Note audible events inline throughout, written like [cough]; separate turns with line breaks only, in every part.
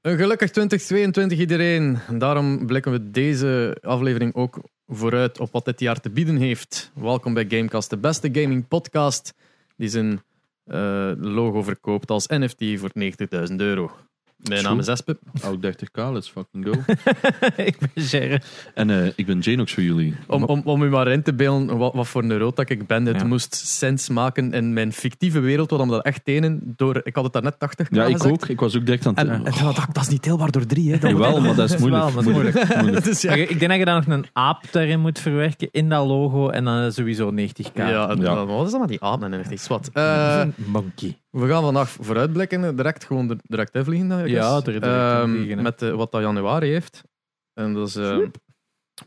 Een gelukkig 2022 iedereen. Daarom blikken we deze aflevering ook vooruit op wat dit jaar te bieden heeft. Welkom bij Gamecast, de beste gaming podcast die zijn eh, logo verkoopt als NFT voor 90.000 euro. Mijn naam is
[laughs]
Espe.
Oud 30k, let's fucking go.
ik ben Gerre.
[laughs] en eh, ik ben Janox voor jullie.
Om, om, om u maar in te beelden wat, wat voor een rood dat ik ben. Het
Ja.
moest sens maken in mijn fictieve wereld, wat om dat echt tenen door... Ik had het daarnet 80
ja, ik ook. Ik was ook direct aan het...
En, en toen dacht ik, dat is niet deelbaar door drie. Hè. Dat
[laughs] Jawel, maar dat is moeilijk.
maar [laughs] dat is
moeilijk.
[laughs]
moeilijk.
Dus ja,
Maar ik denk dat je dan nog een aap daarin moet verwerken in dat logo en dan sowieso 90k.
Ja, en-
Ja. eh,
wat is dat met die apen en echt
[laughs]
zwart.
monkey.
we gaan vandaag vooruitblikken, eh, direct gewoon er- direct invliegen. I guess.
Ja, er direct
Ehm,
invliegen, hè.
Met eh, wat dat januari heeft. En dat is eh,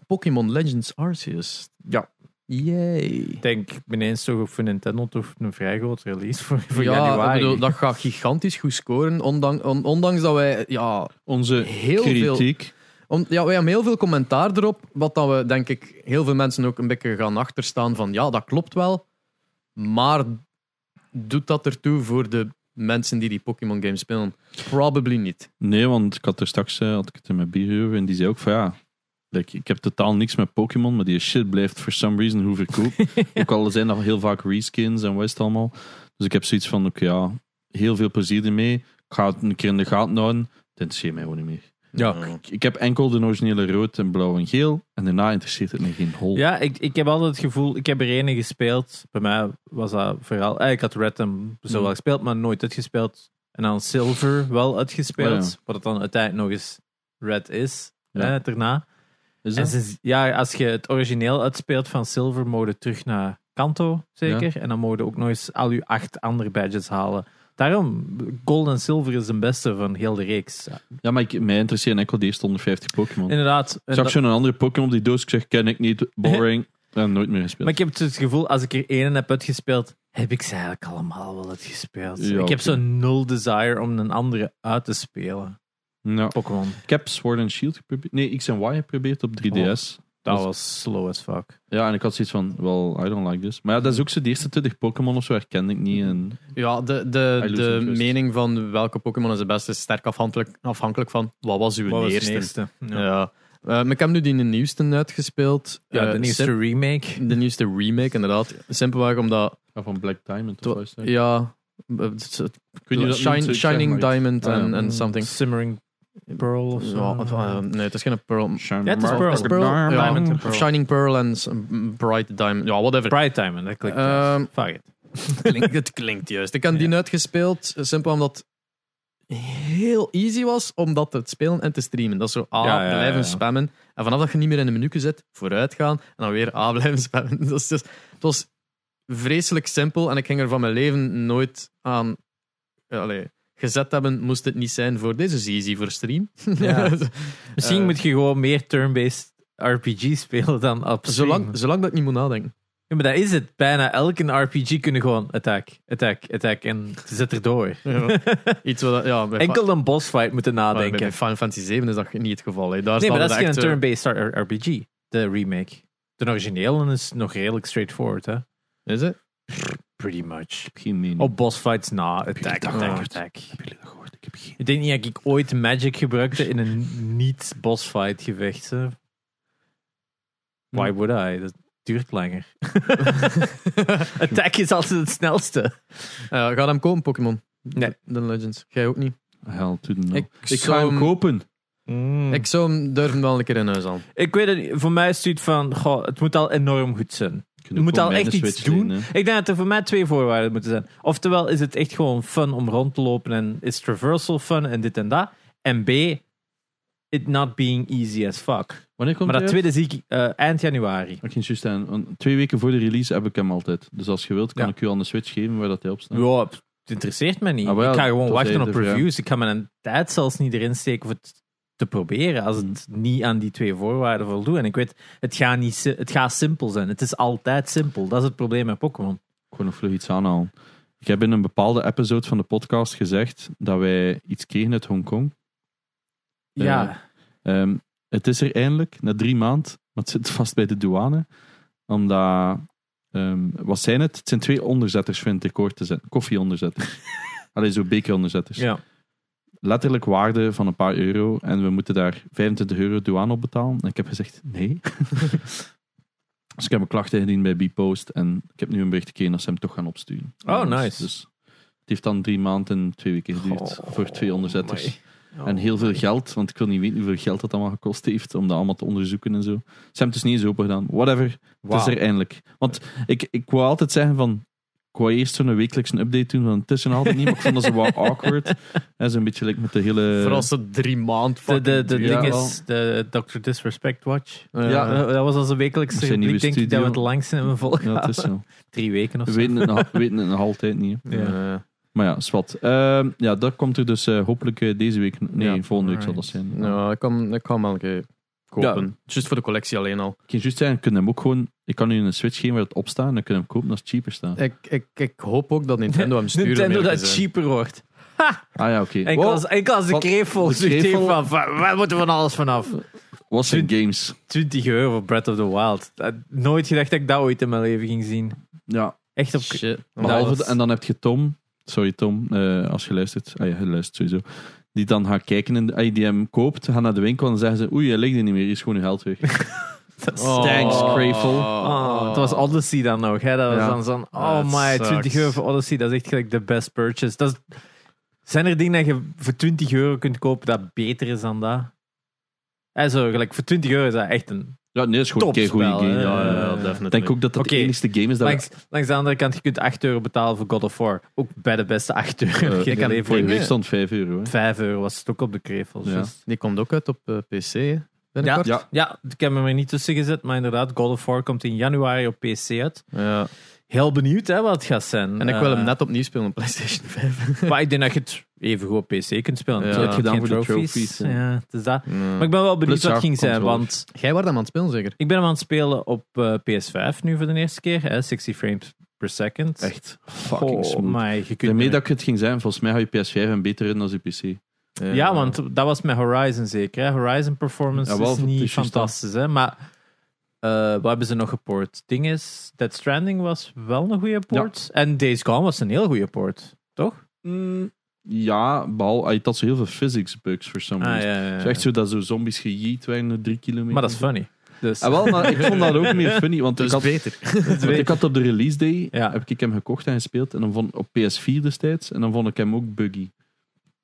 Pokémon Legends Arceus.
Ja.
Yay.
Ik denk ineens toch ook voor Nintendo toch een vrij groot release voor, voor
ja,
januari.
ik bedoel, dat gaat gigantisch goed scoren. Ondanks, on- ondanks dat wij ja,
Onze
heel veel
kritiek.
Om, ja, wij hebben heel veel commentaar erop, wat dat we denk ik heel veel mensen ook een beetje gaan achterstaan van ja, dat klopt wel, maar doet dat ertoe voor de mensen die die Pokémon games spelen? Probably niet.
Nee, want ik had er straks eh, had ik het in mijn bier over en die zei ook van ja... like, ik heb totaal niks met Pokémon, maar die shit blijft for some reason hoe verkoop. Ook al zijn er heel vaak reskins en wat is het allemaal. Dus ik heb zoiets van, oké ja, heel veel plezier ermee. Ik ga het een keer in de gaten houden. Het interesseert mij gewoon niet meer.
Ja.
Ik, ik heb enkel de originele rood en blauw en geel. En daarna interesseert het me geen hol.
Ja, ik, ik heb altijd het gevoel, ik heb er ene gespeeld. Bij mij was dat vooral. eh, ik had Red hem
Hmm.
zo wel gespeeld, maar nooit uitgespeeld. En dan Silver wel uitgespeeld.
Oh
Wat het dan uiteindelijk nog eens Red is.
Ja.
Hè, daarna.
Is
En
dat?
sinds- ja, als je het origineel uitspeelt van Silver, mode terug naar Kanto, zeker. En dan mogen ook nog eens al je acht andere badges halen. Daarom, Gold en Silver is de beste van heel de reeks.
Ja, maar ik, mij interesseert enkel de eerste 150 Pokémon.
Inderdaad. en
Ik zag
dat-
zo'n andere Pokémon op die doos. Ik zeg, ken ik
[laughs]
niet. Boring. En nooit meer gespeeld.
maar ik heb het gevoel, als ik er één heb uitgespeeld, heb ik ze eigenlijk allemaal wel uitgespeeld.
Ja,
ik heb
oké.
zo'n nul desire om een andere uit te spelen.
Nou,
Pokémon.
ik heb Sword and Shield geprobeerd. Nee, X en Y geprobeerd
Oh.
op 3DS.
Dat
Dus
Dat-
was slow as fuck.
Ja, en ik had zoiets van, well, I don't like this. Maar ja, dat is ook zo. De eerste 20 Pokémon of zo herkende ik niet. En,
Ja, de, de,
lose
de
interest.
mening van welke Pokémon is de beste is sterk afhankelijk, afhankelijk van wat was uw
Wat was de
eerste. Ja.
Ja,
Eh, maar ik heb nu die nieuwste uitgespeeld.
Ja, de
Eh,
nieuwste
sim-
remake.
de nieuwste remake, inderdaad. Simpelweg omdat,
ja, van Black Diamond
To-
of zo.
ja, eh,
Kun je dat
Shine-
noemen? Zeg maar
Shining
iets.
Diamond
Ah, ja.
en en something.
Mm, Simmering Pearl of zo.
Ja, of, eh, nee, het is geen Pearl.
Shine
Ja, het is
Mark-
Pearl.
Het is Pearl, ja.
Diamond en
Of
Pearl.
Shining Pearl en s- m- Bright Diamond. Ja, whatever.
Pride Diamond, dat klinkt
Ehm,
juist. Fuck it.
Het [laughs] klinkt, het klinkt juist. Ik heb die uitgespeeld, eh, simpel omdat het heel easy was om dat te spelen en te streamen. Dat is zo A,
Ja, ja, ja,
blijven
ja.
spammen. En vanaf dat je niet meer in de menu zit, vooruit gaan. En dan weer A, [laughs] blijven spammen. Dat is dus, het was vreselijk simpel en ik ging er van mijn leven nooit aan ja, allee, gezet hebben. Moest het niet zijn voor deze is easy voor stream.
Ja. [laughs] Misschien
[laughs] Eh,
moet je gewoon meer turn-based RPG spelen dan op stream.
zolang, zolang dat ik niet moet nadenken.
Ja, maar dat is het. Bijna elke RPG kunnen gewoon attack, attack, attack en zit erdoor. [laughs]
Ja. Iets wat, ja, bij Fi-
Enkel een boss fight moeten
maar bij
nadenken.
Final Fantasy 7 is dat niet het geval. Hè. Daar
Nee,
staan
maar dat
we
is geen
echt, eh,
turn-based R- RPG, de remake. De originele is nog redelijk straightforward, hè?
Is het?
Pretty much.
Geen mening.
Op boss fights na,
jullie
attack,
dat
attack,
gehoord?
attack.
Heb jullie dat gehoord? Ik heb geen...
Oh, Ik denk niet dat ik ooit magic gebruikte in een niet-boss fight gevecht. hè. Why would I? Dat duurt langer. Attack is altijd het snelste.
[laughs] Eh, ga hem kopen, Pokémon.
Nee.
De Legends. Jij ook niet.
Hell to the no.
Ik
Ik,
zou
ga hem
hem-
kopen.
Mm.
Ik zou hem durven wel een keer in huis halen.
Ik weet het niet. Voor mij is het iets van, goh, het moet al enorm goed zijn. Je moet al echt iets doen. Ik denk dat er voor mij twee voorwaarden moeten zijn. Oftewel is het echt gewoon fun om rond te lopen en is traversal fun en dit en dat. En B, it not being easy as fuck.
Wanneer komt
Maar dat
hij uit?
tweede zie ik eh, eind januari.
Ik ging juist aan. want Twee weken voor de release heb ik hem altijd. Dus als je wilt, kan
Ja.
ik u al een switch geven waar dat hij op staat.
Ja, het interesseert me niet.
Ah, wel,
ik ga gewoon
dat
wachten
zei
op
je dus, ja.
reviews. Ik ga mijn tijd zelfs niet erin steken om het te proberen als het
Mm.
niet aan die twee voorwaarden voldoet. En ik weet, het gaat, niet, si- het gaat simpel zijn. Het is altijd simpel. Dat is het probleem met Pokémon.
Gewoon nog vlug iets aanhalen. Ik heb in een bepaalde episode van de podcast gezegd dat wij iets kregen uit Hongkong. Ja.
Ja.
Ehm, het is er eindelijk, na drie maanden, maar het zit [laughs] vast bij de douane. Omdat, ehm, wat zijn het? Het zijn
[laughs]
twee onderzetters, vind ik, hoor te zetten. Koffieonderzetters. Allee, zo bekeronderzetters.
ja.
letterlijk waarde van een paar euro en we moeten daar 25 euro douane op betalen. En ik heb gezegd
[laughs]
nee. dus ik heb een klacht ingediend bij Bpost en ik heb nu een bericht gekregen dat ze hem toch gaan opsturen.
Oh,
Dus-
nice.
Dus het heeft dan drie maanden en twee weken geduurd
Oh,
voor twee onderzetters.
amai.
Oh. en heel veel geld, want ik wil niet weten hoeveel geld dat allemaal gekost heeft om dat allemaal te onderzoeken en zo. Ze hebben het dus niet eens open gedaan. Whatever, het is er eindelijk. Want ik, ik wou altijd zeggen van... Ik wou eerst zo'n wekelijks een update doen van het is er nog altijd niet, maar ik vond dat ze
[laughs]
wel awkward. Dat is een beetje like met de hele...
Vooral als het drie maanden
De,
fucking
de, de
duurt.
ding
wel.
is, de Dr. Disrespect Watch.
Ja.
Ja,
Eh, dat was onze wekelijkse
Zijn nieuwe
rubriek, denk ik, dat we
studio.
het langst hebben volgen.
Ja, het is
[laughs]
zo.
[laughs] Drie weken of
We
zo.
weten het nog, we weten het nog altijd niet. hè.
Ja.
Maar ja, zwart. Ehm, ja, dat komt er dus eh, hopelijk eh, deze week... Nee,
Ja,
volgende week zal dat
alright.
zijn.
Nou, ik kan, ik kan hem wel een keer kopen. Just voor de collectie alleen al.
Ik kan juist zeggen, kunnen hem ook gewoon... Ik kan nu een Switch geven waar het op staat en dan kunnen we hem kopen als het cheaper staat.
Ik, ik, ik hoop ook dat Nintendo hem stuurt. om
Nintendo
eerlijk te
dat
zijn.
cheaper wordt.
Ah ja, oké.
Enkel
Wow,
als, enkel als de
Wat-
kreef volgens
de
u
kreef
heeft
al-
van, van, waar moeten we van alles vanaf?
Wat zijn games?
20 euro voor Breath of the Wild. Ik had nooit gedacht dat ik dat ooit in mijn leven ging zien.
Ja,
Echt op...
Shit. Oh.
Behalve,
was-
de- en dan heb je Tom, sorry Tom, eh, als je luistert, ah ja, je luistert sowieso, die dan gaat kijken, en, ah, die hem koopt, gaat naar de winkel en zeggen ze, oei, hij ligt er niet meer, hier is gewoon uw geld
[laughs]
weg.
Dat
Oh.
Thanks, Crayful.
Oh, het was Odyssey dan nog. Hè? Dat was
Ja.
dan zo'n,
Dat
oh my,
sucks.
20 euro voor Odyssey, dat is echt gelijk de best purchase. Dat is, zijn er dingen dat je voor 20 euro kunt kopen dat beter is dan dat? En zo, gelijk, voor 20 euro is dat echt een...
Ja, nee, dat is gewoon een keer goede
Topspel,
game.
hè.
Ja, ja, ja.
Eh,
Ik denk ook dat dat
Oké.
de enigste game is dat
Langs, langs de andere kant, je kunt 8 euro betalen voor God of War. Ook bij de beste 8 euro.
Eh,
dat je
ik
in je
heb-
leven
voor een
Nee.
week stond 5 euro. Hè.
5 euro was het ook op de Dus- krevel.
Ja.
juist.
Die komt ook uit op eh, PC. hè,
Ja,
Binnenkort.
ja. ik heb hem er niet tussen gezet, maar inderdaad, God of War komt in januari op PC uit.
Ja.
Heel benieuwd hè, wat het gaat zijn.
En ik wil hem
Eh,
net [laughs] opnieuw spelen op PlayStation 5.
Maar ik denk dat je het even goed op PC kunt spelen.
Ja.
Ja,
Dat
het
heb
je
gedaan
gedaan
voor
voor de
trophies.
trophies, ja.
ja, het is dat. Maar
Ja.
ik ben wel benieuwd
Plus
wat het
haar
ging zijn,
controller.
want
Jij was hem aan het spelen, zeker?
ik ben hem aan het spelen op eh, PS5 nu voor de eerste keer. Hè, 60 frames per second.
Echt fucking
oh,
smooth.
Maar je kunt
Daarmee dat ik het ging zijn, volgens mij ga je PS5 en beter in dan je PC. Eh,
Ja, want dat was met Horizon zeker. Hè. Horizon performance
Jawel,
is
het
niet
is juist
fantastisch, hè. Maar eh, wat hebben ze nog geport? Ding is, Dead Stranding was wel een goede port. En Days Gone was een heel goede port, toch? Mm.
Ja, behalve, hij had zo heel veel physics bugs voor some
Ah,
reason.
ja, ja, ja.
Het Mm. is echt zo dat zo zombies gejeet werden, drie kilometer.
Maar dat is funny. Dus. [laughs]
Ah, wel, maar ik vond dat ook meer funny, want ik
Dus
had [laughs]
beter.
Want ik had op de release day
Ja.
heb ik hem gekocht en gespeeld. En dan vond op PS4 destijds. En dan vond ik hem ook buggy.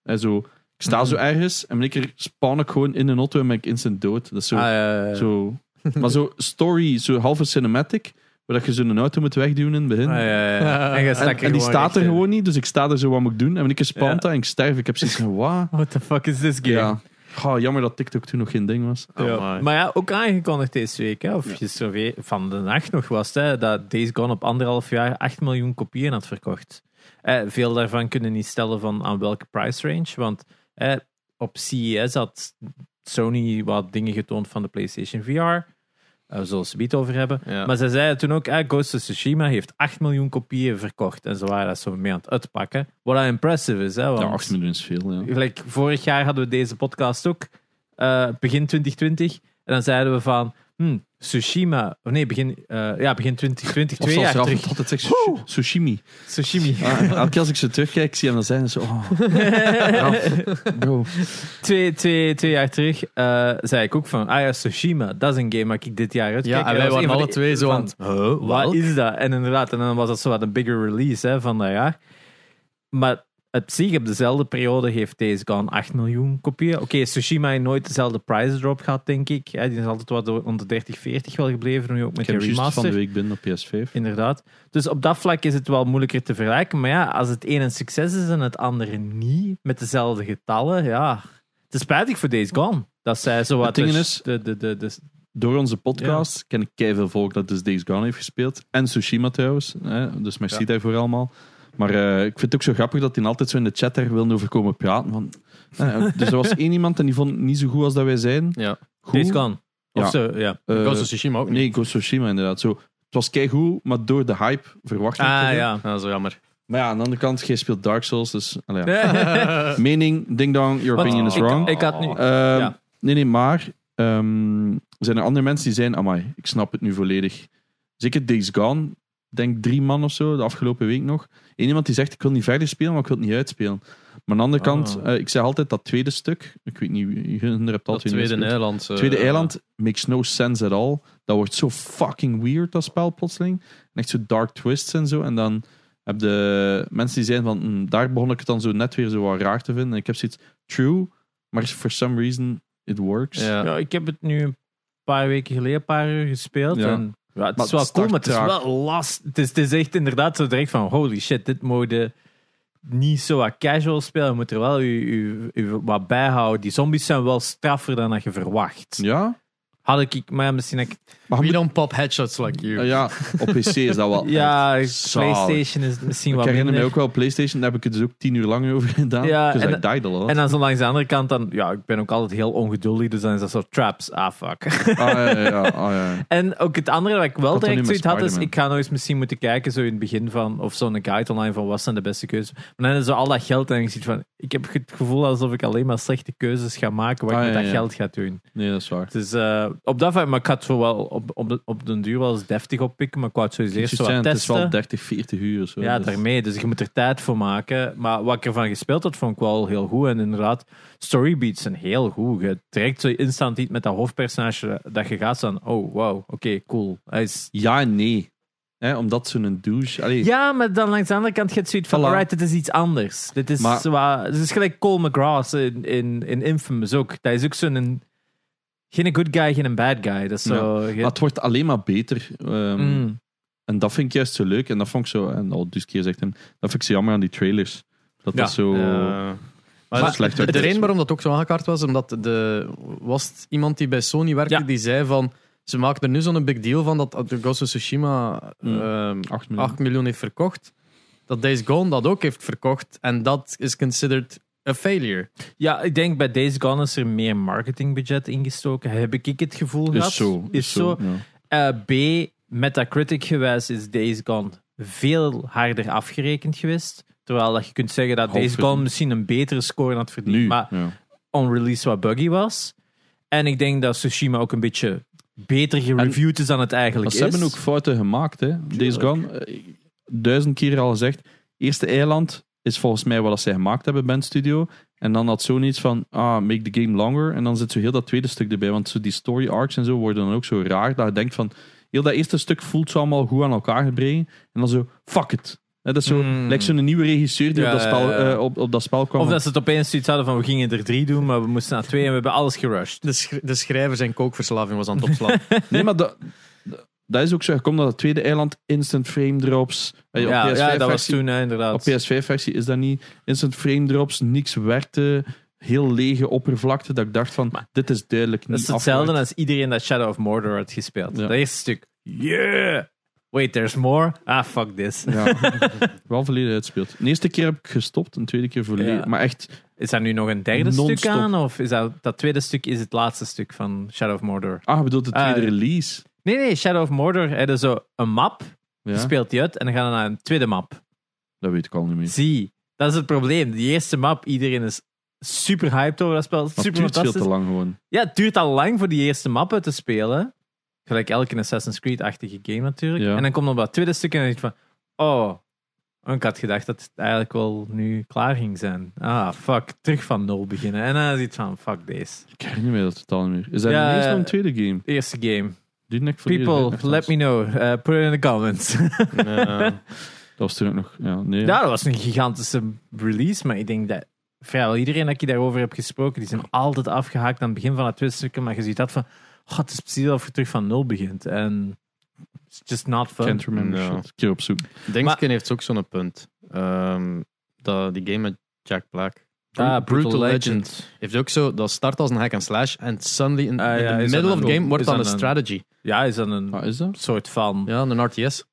En zo, ik sta zo
Hmm.
ergens en in één keer spawn ik gewoon in een auto en ben ik instant dood. Dat is zo.
Ah, ja, ja, ja. [laughs]
zo maar zo story, zo halve cinematic, waar dat je zo'n auto moet wegduwen in het begin.
Ah, ja, ja, ja. En, je
En,
stak er
en die
gewoon
staat er
echt eh, in.
gewoon niet, dus ik sta er zo wat moet ik doen. En in één keer spant
Ja.
dat en ik sterf. Ik heb zoiets van,
[laughs]
wat?
What the fuck is this game?
Ja. Goh, jammer dat TikTok toen nog geen ding was.
Ja.
Amai.
Maar ja, ook aangekondigd deze week, hè, of gisteren weer- van de nacht nog was, het, hè, dat Days Gone op anderhalf jaar 8 miljoen kopieën had verkocht. Eh, veel daarvan kunnen niet stellen van aan welke price range, want eh, op CES had Sony wat dingen getoond van de PlayStation VR, eh, we zullen ze het over hebben.
Ja.
Maar ze zeiden toen ook, eh, Ghost of Tsushima heeft 8 miljoen kopieën verkocht, en ze waren dat zo mee aan het uitpakken. Wat dat impressive is, hè, want...
Ja, 8 miljoen is veel, ja.
Gelijk, vorig jaar hadden we deze podcast ook, eh, begin 2020. En dan zeiden we van, hm, Tsushima, of nee, begin, eh, ja, begin 2020,
Of
twee
zoals
jaar
Raf
terug.
het altijd zegt, sushi- sushimi.
Tsushima.
Ah, elke keer als ik ze terugkijk, zie hem dan zijn ze. Oh, bro.
twee, twee, twee jaar terug eh, zei ik ook van, ah ja, Tsushima, dat is een game waar ik dit jaar uitkijk.
Ja, en
dat
wij
was een
waren
van
alle
de-
twee zo
van-
aan het... Huh,
Wat
welk?
is dat? En inderdaad, en dan was dat zo wat een bigger release hè, van dat jaar. Maar op zich, op dezelfde periode heeft Days Gone 8 miljoen kopieën. Oké, Tsushima heeft nooit dezelfde price drop gehad, denk ik. hè. Die is altijd wat door- onder 30, 40 wel gebleven, nu ook
Ik
met de
heb juist van de
remaster.
week binnen op PS5.
Inderdaad. Dus op dat vlak is het wel moeilijker te vergelijken. Maar ja, als het een een succes is en het andere niet, met dezelfde getallen, ja. Het is spijtig voor Days Gone. Dat zij zo wat...
ding
de-
is-
de, de, de, de,
Door onze podcast ken ik keiveel volk dat dus Days Gone heeft gespeeld. En Tsushima trouwens. Hè? Dus merci
Ja.
daarvoor allemaal. Maar eh, ik vind het ook zo grappig dat hij altijd zo in de chat daar wil over komen praten. Van, eh, dus er was één iemand en die vond het niet zo goed als dat wij zijn.
Ja.
Goed.
Days Gone. Of
Ja.
zo, ja.
Eh,
Ghost of Tsushima ook niet.
nee, Ghost of Tsushima inderdaad. Zo, het was keigoed, maar door de hype verwacht ik te
Ah,
veel.
ja.
Ah, zo jammer.
Maar ja, aan de andere kant, jij speelt Dark Souls, dus... allee, ja. [laughs]
[laughs]
Mening, ding dong, your
Want
opinion is
ik-
wrong.
Ik had nu...
Ehm,
Ja.
Nee, nee, maar ehm, zijn er andere mensen die zijn, amai, ik snap het nu volledig. Zeker Days Gone, denk drie man of zo, de afgelopen week nog. Eén iemand die zegt, ik wil niet verder spelen, maar ik wil het niet uitspelen. Maar aan de andere
Ah.
kant, eh, ik zeg altijd dat tweede stuk, ik weet niet, wie- hun hebt
Dat
altijd
tweede eiland. eh,
Tweede eiland makes no sense at all. Dat wordt zo fucking weird, dat spel plotseling. En echt zo dark twists en zo. En dan heb de mensen die zijn van, "Hm, daar begon ik het dan zo net weer zo wat raar te vinden. En ik heb zoiets, true, maar for some reason it works.
Ja.
Ja, ik heb het nu een paar weken geleden, een paar uur gespeeld.
Ja.
En, ja, het
Maar
is wel
het
cool,
start
maar het is
traag.
wel last. Het is, het is echt inderdaad zo direct van, holy shit, dit moet je niet zo wat casual spelen. Je moet er wel je, je, je wat bijhouden. Die zombies zijn wel straffer dan dat je verwacht.
Ja?
Had ik- ik, maar misschien... dat Ik,
Maar je
We
moet-
don't pop headshots like you.
eh, ja, op PC is
[laughs]
dat wel
ja,
echt zalig.
PlayStation is misschien
Ik
wat
herinner
minder.
me ook wel PlayStation, daar heb ik het dus ook tien uur langer over [laughs] gedaan.
Ja,
dus
en-
I died a lot.
En dan zo langs de andere kant, dan, ja, ik ben ook altijd heel ongeduldig, dus dan is dat zo traps, ah fuck.
Ah, ja, ja, ja, ah, ja.
En ook het andere wat ik wel
had dat
direct
nu met
zoiets had, is
Spider-Man.
ik ga nog eens misschien moeten kijken, zo in het begin van, of zo'n guide online van wat zijn de beste keuzes. Maar dan is zo al dat geld en je ziet van, ik heb het gevoel alsof ik alleen maar slechte keuzes ga maken wat
Ah,
ik
ja,
met dat
ja.
geld ga doen.
Nee, dat is waar.
Dus eh, op dat vlak, maar ik had zo wel op, op, de, op den duur wel eens deftig oppikken, maar ik wou het sowieso eerst zo wat
Het is wel
testen.
30, 40 uur. Zo,
Ja,
dus-
daarmee. Dus je moet er tijd voor maken. Maar wat ik ervan gespeeld had, vond ik wel heel goed. En inderdaad, storybeats zijn heel goed. Je trekt zo instant iets met dat hoofdpersonage dat je gaat staan. Oh, wow. Oké, cool. Hij is...
Ja en nee. Hè, omdat zo'n douche. Allee,
Ja, maar dan langs de andere kant gaat zoiets van...
Voilà.
Alright, dit is iets anders. Dit is,
Maar-
zwa- dit is gelijk Cole McGrath in, in, in Infamous ook. Dat is ook zo'n... Geen een good guy, geen een bad guy. Dat is zo... je-
Maar het wordt alleen maar beter. ehm,
Mm.
En dat vind ik juist zo leuk. En dat vond ik zo. En al dus keer zegt hem. Dat vind ik zo jammer aan die trailers. Dat
Ja,
dat zo.
eh, maar
zo
dat-
slecht
de
werd.
reden waarom dat ook zo aangekaart was, omdat de, was het iemand die bij Sony werkte
Ja.
die zei van ze maken er nu zo'n big deal van dat de Ghost of Tsushima
Hmm.
ehm,
8 miljoen.
8 miljoen heeft verkocht. Dat Days Gone dat ook heeft verkocht en dat is considered a failure.
Ja, ik denk bij Days Gone is er meer marketingbudget ingestoken. Heb ik het gevoel gehad.
is zo.
Is zo.
ja.
Eh, B, Metacritic gewijs is Days Gone veel harder afgerekend geweest. Terwijl dat je kunt zeggen dat
Half
Days Gone
verdiend.
misschien een betere score had verdiend,
Nu.
maar
ja.
on-release wat buggy was. En ik denk dat Tsushima ook een beetje beter gereviewd is dan het
Maar
eigenlijk
ze
is.
hebben ook fouten gemaakt. Hè. Days Gone. eh, duizend keer al gezegd. Eerste eiland is volgens mij wat dat zij gemaakt hebben, Band Studio. En dan had zo'n iets van, ah, make the game longer. En dan zit zo heel dat tweede stuk erbij. Want zo die story arcs en zo worden dan ook zo raar. Dat je denkt van, heel dat eerste stuk voelt zo allemaal goed aan elkaar gebreid. En dan zo, fuck it. Hè, Dat is zo,
Mm.
lijkt zo'n nieuwe regisseur die
Ja,
op, dat spel,
ja, ja.
eh, op, op dat spel kwam.
Of dat ze het opeens zoiets hadden van we gingen er drie doen, maar we moesten naar twee en we hebben alles gerushed.
De, sch- de schrijver zijn kookverslaving was aan het
[laughs]
opslaan.
Nee, maar dat, dat- dat is ook zo. Komt dat het tweede eiland, instant frame drops. Eh, op
Ja,
PS5
ja, dat was
versie-
toen hè, inderdaad.
Op PS5-versie is dat niet. Instant frame drops, niks werkte. Heel lege oppervlakte. Dat ik dacht van, dit is duidelijk
Dat
niet
is hetzelfde
afgewerkt.
als iedereen dat Shadow of Mordor had gespeeld.
Ja.
Dat eerste stuk. Yeah! Wait, there's more? Ah, fuck this.
Ja, [laughs] wel volledig uitspeelt. De eerste keer heb ik gestopt, een tweede keer volledig.
Ja.
Maar echt,
Is daar nu nog een derde stuk
Non-stop.
aan? Of is dat, dat tweede stuk is het laatste stuk van Shadow of Mordor?
ah, je bedoelt de
Ah,
tweede
ja.
release.
Nee, nee, Shadow of Mordor hebben zo een map. Je
Ja,
speelt die uit en dan gaan we naar een tweede map.
dat weet ik al niet meer.
Zie, dat is het probleem. Die eerste map, iedereen is super hyped over dat spel.
Maar het
Super
duurt veel
fantastisch.
te lang gewoon.
Ja, het duurt al lang voor die eerste mappen te spelen. Gelijk elke Assassin's Creed-achtige game natuurlijk.
Ja.
En dan komt op dat tweede stuk en dan denk je van... Oh, ik had gedacht dat het eigenlijk wel nu klaar ging zijn. Ah, fuck. Terug van nul beginnen. En dan is het van, fuck deze.
Ik herinner me dat totaal niet meer. Is dat
Ja,
ineens
ja.
nog een tweede game?
Eerste game.
Die nek volledig uit-
People, let me know. Eh, put it in the comments.
Ja.
Dat was toen ook nog... Ja, nee.
Ja, dat was een gigantische release, maar ik denk dat vrijwel iedereen dat ik daarover heb gesproken, die zijn altijd afgehaakt aan het begin van het tweede stuk, maar je ziet dat van, god het is precies alsof je terug van nul begint. En it's just not fun.
Can't remember
Ja.
shit. Een keer op zoek.
Denkskin heeft ook zo'n punt. Ehm, dat, die game met Jack Black.
Ah,
Heeft ook zo, dat start als een hack and slash en suddenly in,
Ah,
in
ja,
the
is
middle
dat
of
een-
the game wordt
is
dan een
dat een-
strategy.
Ja, is dan een
Ah, is dat?
soort van...
Ja, een RTS.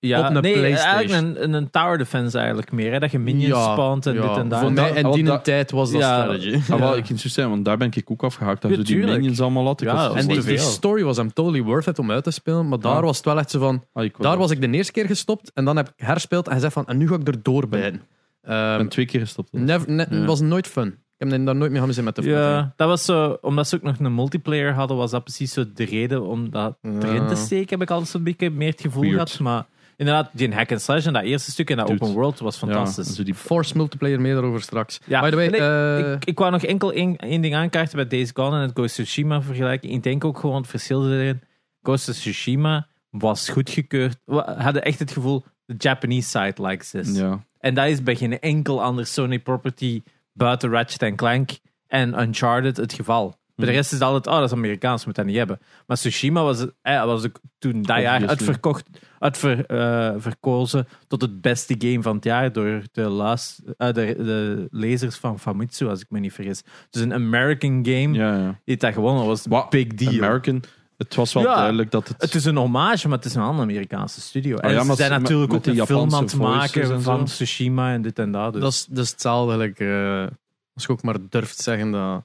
Ja,
op een
nee,
PlayStation.
eigenlijk een, een, een tower defense eigenlijk meer, hè, dat je minions
Ja,
spawnt en
ja,
dit en dat.
Voor mij en
Want
die
dat-
tijd was dat
Ja.
strategy.
Ah, wel,
Ja.
ik kan zo zijn, want daar ben ik ook afgehaakt. Dat
Ja,
ze die
tuurlijk.
minions allemaal had. Ik
Ja,
was,
dat
En die,
te
die
veel.
story was hem totally worth it om uit te spelen, maar daar
Ja.
was het wel echt zo van...
Ah, ik was-
Daar was ik de eerste keer gestopt en dan heb ik herspeeld en gezegd van, en nu ga ik er doorbijten.
Ik
Ehm
ben twee keer gestopt.
never, ne-
Ja.
was nooit fun. Ik heb me daar nooit meer gaan zitten met de
Ja, dat was zo, omdat ze ook nog een multiplayer hadden, was dat precies zo de reden om dat
vrienden.
erin te
Ja.
steken, heb ik altijd zo'n beetje meer het gevoel
Weird.
gehad. Maar inderdaad, die hack and slash en dat eerste stuk en dat
Dude.
open world was fantastisch.
zo die
Force multiplayer, meer daarover straks.
Ja.
By the way,
En ik-
eh,
ik, ik wou nog enkel één, één ding aankaarten bij Days Gone en het Ghost of Tsushima vergelijken. Ik denk ook gewoon het verschil erin. Ghost of Tsushima was goedgekeurd. We hadden echt het gevoel, de Japanese side likes this.
Ja.
En dat is bij geen enkel ander Sony property buiten Ratchet Clank en Uncharted het geval. Bij
Mhm.
de rest is het altijd, oh, dat is Amerikaans, moet dat niet hebben. Maar Tsushima was, eh, was ook toen dat jaar
Obviously.
uitverkocht, uitver, eh, verkozen tot het beste game van het jaar door de, laas, eh, de, de lezers van Famitsu, als ik me niet vergis. Dus een American game,
Ja, ja.
die dat gewonnen was, een
Wow,
big deal.
American, het was wel
Ja.
duidelijk dat het...
het is een hommage, maar het is een andere Amerikaanse studio.
Oh ja,
en ze
maar
zijn
met-
natuurlijk
met
ook
die
een film aan
Japanse
het maken
voices en
van
zo.
Tsushima en dit en dat. Dus.
dat, is, dat is hetzelfde eigenlijk, eh, als je ook maar durft zeggen dat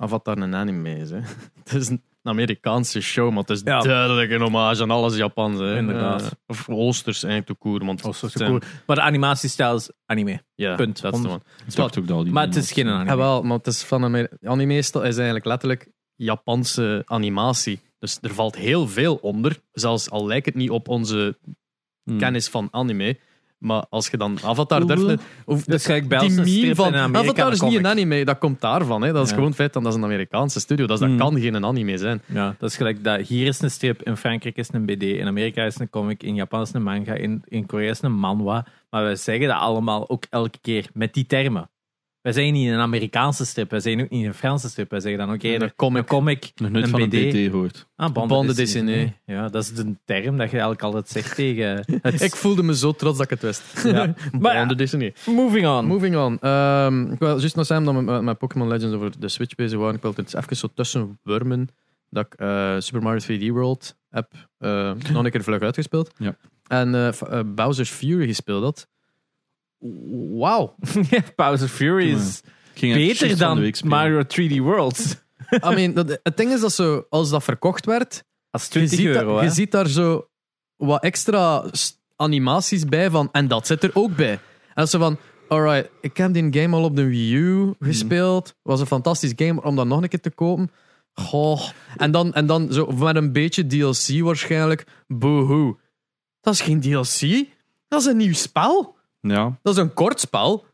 Avatar een anime is. Hè. [laughs] Het is een Amerikaanse show, maar het is
Ja.
duidelijk een hommage aan alles Japans. Hè.
Inderdaad.
Eh, of Oosters eigenlijk, te koer. Want
Oh, zo
het
zo
zijn-
cool. Maar de animatiestijl is anime.
Ja,
Punt.
Dat is de one.
Ik dacht ook dat al die
Maar het
dingen
is geen
was.
anime.
Ja, wel, maar het is van een anime stel- is eigenlijk letterlijk Japanse animatie. Dus er valt heel veel onder. Zelfs al lijkt het niet op onze
Hmm.
kennis van anime. Maar als je dan Avatar
Oeh,
durft. Of
Dat is gelijk bij
die
ons een
meme
strip
van.
in een Amerikaan
Avatar is niet
comic.
een anime, dat komt daarvan. Hè. Dat is
Ja.
gewoon het feit dat dat is een Amerikaanse studio Dus dat
Hmm.
kan geen anime zijn.
Ja, dat is gelijk dat hier is een strip, in Frankrijk is een BD, in Amerika is een comic, in Japan is een manga, in, in Korea is een manhwa. Maar wij zeggen dat allemaal ook elke keer met die termen. Wij zeggen niet een Amerikaanse strip, wij zeggen ook niet een Franse strip, wij zeggen dan ook eerder
Een comic.
een comic,
Nog nooit
een
van
BD.
een BD hoort.
Ah,
bande
dessiné.
dessiné.
Ja, dat is de term dat je eigenlijk altijd
[laughs]
zegt tegen het...
Ik voelde me zo trots dat ik het [laughs] wist.
Ja. Maar ja.
Bond Disney.
Moving on.
Moving on. Ehm, ik wil juist nog Sam dat we met, met Pokémon Legends over de Switch bezig waren. Ik wil het eens even zo tussen wurmen dat ik eh, Super Mario 3D World heb eh, nog een keer vlug uitgespeeld.
Ja.
En eh, F- eh, Bowser's Fury gespeeld [laughs] had.
[laughs]
Wauw.
Bowser Fury is
Ik ging echt
beter
shit van de
dan
week spelen.
Mario 3D Worlds.
I mean, dat, het ding is dat zo, als dat verkocht werd,
Dat is
je
20
ziet,
euro,
daar,
hè?
je ziet daar zo wat extra s- animaties bij van. En dat zit er ook bij. En ze van, alright, ik heb die game al op de Wii U gespeeld. Was een fantastisch game om dat nog een keer te kopen. Goh. En dan, en dan zo met een beetje DLC waarschijnlijk. Boehoe. Dat is geen DLC. Dat is een nieuw spel.
Ja,
Dat is een kort spel.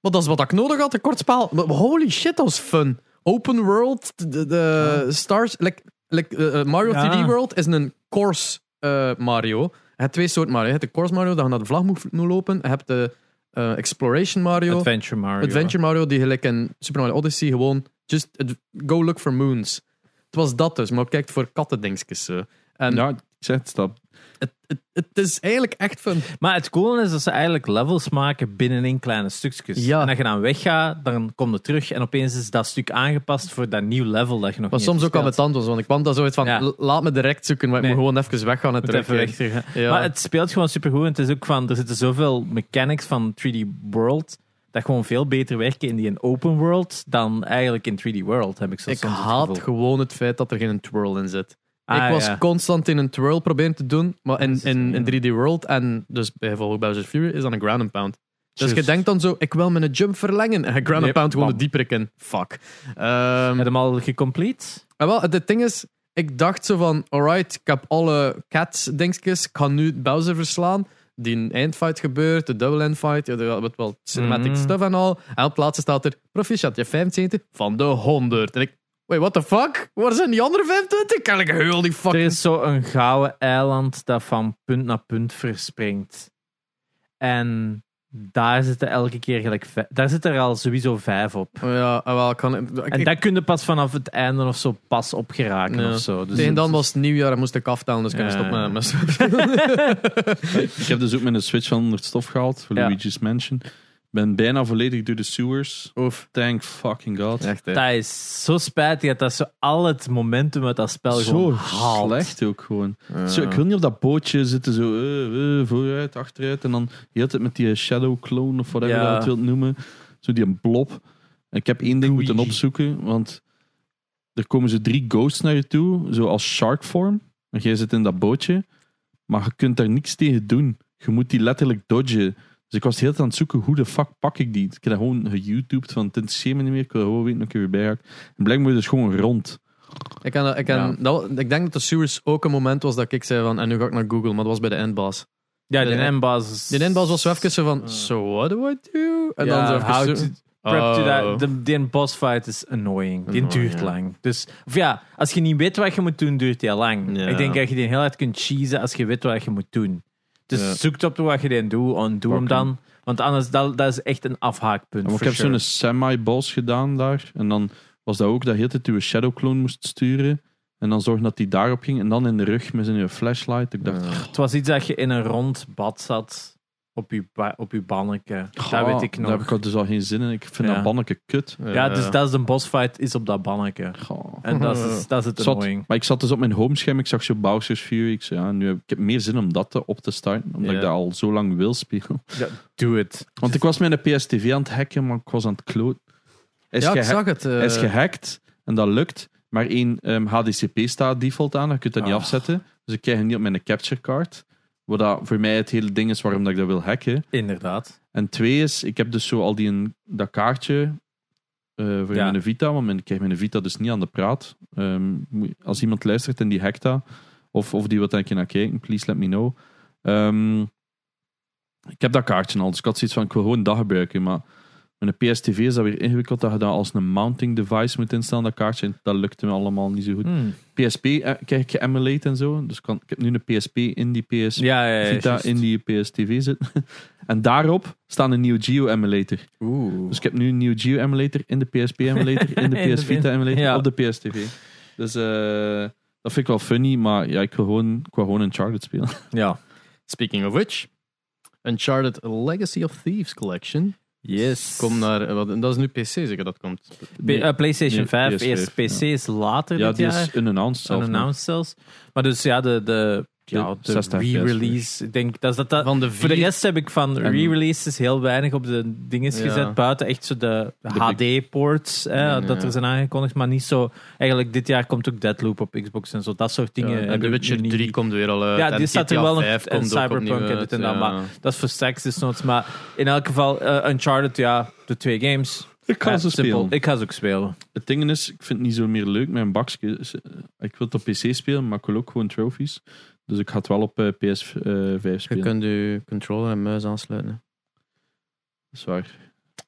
Maar dat is wat ik nodig had, een kort spel. Maar holy shit, dat is fun. Open world, de, de stars... Like, like, eh, eh, Mario
Ja.
3D World is een course eh, Mario. Je hebt twee soorten Mario. Je hebt de course Mario, dat je naar de vlag moet, moet lopen. Je hebt de eh, exploration Mario.
Adventure Mario.
Adventure Mario, die gelijk in Super Mario Odyssey gewoon... Just ad- go look for moons. Het was dat dus, maar kijk voor katten dingetjes. eh. En
ja, ik zeg het, stap.
het, het, het is eigenlijk echt fun.
Maar het coole is dat ze eigenlijk levels maken binnenin kleine stukjes.
Ja.
En als je dan weggaat, dan komt het terug en opeens is dat stuk aangepast voor dat nieuw level dat je nog
Maar
niet
soms
hebt
ook aan het
gespeeld.
tand was, want ik kwam daar zoiets van,
Ja.
"L- laat me direct zoeken, maar ik
Nee.
moet gewoon even weggaan en
Moet even
terug.
weg terug, hè.
Ja.
Maar het speelt gewoon supergoed. En het is ook van, er zitten zoveel mechanics van 3D World dat gewoon veel beter werken in die in open world dan eigenlijk in 3D World, heb ik zo
Ik
soms het
haat
gevoel.
gewoon het feit dat er geen twirl in zit.
Ah,
ik was
ja.
constant in een twirl proberen te doen, maar in,
Dat is
in,
het,
in 3D World en dus bijvoorbeeld Bowser's Fury is dan een ground and pound. Dus je
Juist.
denkt dan zo, ik wil mijn jump verlengen. En je ground and
Yep,
pound gewoon de
bam.
diepere in. Fuck. Ehm,
Heb je hem al gecomplete?
en Ah, wel, het ding is, ik dacht zo van, alright, ik heb alle cats dingetjes, ik kan nu Bowser verslaan. Die eindfight gebeurt, de double endfight, ja, er wordt wel cinematic
Mhm.
stuff en al. En op het laatste staat er, proficiat, je hebt 75 van de 100. En ik, wait, what the fuck? Waar zijn die andere 25? Kan ik heel die
Er
fucking...
is zo'n gouden eiland dat van punt naar punt verspringt. En daar zitten elke keer gelijk vijf, daar zitten er al sowieso vijf op.
Oh, Ja, en wel, kan ik...
En
ik-
daar kun je pas vanaf het einde of zo pas op geraken
Ja.
of zo. Dus
tegen
het
dan
is-
was het nieuwjaar en moest ik aftellen, dus ik kan
Ja.
stoppen met- met
Ik heb dus ook mijn Switch van onder het stof gehaald, voor
Ja.
Luigi's Mansion. ben bijna volledig door de sewers. Oh,
Oef.
Thank fucking god.
Echt, hè.
Dat is zo spijtig dat dat zo al het momentum uit dat spel
Zo
gewoon haalt.
slecht ook gewoon. Zo, ik wil niet op dat bootje zitten, zo eh, eh, vooruit, achteruit. En dan de hele tijd met die shadow clone of whatever
Ja.
je dat wilt noemen. Zo die een blob. En ik heb één ding
Oei.
moeten opzoeken, want er komen zo drie ghosts naar je toe, zo als shark form. En jij zit in dat bootje, maar je kunt daar niks tegen doen. Je moet die letterlijk dodgen. Dus ik was de hele tijd aan het zoeken, hoe de fuck pak ik die? Ik heb dat gewoon geyoutubed, van het interesseert me niet meer, ik wil gewoon weten of ik er weer bij raak. En blijkbaar moet je dus gewoon rond.
Ik, kan, ik, kan,
Ja.
dat, ik denk dat de sewers ook een moment was dat ik zei van, en nu ga ik naar Google, maar dat was bij de endbaas.
Ja,
de-
de N-basis.
De inbouw was zo even zo van, so what do I do? En dan zo even
Hmm. how
zo-
to prep to
Oh.
that. De, die boss fight is annoying. Die
Annoying,
duurt
ja.
lang. Dus, of ja, als je niet weet wat je moet doen, duurt die lang.
Ja.
Ik denk dat je die heel hard kunt cheesen als je weet wat je moet doen. Dus
Ja.
zoek op wat je die doet en doe hem
Pak hem.
dan. Want anders, dat, dat is echt een
Ja,
afhaakpunt.
maar ik
for
heb
sure.
zo'n semi-boss gedaan daar. En dan was dat ook dat je altijd je shadow clone moest sturen. En dan zorgen dat die daarop ging. En dan in de rug met zijn flashlight. Ik dacht,
Ja.
"Goh,
Het was iets dat je in een rond bad zat op je, ba- op je banneke. dat weet ik
Daar heb
nog.
ik al dus al geen zin in. Ik vind
Ja.
dat banneke kut.
Ja, dus dat is een bossfight, is op dat banneke.
Goh.
En dat is, dat is het
Zot.
annoying.
Maar ik zat dus op mijn homescherm. Ik zag zo Bowser's Fury. Ik zei, ja, nu heb ik, ik heb meer zin om dat te, op te starten. Omdat
Ja.
ik dat al zo lang wil spelen. [laughs]
Doe het.
Want ik was mijn PSTV aan het hacken, maar ik was aan het kloot. Hij Is
ja, ik
geha-
zag het. eh,
hij is gehackt en dat lukt. Maar één ehm, HDCP staat default aan. Je kunt dat niet
Ah.
afzetten. Dus ik krijg het niet op mijn capture card. Wat dat voor mij het hele ding is waarom dat ik dat wil hacken.
Inderdaad.
En twee is, ik heb dus zo al die een, dat kaartje eh, voor
Ja.
mijn Vita, want mijn- ik krijg mijn Vita dus niet aan de praat. Ehm, moet- als iemand luistert en die hackt dat, of, of die wil daar een keer naar kijken, please let me know. Ehm, ik heb dat kaartje al, dus ik had zoiets van, ik wil gewoon dat gebruiken, maar met een PSTV is dat weer ingewikkeld dat je dat als een mounting device moet instellen, dat kaartje, en dat lukte me allemaal niet zo goed.
Hmm.
PSP eh, krijg ik geemulate en zo, dus ik kan, ik heb nu een PSP in die PSP.
Ja, ja, ja,
Vita
juist.
in die PS-TV zit. [laughs] en daarop staan een Neo Geo emulator.
Oeh.
Dus ik heb nu een Neo Geo emulator in de PSP emulator, in
In de
de PS Vita
bin.
emulator,
Ja.
op de PS-TV. Dus eh, dat vind ik wel funny, maar ja, ik wil gewoon, ik wil gewoon Uncharted spelen.
Ja.
Speaking of which, Uncharted Legacy of Thieves Collection.
Yes.
Kom naar, eh, wat, dat is nu PC zeker dat komt.
P- eh, PlayStation
Nee,
5,
PS5,
eerst PC is later
ja,
dit
die
jaar.
is unannounced zelf. nog.
Unannounced zelfs. Maar dus ja, de, de, ja,
De
de
60
re-release. Ik denk dat is dat, dat,
Van de
voor de
vier
rest heb ik van
En-
re-releases heel weinig op de dinges
Ja.
gezet. Buiten echt zo de, HD-ports, eh,
Ja.
dat er zijn aangekondigd. Maar niet zo... Eigenlijk dit jaar komt ook Deadloop op Xbox en zo. Dat soort dingen.
Ja, en
heb
The
ik
Witcher
nu niet.
3 komt weer al uit.
Ja,
en
die staat er
GTA
wel nog-
5
en
komt ook
Cyberpunk
opnieuw
en
uit,
dit en dat,
ja.
maar- Dat is voor seks is noods. Maar in elk geval, eh, Uncharted, ja, de twee games.
Ik kan
Ja,
ze
simpel.
spelen.
Ik ga ze ook spelen.
Het ding is, ik vind het niet zo meer leuk met een bakje. Dus, eh, Ik wil het op PC spelen, maar ik wil ook gewoon trophies. Dus ik ga het wel op PS5
Je
eh, spelen.
kunt je controller en muis aansluiten.
Dat is waar.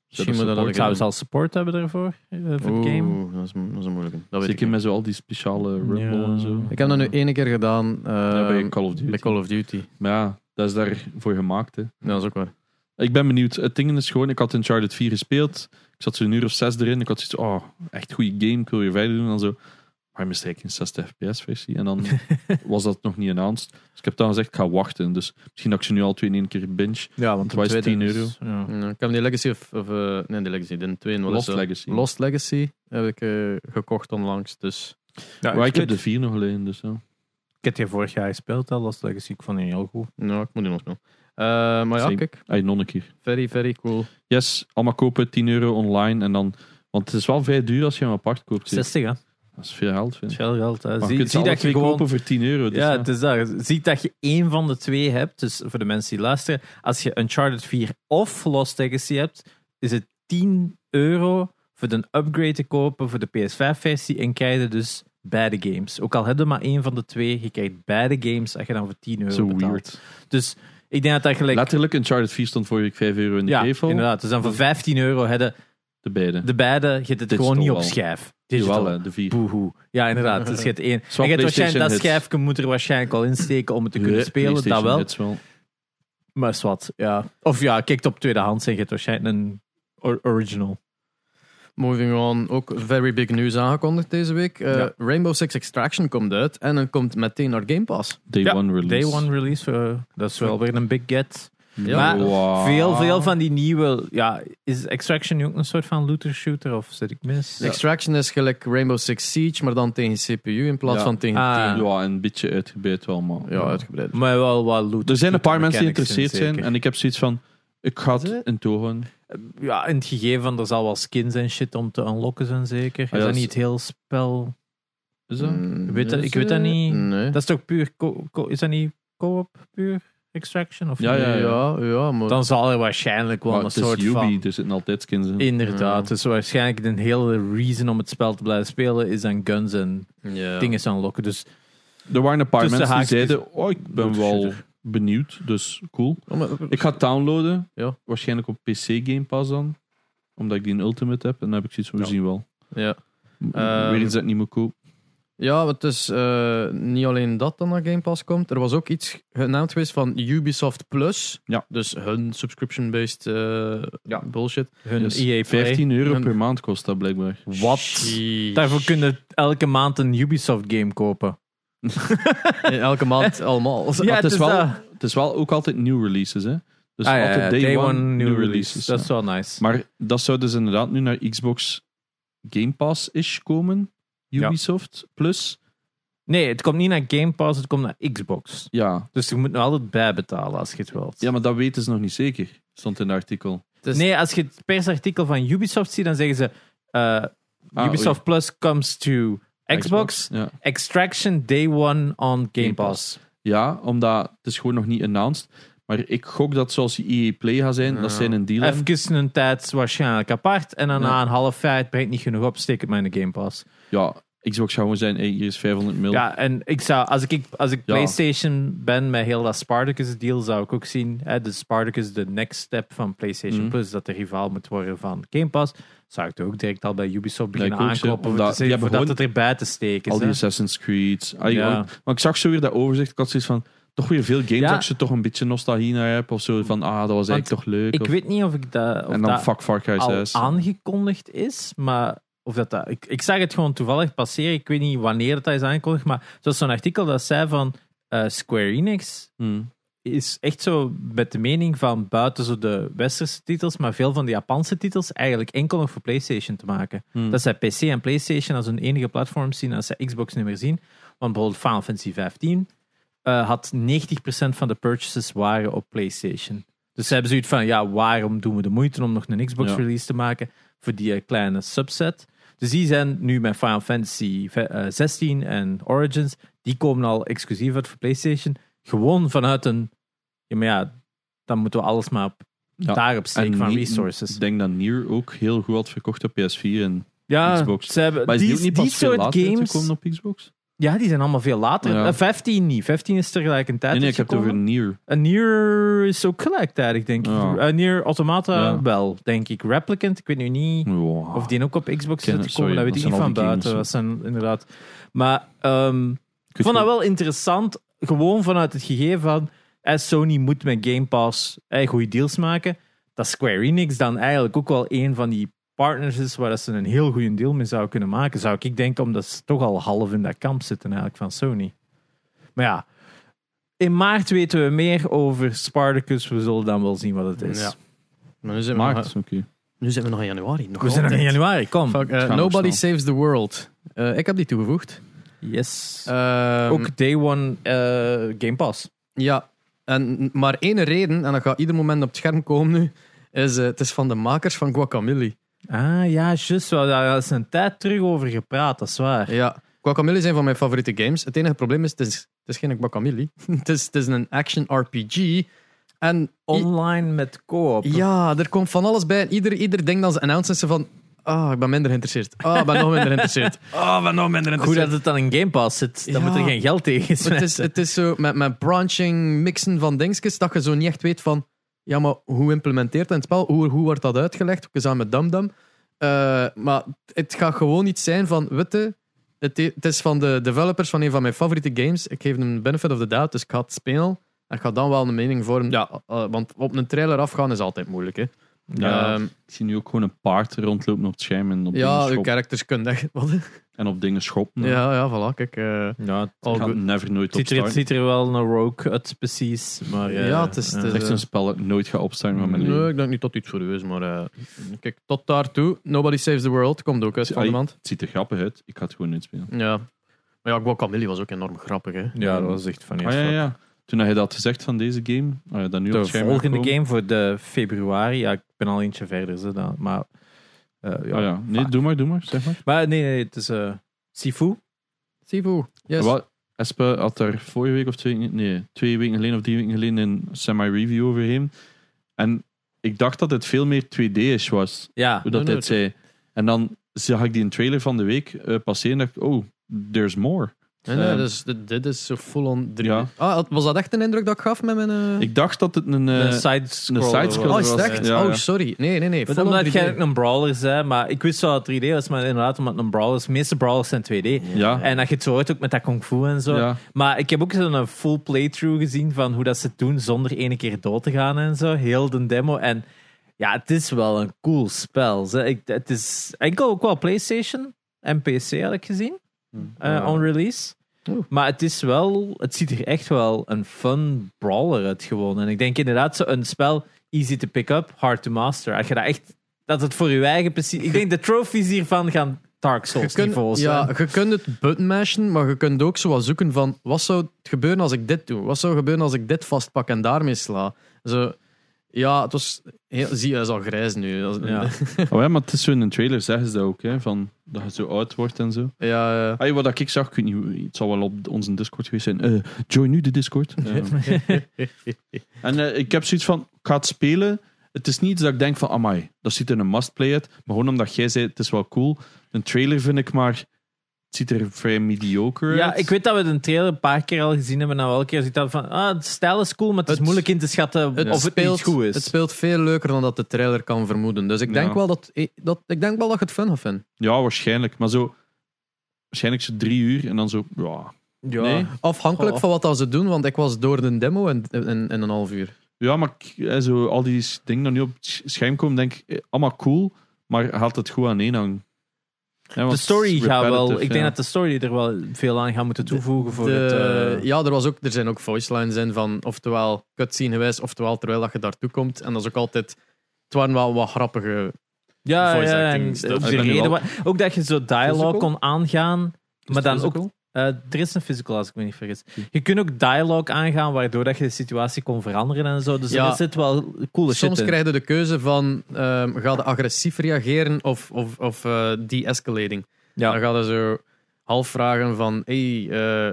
Misschien moet
dat
dat ook
support.
Ik zou zelfs support hebben daarvoor, eh, voor het game.
Oeh, dat is, dat is een moeilijke. Dat weet
Zeker
ik, niet.
met zo al die speciale rumble
Ja.
en zo.
ik heb dat nu ene keer gedaan eh,
Ja, bij
bij,
Call of Duty.
Call of Duty.
Maar ja, dat is daarvoor gemaakt. Hè.
Ja, dat is ook waar.
Ik ben benieuwd. Het ding is gewoon, ik had Uncharted 4 gespeeld. Ik zat zo'n uur of zes erin. Ik had zoiets oh, echt goede game. Ik wil weer verder doen. En dan zo, waarom is het eigenlijk een 60 fps versie? En
[laughs]
dan was dat nog niet announced. Dus ik heb dan gezegd, ik ga wachten. Dus misschien dat ik ze nu al twee in één keer binge.
Ja, want
de Twice tweede 10 is- euro.
Ja.
Ja, ik heb die Legacy of... of eh, nee, die Legacy. De 2
Lost Legacy.
Lost Legacy heb ik eh, gekocht onlangs, dus...
maar ik heb de 4 nog alleen, dus ja.
Ik heb die vorig jaar gespeeld, al Lost Legacy. Ik vond die heel goed.
Nou, ik moet die nog spelen. Eh, maar ja,
Same.
kijk.
Hey, nog een keer.
Very, very cool.
Yes, allemaal kopen, 10 euro online. En dan, want het is wel vrij duur als je hem apart koopt. hè.
60, hè? Dat
Dat is veel geld, vind
is
ik.
veel geld. Hè.
Maar
Zie,
je kunt ze
zie
alle
dat je
twee
gewoon...
kopen voor 10 euro. Dus
ja,
ja.
het is daar. Zie dat je één van de twee hebt. Dus voor de mensen die luisteren, als je Uncharted 4 of Lost Legacy hebt, is het 10 euro voor een upgrade te kopen voor de PS5-versie en krijg je dus beide games. Ook al heb je maar één van de twee, je krijgt beide games als je dan voor 10 euro
Zo
betaalt.
weird.
Dus ik denk dat dat gelijk...
Letterlijk, Uncharted 4 stond vorige week 5 euro in de
ja,
gevel.
inderdaad. Dus dan voor 15 euro hadden
De beide.
de beide, je hebt het
Digital
gewoon niet op
wel.
schijf.
Jawel,
Digital.
hè, de 4.
Boehoe. Ja, inderdaad. Dus je hebt één.
Zowel
En je hebt waarschijnlijk, dat
PlayStation hits.
schijfje moet er waarschijnlijk al insteken om het te kunnen spelen. Dat wel. Maar zwart, ja. Of ja, kijkt op tweedehands en je hebt waarschijnlijk een or- original.
Moving on, ook very big news aangekondigd deze week. Eh,
Ja.
Rainbow Six Extraction komt uit en dan komt meteen naar Game Pass.
Day
Ja,
one release.
Day one release, eh, dat is wel weer een big get.
Ja.
Maar
Wow.
Veel, veel van die nieuwe... Ja, is Extraction nu ook een soort van looter shooter of zit ik mis?
Extraction is gelijk Rainbow Six Siege, maar dan tegen CPU in plaats
Ja.
van tegen
Ah.
team.
Ja, een beetje uitgebreid wel, maar...
Ja, uitgebreid.
Maar wel wat looter
Er zijn een paar
shooter
mensen die
mechanics in,
geïnteresseerd zijn
zeker.
en ik heb zoiets van... Ik ga
Is
het
het?
in togen.
Ja, in het gegeven van er zal wel skins en shit om te unlocken zijn zeker. Is
Ah, ja,
dat
dat is-
niet heel spel?
Is dat?
Mm,
weet dat-
is
ik weet dat
het?
niet.
Nee.
Dat is toch puur... co- co- is dat niet co-op puur extraction? Of
Ja,
niet?
ja, ja, ja, maar
Dan zal er waarschijnlijk wel
Maar
een
het is
soort
Ubi,
van...
er zitten altijd skins in.
Inderdaad,
Ja.
dus waarschijnlijk de hele reason om het spel te blijven spelen is aan guns en
Ja.
dingen te unlocken. Dus
Er waren een paar
Tussen
mensen die
haakjes.
zeiden... Oh, ik ben
Looter
wel
shooter.
benieuwd, dus cool.
Oh, maar-
Ik ga het downloaden.
Ja.
Waarschijnlijk op PC Game Pass dan. Omdat ik die in Ultimate heb. En dan heb ik zoiets van, we
Ja.
zien wel.
Ja.
M-
Ehm.
Weer iets dat ik niet moet kopen.
Ja, het is eh, niet alleen dat dan naar Game Pass komt. Er was ook iets genaamd geweest van Ubisoft Plus.
Ja.
Dus hun subscription-based eh,
Ja.
bullshit.
Hun
Dus
EA Play.
15 euro
Een-
per maand kost dat blijkbaar.
Wat? Daarvoor kun je elke maand een Ubisoft game kopen.
Elke maand
[laughs]
[laughs] allemaal.
Ja,
het,
het
is
is
wel,
dat.
het is wel ook altijd new releases, hè. Dus
Ah, ja,
altijd
ja,
day, one,
new,
new
releases.
releases.
Dat
ja.
is wel nice.
Maar dat zou dus inderdaad nu naar Xbox Game Pass-ish komen.
Ja.
Ubisoft Plus.
Nee, het komt niet naar Game Pass, het komt naar Xbox.
Ja.
Dus je moet nog altijd bijbetalen als je het wilt.
ja, maar dat weten ze nog niet zeker. Stond in het artikel.
Dus-
Nee, als je het persartikel van Ubisoft ziet, dan zeggen ze... eh,
Ah,
Ubisoft Plus comes to Xbox.
Ja.
Extraction Day One on Game Pass.
ja, omdat het is gewoon nog niet announced. Maar ik gok dat zoals die EA Play gaat zijn,
Ja.
dat zijn een deal. hebben.
Even een tijd waarschijnlijk apart. En daarna
Ja.
een half jaar, het brengt niet genoeg op, steek het maar in de Game Pass.
Ja, Xbox zou gewoon zijn, hey, hier is 500 mil.
Ja, en ik zou, als ik, als ik
Ja.
PlayStation ben met heel dat Spartacus deal, zou ik ook zien. Hè, de Spartacus, de next step van PlayStation
Mhm.
Plus, dat de rivaal moet worden van Game Pass. Zou ik toch ook direct al bij Ubisoft beginnen
ik ook, ja.
aankopen.
Omdat-
Omdat,
die
voordat
hebben
het erbij te steken
Al
is.
die
hè.
Assassin's Creed. Ah,
Ja.
want- Maar ik zag zo weer dat overzicht. Ik had zoiets van, toch weer veel games
Ja.
dat ik ze toch een beetje nostalgie naar heb. Of zo van, ah, dat was eigenlijk toch leuk.
Ik
of-
weet niet of ik dat... Of
en dan
dat
fuck Far Cry 6.
al aangekondigd is, maar of dat, dat ik, ik zag het gewoon toevallig passeren. Ik weet niet wanneer dat is aangekondigd, maar zoals zo'n artikel dat zei van eh, Square Enix
Hmm.
is echt zo met de mening van buiten zo de westerse titels, maar veel van de Japanse titels eigenlijk enkel nog voor PlayStation te maken.
Hmm.
Dat zij PC en PlayStation als hun enige platform zien, als zij Xbox niet meer zien. Want bijvoorbeeld Final Fantasy 15 eh, had 90% van de purchases waren op PlayStation. Dus ze hebben zoiets van, ja, waarom doen we de moeite om nog een Xbox
Ja.
release te maken voor die eh, kleine subset? Dus die zijn nu met Final Fantasy ve- eh, 16 en Origins, die komen al exclusief uit voor PlayStation. Gewoon vanuit een, ja, maar ja, dan moeten we alles maar op,
Ja,
daarop steken
En
van
Nier-
resources.
Ik denk dat Nier ook heel goed had verkocht op PS4. En,
ja,
Xbox.
ze hebben
maar is die,
die,
ook niet
die
pas veel
soort
later
games.
uitgekomen op Xbox?
Ja, die zijn allemaal veel later.
Ja.
Eh, 15 niet. 15 is tegelijkertijd.
Nee, nee, ik heb het over
uitgekomen.
Nier.
Een Nier is ook gelijktijdig, denk ik.
Ja.
Een Nier Automata
Ja.
wel, denk ik. Replicant, ik weet nu niet
Wow.
of die ook op Xbox
Ken-
zit te komen.
sorry,
Dat weet
dat
ik niet
zijn
van
al die games,
buiten.
hè.
Dat zijn inderdaad. Maar ehm, ik
Kun
vond
je-
dat wel interessant. Gewoon vanuit het gegeven van eh, Sony moet met Game Pass eh, goede deals maken. Dat Square Enix dan eigenlijk ook wel een van die partners is waar dat ze een heel goede deal mee zouden kunnen maken. Zou ik denken, omdat ze toch al half in dat kamp zitten eigenlijk van Sony. Maar ja, in maart weten we meer over Spartacus. We zullen dan wel zien wat het is.
Ja. Maar nu zijn, we
Maart,
nog,
oké.
nu zijn we nog in januari. Nog
We zijn nog in
altijd.
januari, kom.
Fuck, eh,
Het gaat nog
nobody
snel.
Saves the World. Eh, ik heb die toegevoegd.
Yes.
Ehm,
ook day one eh, Game Pass.
Ja, en maar één reden, en dat gaat ieder moment op het scherm komen nu, is eh, het is van de makers van Guacamole.
Ah ja, juist. We hadden daar eens een tijd terug over gepraat, dat is waar.
Ja, Guacamole is een van mijn favoriete games. Het enige probleem is, het is, het is geen Guacamole. [laughs] het, is, het is een action RPG. En i-
Online met co-op.
ja, er komt van alles bij. En ieder, ieder ding dat ze announcen, ze van... Ah, ik ben minder geïnteresseerd. Ah, ik ben nog minder geïnteresseerd. Ah, ik ben nog minder
Goed
geïnteresseerd.
dat het dan in Game Pass zit. Dan
Ja.
moet er geen geld tegen
Maar Het
zijn.
is, het is zo met, met branching, mixen van dingetjes, dat je zo niet echt weet van, ja, maar hoe implementeert dat in het spel? Hoe, hoe wordt dat uitgelegd? We zijn met Dumdum. Eh, maar het gaat gewoon iets zijn van, witte, het, i- het is van de developers van een van mijn favoriete games. Ik geef hem benefit of the doubt, dus ik ga het spelen. En ik ga dan wel een mening vormen. Ja, eh, want op een trailer afgaan is altijd moeilijk, hè.
Ja.
Ehm,
Ik zie nu ook gewoon een paard rondlopen op het scherm en op, dingen,
ja uw
schoppen,
characters kunnen echt... [laughs] Wat?
en op dingen schoppen. Ik
Ja, ja, voilà, kijk. eh,
[laughs] Ja,
al
ga
goed.
never nooit
het ziet, er, het
opstarten.
ziet er wel een rogue uit, precies. Maar, eh,
Ja, het is- het is-
Het is echt zo'n spel dat ik nooit ga opstarten van mijn
Nee,
leven.
ik denk niet dat iets voor u is, maar eh, kijk, tot daartoe. Nobody Saves the World komt ook uit van
Ai.
de maand.
Het ziet er grappig uit. Ik ga het gewoon uitspelen.
Ja. Maar ja, Guacamole was ook enorm grappig, hè.
ja, dat was echt van
Ah, ja, ja. Toen had je dat gezegd van deze game, ah, dat nu op
De
het scherm
volgende
gekomen.
game voor de februari. Ja, ik ben al eentje verder. Zo, dan, maar, eh, ja.
Ah, ja. Nee, doe maar, doe maar. Zeg maar.
maar nee, nee, het is eh, Sifu.
Sifu. Yes.
Wat, Espe had daar vorige week of twee, nee, twee weken geleden of drie weken geleden een semi-review overheen. En ik dacht dat het veel meer 2D-ish was,
Ja,
hoe
Nee,
dat hij
nee,
het zei. En dan zag ik die trailer van de week eh, passeren en dacht ik, oh, there's more.
Nee, nee,
Ehm,
dus dit, dit is zo full-on 3
Ja.
Ah, had- was dat echt een indruk dat ik gaf met mijn... eh,
Ik dacht dat het een... eh,
een side-scroller.
een side-scroller
oh,
was.
is het
was-
echt?
ja,
oh,
ja.
sorry. Nee, nee, nee.
Maar
full-on
omdat
3D.
jij een brawler zei, maar ik wist wel dat het 3D was, maar inderdaad omdat het een brawler is. De meeste brawlers zijn 2D.
ja,
En dat je het zo hoort ook met dat kung fu en zo.
ja.
Maar ik heb ook zo'n eh, full playthrough gezien van hoe dat ze het doen zonder ene keer dood te gaan en zo. Heel de demo. En ja, het is wel een cool spel. Ze- ik- Het is enkel ook wel PlayStation en PC had ik gezien. eh,
Hmm. Ja.
On release.
Oeh.
Maar het is wel, het ziet er echt wel een fun brawler uit gewoon. En ik denk inderdaad zo een spel easy to pick up, hard to master. Als je dat echt, dat het voor je eigen precies. Ik denk de trophies hiervan gaan Dark Souls
Je kunt-
niveau zijn.
ja, je kunt het button mashen, maar je kunt ook zo wat zoeken van wat zou het gebeuren als ik dit doe? Wat zou gebeuren als ik dit vastpak en daarmee sla? Zo, ja, het was... Heel, zie je, hij is al grijs nu. Als-
Ja.
Oh, ja, maar het is zo in een trailer zeggen ze dat ook, hè, van dat je zo oud wordt en zo.
[laughs] ja, ja.
Hey, wat ik zag, ik weet niet, hoe- het zal wel op onze Discord geweest zijn. Eh, join nu de Discord. Ja. en eh, ik heb zoiets van, ik ga het spelen. Het is niet iets dat ik denk van, amai, dat ziet er een must-play uit. Maar gewoon omdat jij zei, het is wel cool. Een trailer vind ik maar, het ziet er vrij mediocre
Ja,
uit.
ik weet dat we de trailer een paar keer al gezien hebben. En elke keer zit dat van, ah, het stijl is cool, maar het,
Het-
is moeilijk in te schatten
Het,
of het
speelt,
niet goed is.
het speelt veel leuker dan dat de trailer kan vermoeden. Dus ik denk,
Ja.
wel, dat, dat, ik denk wel dat je het fun gaat vinden.
Ja, waarschijnlijk. Maar zo, waarschijnlijk zo drie uur en dan zo, ja.
ja.
Nee.
Afhankelijk
Goh.
van wat dat ze doen, want ik was door de demo in, in, in een half uur.
Ja, maar ik- eh, zo, al die dingen die nu op het sch- scherm komen, denk ik, eh, allemaal cool, maar haalt het goed aan één hangen. Ja, want
De
het
story
is
gaat wel... Ik
repetitive,
denk
ja.
dat de story er wel veel aan gaat moeten toevoegen voor
De-
het... eh,
Ja, er, was ook, er zijn ook voice lines in van oftewel cutscene gewijs, oftewel terwijl dat je daartoe komt. En dat is ook altijd... Het waren wel wat grappige...
ja,
voice
ja,
acting
en
stuff.
ook de
Ik ben nu
reden
al-
wa- Ook dat je zo dialogue
Physical?
kon aangaan, maar dan ook...
physical?
eh, er is een physical, als ik me niet vergis. Je kunt ook dialogue aangaan, waardoor dat je de situatie kon veranderen en zo. Dus
Ja.
er zit wel coole shit
Soms
in.
krijg je de keuze van ehm ga je agressief reageren of, of, of eh, de-escalating. Dan
ja.
ga je zo half vragen van... Hey, eh,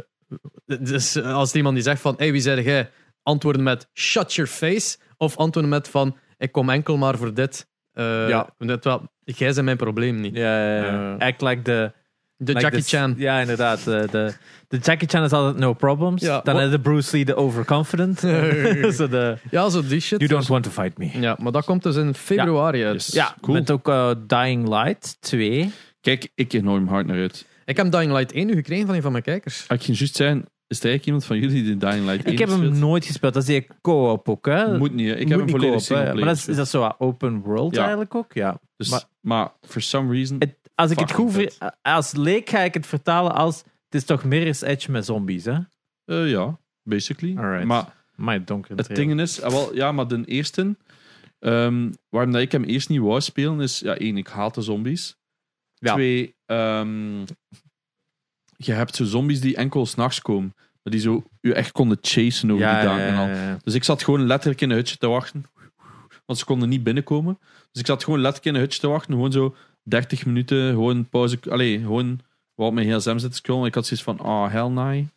dus als iemand die zegt van hey, wie zei jij? Antwoorden met shut your face. Of antwoorden met van ik kom enkel maar voor dit. Eh,
Ja.
net wel, jij zijn mijn probleem niet.
Ja, ja, ja.
Eh.
Act like the...
De
Like
Jackie
this-
Chan.
Ja, inderdaad. De, de, de Jackie Chan is altijd no problems.
Ja,
Dan
Oh.
wat-
is de Bruce Lee de
[laughs]
overconfident. [laughs] Zo de,
Ja, zo die shit.
you don't want to fight me.
Ja, maar dat komt dus in februari uit.
Yes.
Ja,
Cool.
met ook eh, Dying Light 2.
Kijk, ik enorm hard naar uit.
Ik heb Dying Light 1 nu gekregen van een van mijn kijkers.
Ik ging juist zijn, is er eigenlijk iemand van jullie die Dying Light 1
Ik heb hem
speelt?
nooit gespeeld. Dat is die co-op ook, hè?
Moet niet, hè. ik
Moet
heb hem
niet
volledig
co-op, hè.
single
Maar dat is, is
player.
dat zo wat open world
Ja.
eigenlijk ook? Ja.
Dus,
maar-
maar for some reason,
Het- als ik het
Fucking
goed... ver- Als leek ga ik het vertalen als... Het is toch Mirror's Edge met zombies, hè?
eh, ja, basically.
Alright.
Maar
Maar donker.
Het ding is, eh, wel, ja, maar de eerste, ehm, waarom dat ik hem eerst niet wou spelen, is ja, één, ik haat de zombies.
Ja.
Twee, ehm, je hebt zo zombies die enkel s'nachts komen, maar die zo je echt konden chasen over
Ja,
die
ja,
dagen en al.
ja, ja.
Dus ik zat gewoon letterlijk in een hutje te wachten, want ze konden niet binnenkomen. Dus ik zat gewoon letterlijk in een hutje te wachten, gewoon zo 30 minuten, gewoon pauze, allee, gewoon wat op mijn gsm zitten scrollen. Ik had zoiets van, ah, hell
[laughs]
nee.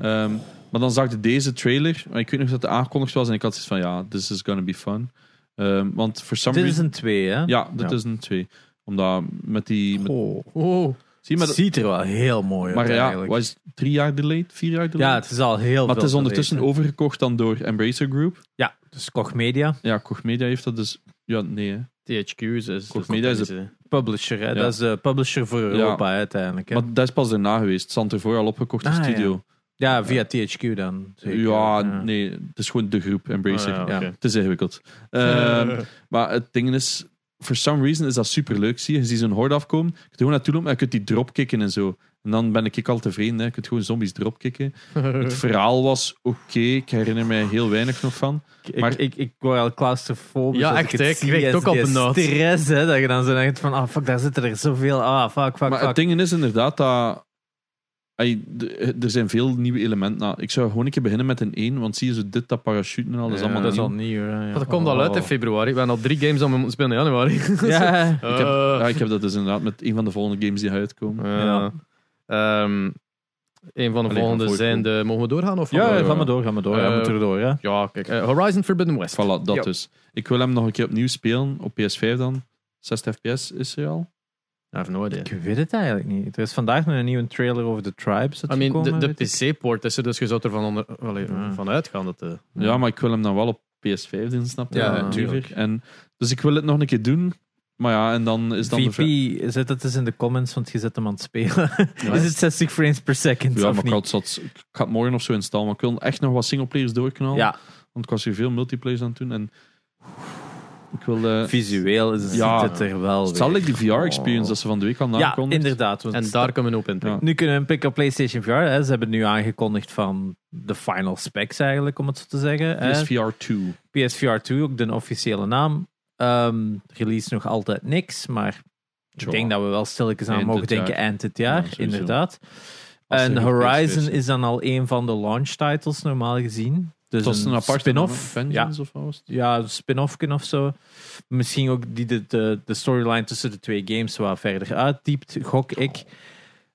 Ehm, maar dan zag ik deze trailer. maar Ik weet nog dat het aangekondigd was. En ik had zoiets van, ja, this is gonna be fun. Ehm, want for some
Dit is
reason...
een 2, hè?
Ja, dit
Ja.
is een 2. Omdat met die... Met,
Oh.
Wow.
zie je, maar,
ziet er wel heel mooi uit
maar ja,
eigenlijk.
wat is het, drie jaar delayed? Vier jaar delayed?
ja, het is al heel
maar het
veel
is ondertussen
geleden.
overgekocht dan door Embracer Group.
Ja, dus Koch Media,
Ja, Koch Media heeft dat dus... Ja, nee, hè.
THQ is...
dus
is
Goed, media is
publisher. Hè?
Ja.
Dat is de publisher voor Europa hè, uiteindelijk. Hè?
Maar dat is pas daarna geweest. Het stond ervoor al opgekocht, de
Ah, ja.
studio.
ja, via THQ dan.
Ja,
zeker. Oh,
nee. Het is gewoon de groep Embracer.
Ah, ja, oké.
Het is ingewikkeld.
[laughs]
Ehm, maar het ding is, for some reason is dat super leuk. Zie je, je ziet zo'n horde afkomen. Je kunt er gewoon naartoe lopen en je kunt die dropkicken en zo. En dan ben ik al tevreden. Hè. Je kunt gewoon zombies
[laughs]
dropkicken. Het verhaal was oké. Ik herinner mij heel weinig nog van.
Ik,
maar-
ik, ik, ik word al claustrofobisch.
Ja,
als
echt,
Ik,
hè.
het
Ik
zie,
kreeg het
is
ook al
die
benauwd.
stress, hè, dat je dan zo denkt van, ah, fuck, daar zitten er zoveel. Ah, fuck, fuck,
maar
fuck.
het ding is inderdaad dat... ai, d- er zijn veel nieuwe elementen. Nou, ik zou gewoon een keer beginnen met een 1, want zie je zo dit, dat parachuten en al, dat is
Ja, Eh.
allemaal
dat is al
nieuw.
nieuw. hè, ja.
Dat komt al uit in
Oh.
februari. We hebben al drie games aan moeten spelen in januari.
[laughs] Ja,
Eh,
Ik heb, ja, ik heb dat dus inderdaad met een van de volgende games die uitkomen.
ja. Ehm, een van de
van
volgende
voor-
zijn de... Mogen we doorgaan? Of
ja, Ehm.
gaan
ga
we-
maar door, ga maar door.
Eh,
ja, moet er door, ja.
Ja, kijk. eh, Horizon Forbidden West.
Voilà, dat
Ja.
dus. Ik wil hem nog een keer opnieuw spelen, op PS5 dan. 60 fps is hij al.
I have no idea.
Ik weet het eigenlijk niet. Er is vandaag nog een nieuwe trailer over The Tribes
I mean,
uitgekomen.
de,
weet
de
ik.
PC-poort is er, dus je zou ervan onder, allee,
Ja.
van uitgaan dat eh, de...
Ja, maar ik wil hem dan wel op PS5 doen, snap je?
Ja,
En
tuurlijk.
En, dus ik wil het nog een keer doen. Maar ja, en dan is dan de
VP,
vraag-
zet het eens in de comments, want je zet hem aan het spelen.
Ja.
is het 60 frames per second
Ja,
of
maar ik,
niet?
had zat, ik ga het morgen of zo installen. Maar ik wil echt nog wat singleplayers doorknallen.
Ja,
Want ik was hier veel multiplayers aan het doen. En ik wil... eh,
visueel is
Ja.
ziet het er wel weer. Oh.
zal ik die VR-experience dat ze van de week al
Ja,
aankondigen?
inderdaad. want
En
dat-
daar kunnen we een op inbrengen.
Nu kunnen we een pick op PlayStation VR. Hè. Ze hebben nu aangekondigd van de final specs eigenlijk, om het zo te zeggen. hè.
PSVR 2.
PSVR 2, ook de officiële naam. Ehm, release nog altijd niks, maar ik
Tja.
denk dat we wel stilletjes aan
Eind
mogen
dit
denken
jaar.
eind dit jaar,
Ja, sowieso.
inderdaad.
Als er
En
nog
Horizon
PlayStation.
is dan al een van de launch titles normaal gezien. Dus
Het was een aparte
spin-off.
naam, hè?
Ja,
Vengeance of wat was het?
ja een spin-off of zo. Misschien ook die de, de, de storyline tussen de twee games wat verder uitdiept, gok ik.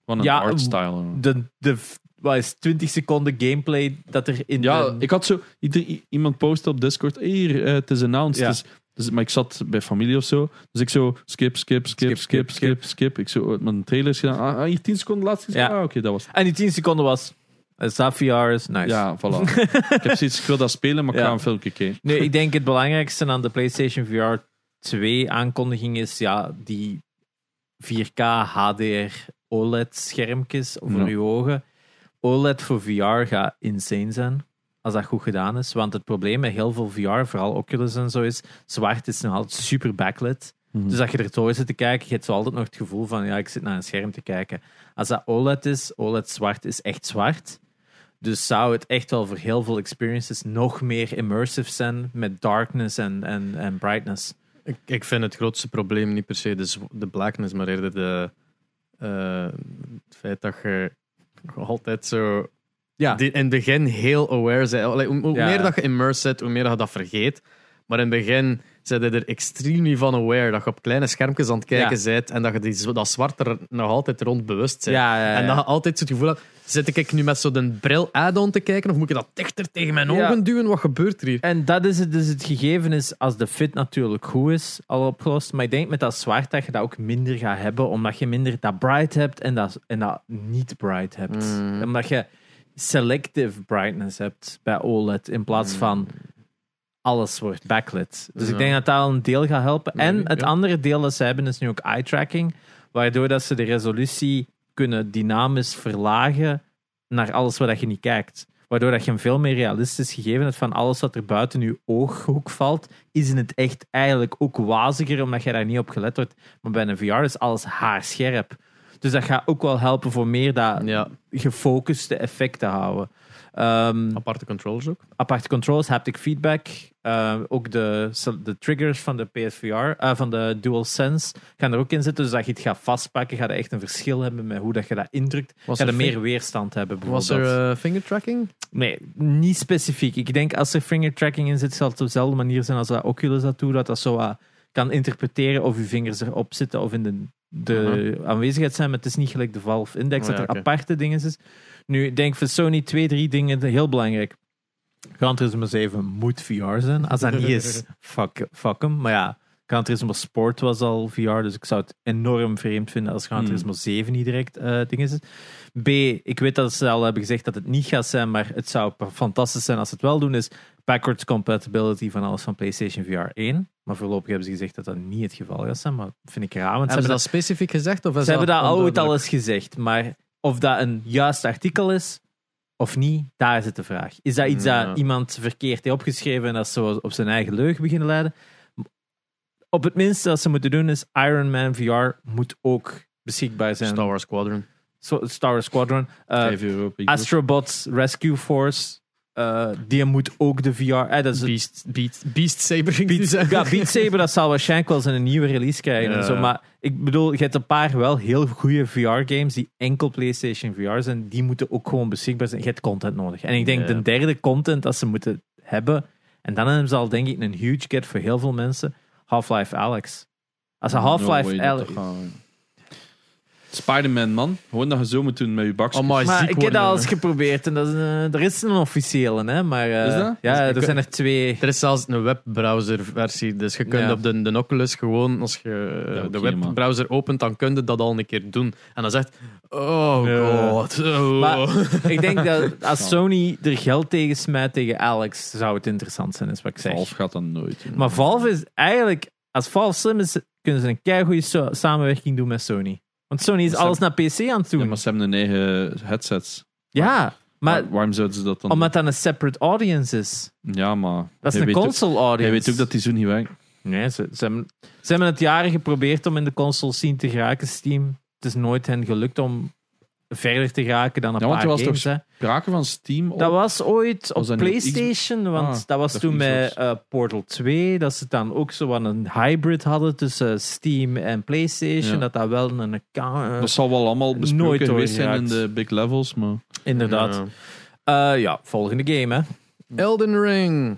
Van een
Ja,
artstyle.
De, de wat is het, 20 seconden gameplay dat er in
Ja,
de-
ik had zo... ieder- i- iemand postte op Discord... Hier, eh, het is announced.
Ja.
het is- dus, maar ik zat bij familie of zo. Dus ik zo... Skip, skip, skip, skip, skip, skip. Ik zo eh, mijn trailers gedaan. Ah, ah, hier tien seconden laatst gezien.
Ja.
Ah, oké, dat was...
En die 10 seconden was... Is dat VR? Is nice.
Ja, voilà.
[laughs]
ik heb zoiets... Ik wil dat spelen, maar ik
Ja.
ga een filmpje kijken.
Nee, ik denk het belangrijkste aan de PlayStation VR 2 aankondiging is ja, die 4K HDR OLED E schermpjes voor
Ja.
uw ogen. OLED voor VR gaat insane zijn. Als dat goed gedaan is. Want het probleem met heel veel VR, vooral Oculus en zo, is zwart is nog altijd super backlit.
Mhm.
Dus als je er door zit te kijken, je hebt zo altijd nog het gevoel van ja, ik zit naar een scherm te kijken. Als dat OLED is, OLED zwart is echt zwart. Dus zou het echt wel voor heel veel experiences nog meer immersive zijn met darkness en, en, en brightness.
Ik, ik vind het grootste probleem niet per se de, zwa- de blackness, maar eerder de, eh, het feit dat je altijd zo
Ja.
die- in het begin heel aware bent. Allee, hoe hoe
Ja.
meer dat je immersed zit, hoe meer dat je dat vergeet. Maar in het begin zijn je er extreem niet van aware dat je op kleine schermpjes aan het kijken bent en dat je die, zwa- dat zwart er nog altijd rond bewust bent.
Ja, ja, ja.
En dat je altijd zo het gevoel hebt, zit ik nu met zo'n bril add-on te kijken of moet ik dat dichter tegen mijn
Ja.
ogen duwen? Wat gebeurt er hier?
En dat is het, dus het gegeven is als de fit natuurlijk goed is, al opgelost. Maar ik denk met dat zwart dat je dat ook minder gaat hebben, omdat je minder dat bright hebt en dat, en dat niet bright hebt.
Mm.
Omdat je selective brightness hebt bij OLED in plaats van alles wordt backlit. Dus ik
Mm. Ja.
denk dat dat al een deel gaat helpen. en
Maybe,
het
ja.
andere deel dat ze hebben is nu ook eye tracking, waardoor dat ze de resolutie kunnen dynamisch verlagen naar alles wat dat je niet kijkt. Waardoor dat je een veel meer realistisch gegeven hebt van alles wat er buiten je ooghoek valt, is in het echt eigenlijk ook waziger, omdat je daar niet op gelet wordt. Maar bij een VR is alles haarscherp. Dus dat gaat ook wel helpen voor meer dat
Ja,
gefocuste effect te houden. Ehm,
aparte controllers ook.
aparte controls, haptic feedback, eh, ook de, de triggers van de PSVR, eh, van de DualSense gaan er ook in zitten. Dus dat je het gaat vastpakken, gaat er echt een verschil hebben met hoe dat je dat indrukt.
Was
gaat
er
er
fi-
meer weerstand hebben
Was
bijvoorbeeld.
er eh, finger tracking?
Nee, niet specifiek. Ik denk als er finger tracking in zit, zal het op dezelfde manier zijn als dat Oculus dat doet, dat dat zo wat kan interpreteren of uw vingers erop zitten of in de, de aanwezigheid zijn. Maar het is niet gelijk de Valve Index,
Oh ja,
dat er
oké.
aparte dingen is. Nu, ik denk voor Sony twee, drie dingen heel belangrijk. Gran Turismo 7 moet VR zijn. Als dat niet
[laughs]
is, fuck, fuck hem. Maar ja, Gran Turismo Sport was al VR, dus ik zou het enorm vreemd vinden als Gran
Hmm.
Turismo 7 niet direct eh ding is. B, ik weet dat ze al hebben gezegd dat het niet gaat zijn, maar het zou pa- fantastisch zijn als ze het wel doen, is backwards compatibility van alles van PlayStation VR 1. Maar voorlopig hebben ze gezegd dat dat niet het geval gaat zijn, maar dat vind ik raar. Want ze
Hebben ze
hebben
dat specifiek gezegd? Of is
ze hebben dat ooit al
onduidelijk?
eens gezegd, maar of dat een juist artikel is of niet, daar zit de vraag. Is dat iets
Ja.
dat iemand verkeerd heeft opgeschreven en dat ze op zijn eigen leugen beginnen leiden? Op het minste wat ze moeten doen is Iron Man VR moet ook beschikbaar zijn.
Star Wars Squadron.
So- Star Wars Squadron. eh,
5 euro per uur.
Astrobots Rescue Force. eh, die moet ook de VR. eh, dat is het-
Beast, beat, beast Saber ging ik nu
Beat,
zeggen.
ja,
[laughs]
Beat Saber, dat zal waarschijnlijk wel zijn een nieuwe release krijgen. en
Ja.
zo, maar ik bedoel, je hebt een paar wel heel goede VR-games die enkel PlayStation VR zijn. Die moeten ook gewoon beschikbaar zijn. Je hebt content nodig. En ik denk,
Ja.
de derde content dat ze moeten hebben, en dan hebben ze al denk ik een huge get voor heel veel mensen, Half-Life Alex. Als ze
No way
Half-Life
dat
Alex...
dat gaat, ja. Spider-Man, man. Gewoon dat je zo moet doen met je bakjes.
Amai. Maar
Maar
Oh ziek
ik heb dat
worden,
al
hè.
eens geprobeerd en dat is, eh, er is een officiële, hè? Maar eh,
Is dat?
ja,
Dus ik-
er zijn er twee.
Er is zelfs een webbrowserversie. Dus je kunt
Ja.
op de, de Oculus gewoon, als je eh,
Ja, oké,
de
man.
webbrowser opent, dan kun je dat al een keer doen. En dan zegt, oh
Ja.
god. oh. [laughs]
Maar ik denk dat als Sony er geld tegen smijt tegen Alex, zou het interessant zijn, is wat ik zeg.
Half gaat dat nooit. doen.
Maar Valve is eigenlijk, als Valve slim is, kunnen ze een keigoede so- samenwerking doen met Sony. Want Sony is
Maar ze
alles naar PC aan het
Ja,
doen.
maar ze hebben hun eigen headsets.
Ja, maar
Waar- waarom zouden ze dat dan...
omdat dat een separate audience is.
Ja, maar...
Dat is
hij
een
weet ook-
console audience.
Hij weet ook dat die zo niet werkt.
Nee, ze, ze, hebben, ze hebben het jaren geprobeerd om in de console scene te geraken, Steam. Het is nooit hen gelukt om verder te geraken dan een
Ja, want
paar
er was
games.
toch
hè.
Kraken van Steam oh, op...
Dat was ooit op
Was dat niet op
PlayStation, want
Ah,
dat was
dat
toen
is
met
Xbox.
eh, Portal 2, dat ze dan ook zo wat een hybrid hadden tussen Steam en PlayStation,
Ja.
dat dat wel een account... eh,
Dat zal wel allemaal besproken
Nooit
geweest zijn in
doorgeraakt.
de big levels, maar...
inderdaad.
Ja.
Eh, ja, volgende game, hè.
Elden Ring.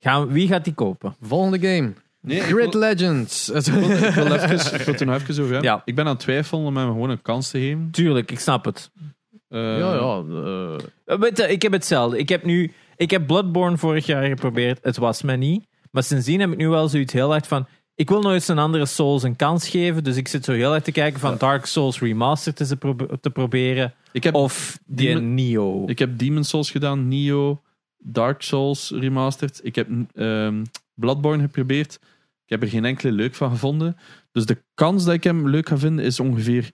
Gaan, wie gaat die kopen?
Volgende game.
Nee, ik
Grid
wil,
Legends. [laughs]
ik wil even, ik wil het er nog even over hebben.
Ja.
Ik ben aan het twijfelen om hem gewoon een kans te geven.
Tuurlijk, ik snap het.
Eh,
ja, ja. eh,
Eh, Weet je, ik heb hetzelfde. Ik heb nu... Ik heb Bloodborne vorig jaar geprobeerd. Het was me niet. Maar sindsdien heb ik nu wel zoiets heel hard van... Ik wil nooit een andere Souls een kans geven. Dus ik zit zo heel hard te kijken van Dark Souls Remastered te, ze probe- te proberen.
Ik heb,
Of die
Demon-
Neo.
ik heb Demon Souls gedaan, Nio, Dark Souls Remastered. Ik heb ehm, Bloodborne geprobeerd. Ik heb er geen enkele leuk van gevonden. Dus de kans dat ik hem leuk ga vinden is ongeveer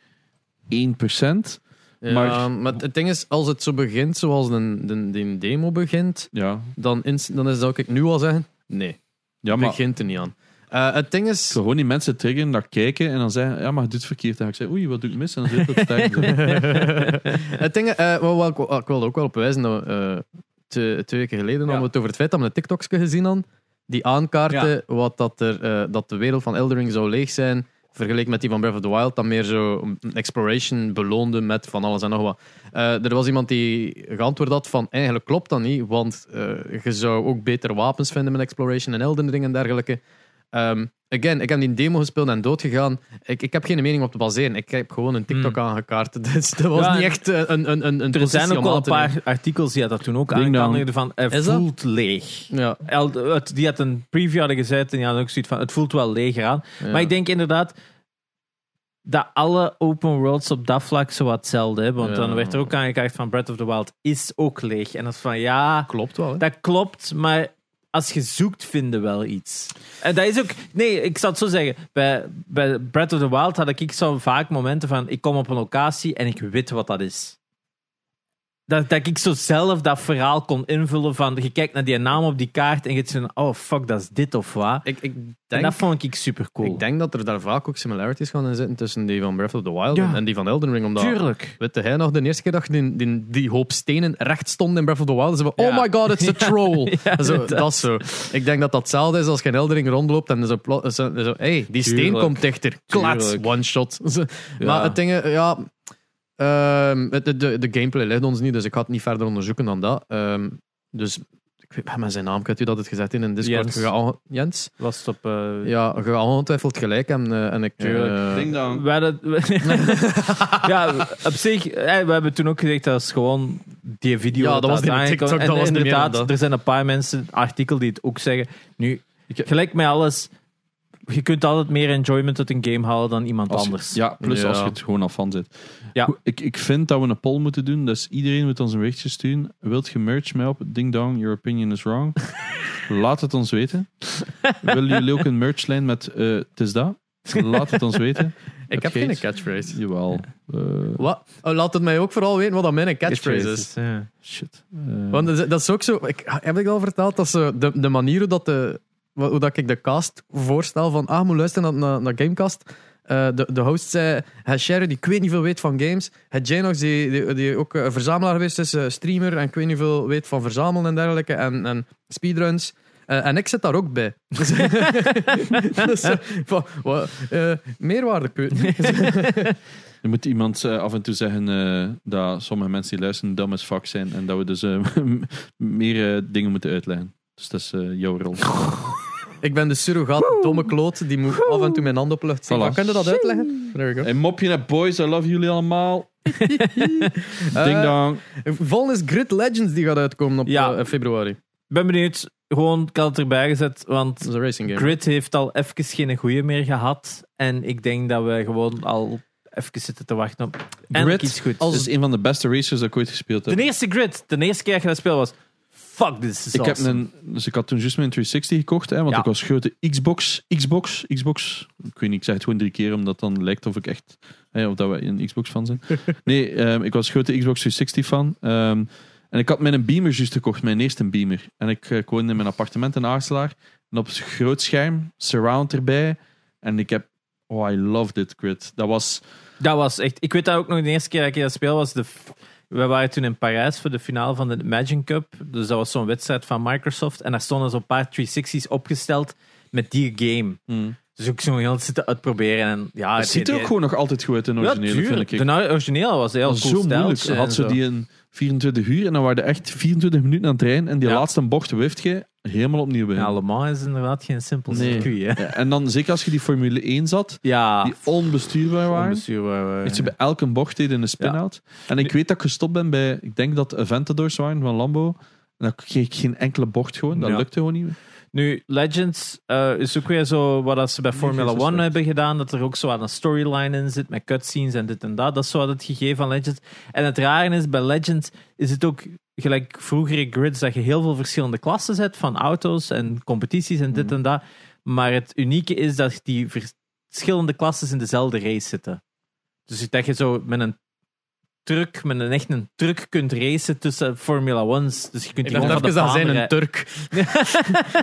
1%.
ja,
Maar-
maar, het ding is, als het zo begint zoals een de, de demo begint,
Ja,
dan, ins- dan is, zou ik nu al zeggen, nee,
ja maar
begint er niet aan. Eh, het ding is,
Ik wil gewoon die mensen triggeren, dat kijken en dan zeggen: Ja, maar je doet het verkeerd. En dan ga ik zeg: Oei, wat doe ik mis? En dan zit het sterk.
Het ding, eh, wel, wel, ik, wil- ik wilde ook wel op wijzen dat we, eh, twee, twee weken geleden hadden we het over het feit dat we een TikToks gezien hadden die aankaarten wat dat, er, eh, dat de wereld van Eldering zou leeg zijn vergeleken met die van Breath of the Wild, dan meer zo een exploration beloonde met van alles en nog wat. Eh, er was iemand die geantwoord had van eigenlijk klopt dat niet, want eh, je zou ook beter wapens vinden met exploration en Elden Ring en dergelijke. Ehm, again, ik heb die demo gespeeld en doodgegaan. Ik, ik heb geen mening op te baseren. Ik heb gewoon een TikTok aangekaart. [laughs] Dus dat was
Hmm. Ja,
niet echt eh, een, een, een, een
er zijn
positie
ook
om
wel een
aan te
paar
nemen.
artikels die dat toen ook
Ding dong.
aankondigden van... eh,
Is dat?
voelt leeg.
Ja.
El- het- die had een preview hadden gezet en die hadden ook zoiets van het voelt wel leger aan.
Ja.
Maar ik denk inderdaad dat alle open worlds op dat vlak zo wat hetzelfde hebben. Want
Ja.
dan werd er ook aangekaart van Breath of the Wild is ook leeg. En dat is van ja,
Klopt wel. hè.
dat klopt, maar als je zoekt vinden wel iets. En dat is ook... Nee, ik zal het zo zeggen. Bij, bij Breath of the Wild had ik zo vaak momenten van ik kom op een locatie en ik weet wat dat is. Dat, dat ik zo zelf dat verhaal kon invullen van je kijkt naar die naam op die kaart en je zegt van, oh fuck, dat is dit of wat.
Ik, ik,
en
denk,
dat vond ik super cool.
ik denk dat er daar vaak ook similarities gaan in zitten tussen die van Breath of the Wild
Ja.
en- en die van Elden Ring. Omdat
Tuurlijk.
Weet hij nog de eerste keer dat je die, die, die hoop stenen recht stond in Breath of the Wild? Ze van,
Ja.
oh my god,
[laughs]
it's a troll.
Ja,
zo,
inderdaad.
dat is zo. Ik denk dat dat hetzelfde is als je in Eldering rondloopt en zo, plo- zo, zo hey, die steen
Tuurlijk.
komt dichter. Klats,
Tuurlijk.
one shot. [laughs] Zo.
Ja.
Maar het ding, eh, ja... ehm, het- de, de, de gameplay ligt ons niet, dus ik ga het niet verder onderzoeken dan dat. Ehm, dus, ik weet, met zijn naam kunt u dat het gezet in een Discord.
Jens.
Je gaat onge- Jens?
Was het op... eh,
Ja, je gaat ongetwijfeld gelijk hebben. eh, en ik...
Tuurlijk.
eh,
Ding dan.
We hadden- [laughs] ja, op zich, eh, we hebben toen ook gezegd dat is gewoon die video.
Ja, dat was die met
aangekomen-
TikTok,
En
dat was niet meer dan
inderdaad,
dat.
er zijn een paar mensen, artikel die het ook zeggen. Nu,
Ik-
gelijk met alles, je kunt altijd meer enjoyment uit een game halen dan iemand
Als je-
anders.
ja, plus
Ja.
als je het gewoon af van zit.
Ja.
Goed, Ik, ik vind dat we een poll moeten doen. Dus iedereen moet ons een berichtje sturen. Wilt je merch mij op? Ding dong, your opinion is [laughs] wrong. Laat het ons weten. Willen jullie ook een merchlijn met eh, het is dat? Laat het ons weten.
ik heb
Geet.
geen catchphrase.
Jawel. Eh,
Wat? Oh, laat het mij ook vooral weten wat dat mijn catchphrase is.
Ja.
shit. Eh,
Want dat is- dat is ook zo. Ik, heb ik al verteld dat ze de, de manier hoe, dat de, wa- hoe dat ik de cast voorstel van. Ah, moet luisteren naar, naar, naar Gamecast. Eh, de, de host zei: Hij Sherry, die ik weet niet veel weet van games. Hij Janox, die, die, die ook eh, verzamelaar geweest is, eh, streamer en ik weet niet veel weet van verzamelen en dergelijke. En, en speedruns. Eh, en ik zit daar ook bij. [laughs] Dus, dus, eh, van, wa- eh, meerwaarde, ik weet het niet.
Er moet iemand eh, af en toe zeggen eh, dat sommige mensen die luisteren dom as fuck zijn [laughs] [laughs] en dat we dus eh, meer eh, dingen moeten uitleggen. Dus dat is eh, jouw rol.
Ik ben de surrogaat domme kloot die moet af en toe mijn hand oplucht zien.
Voilà.
Kan je dat uitleggen? There we go.
Hey, mopje naar boys, I love jullie [laughs] allemaal. Ding
Eh,
dong.
Volgens Grid Legends die gaat uitkomen op
Ja.
eh, februari.
Ik ben benieuwd. Gewoon, ik had het erbij gezet, want
Dat is een racing game.
Grid heeft al even geen goeie meer gehad. En ik denk dat we gewoon al even zitten te wachten op. En
Grid
iets goed.
Dat
Dus
is een van de beste racers dat ik ooit gespeeld heb.
de eerste Grid, de eerste keer dat je dat speel was. Fuck, dit is
Ik heb
awesome.
een, dus ik had toen juist mijn 360 gekocht, hè, want
Ja.
ik was grote Xbox, Xbox, Xbox. Ik weet niet, ik zeg het gewoon drie keer, omdat dan lijkt of ik echt, hè, of dat we een Xbox fan
[laughs]
zijn. nee, ehm, ik was grote Xbox 360 fan. ehm, en ik had mijn Beamer juist gekocht, mijn eerste Beamer. En ik, eh, ik woonde in mijn appartement in Aarselaar. En op het groot scherm, surround erbij. En ik heb, oh, I love this grid. Dat was,
Dat was echt. Ik weet dat ook nog de eerste keer dat ik dat speel was. De, f- we waren toen in Parijs voor de finale van de Imagine Cup. Dus dat was zo'n wedstrijd van Microsoft. En daar stonden zo'n paar 360's opgesteld met die game. Dus ook zo'n heel zitten uitproberen. En ja,
het Hmm. ziet er ook gewoon nog altijd goed uit in de
Ah, Ja,
originele, vind ik.
tuurlijk. De origineel was heel
Dat was
cool
zo
stijltje
moeilijk. Ze
en
had ze
zo.
die in 24 uur en dan waren er echt 24 minuten aan het rijden. En die
Ja.
laatste bocht wift je helemaal opnieuw bij.
Ja, allemaal is inderdaad geen simpel
Nee.
circuit, hè.
en dan zeker als je die Formule 1 zat,
Ja,
die onbestuurbaar eh. waren.
onbestuurbaar.
Heeft ze bij elke bocht deden een spin-out. En ik weet dat ik gestopt ben bij, ik denk dat Aventadors waren van Lambo. En dan kreeg ik geen enkele bocht gewoon. Dat
Ja.
lukte gewoon niet meer.
Nu, Legends eh, is ook weer zo wat als ze bij Formula
geen
1
suspect.
hebben gedaan, dat er ook zo aan een storyline in zit met cutscenes en dit en dat. Dat is zo wat het gegeven van Legends. En het rare is, bij Legends is het ook gelijk vroeger in grids dat je heel veel verschillende klassen zet van auto's en competities en dit
Mhm.
en dat. Maar het unieke is dat die verschillende klassen in dezelfde race zitten. Dus dat je zo met een truck, met een echt een truck kunt racen tussen Formula 1's. Dus je kunt
Ik
die gewoon
dacht
van
even
de
dat
baan
zijn een
rijden.
Turk.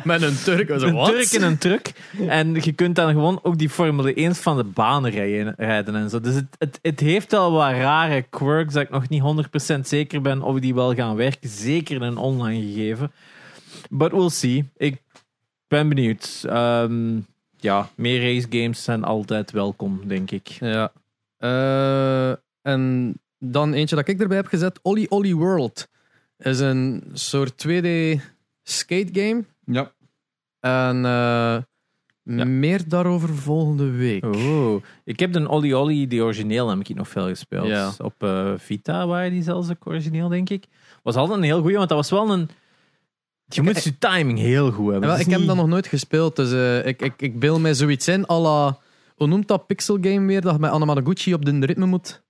Met een Turk. [laughs] was
een Turk in een truck. En je kunt dan gewoon ook die Formule 1 van de baan rijden, rijden en zo. Dus het, het, het heeft wel wat rare quirks dat ik nog niet 100% zeker ben of die wel gaan werken. Zeker in een online gegeven. But we'll see. Ik ben benieuwd. Ehm, ja, meer race games zijn altijd welkom, denk ik.
Ja. Eh, en dan eentje dat ik erbij heb gezet. Olly Olly World. Is een soort 2D skate game.
Ja.
En eh, meer daarover volgende week.
Oh, ik heb de Olly Olly, die origineel, heb ik nog veel gespeeld.
Ja.
Op eh, Vita waren die zelfs ook origineel, denk ik. Was altijd een heel goeie, want dat was wel een... Je moet je timing heel goed hebben.
Ja, wel,
Het
ik
is
heb
niet-
dat nog nooit gespeeld, dus eh, ik, ik, ik beel mij zoiets in. à la- hoe noemt dat pixel game weer? Dat je met Anamanaguchi op de ritme moet.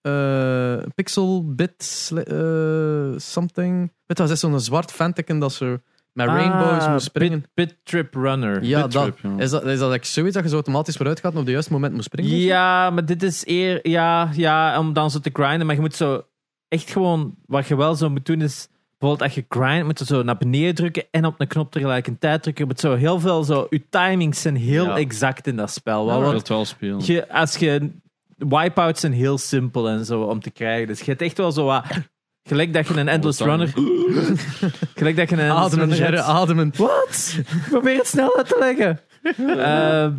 Eh, pixel bit sli- eh, something. Weet je, dat is zo'n zwart fanteken dat ze met
Ah,
rainbows moet springen.
Pit, Pit Trip Runner.
ja,
Bit
dat,
Trip, ja.
Is dat. Is dat echt zoiets dat je zo automatisch vooruit gaat en op het juiste moment moet springen? of zo?
Ja, maar dit is eer... Ja, ja, om dan zo te grinden. Maar je moet zo... Echt gewoon... Wat je wel zo moet doen is... Bijvoorbeeld als je grindt, moet je zo naar beneden drukken en op een knop tegelijkertijd drukken. Je moet zo heel veel zo... Je timings zijn heel
Ja.
exact in dat spel. Wat,
Ik wil
wat
het wel spelen.
je, als je wipeouts zijn heel simpel en zo om te krijgen. Dus je hebt echt wel zo wat. Gelijk dat je een endless
wat dan?
runner. [laughs] gelijk dat je een endless
[laughs] Ademen,
runner
Gerre,
hebt.
ademen.
Wat? Probeer het snel uit te
[laughs]
leggen. Eh,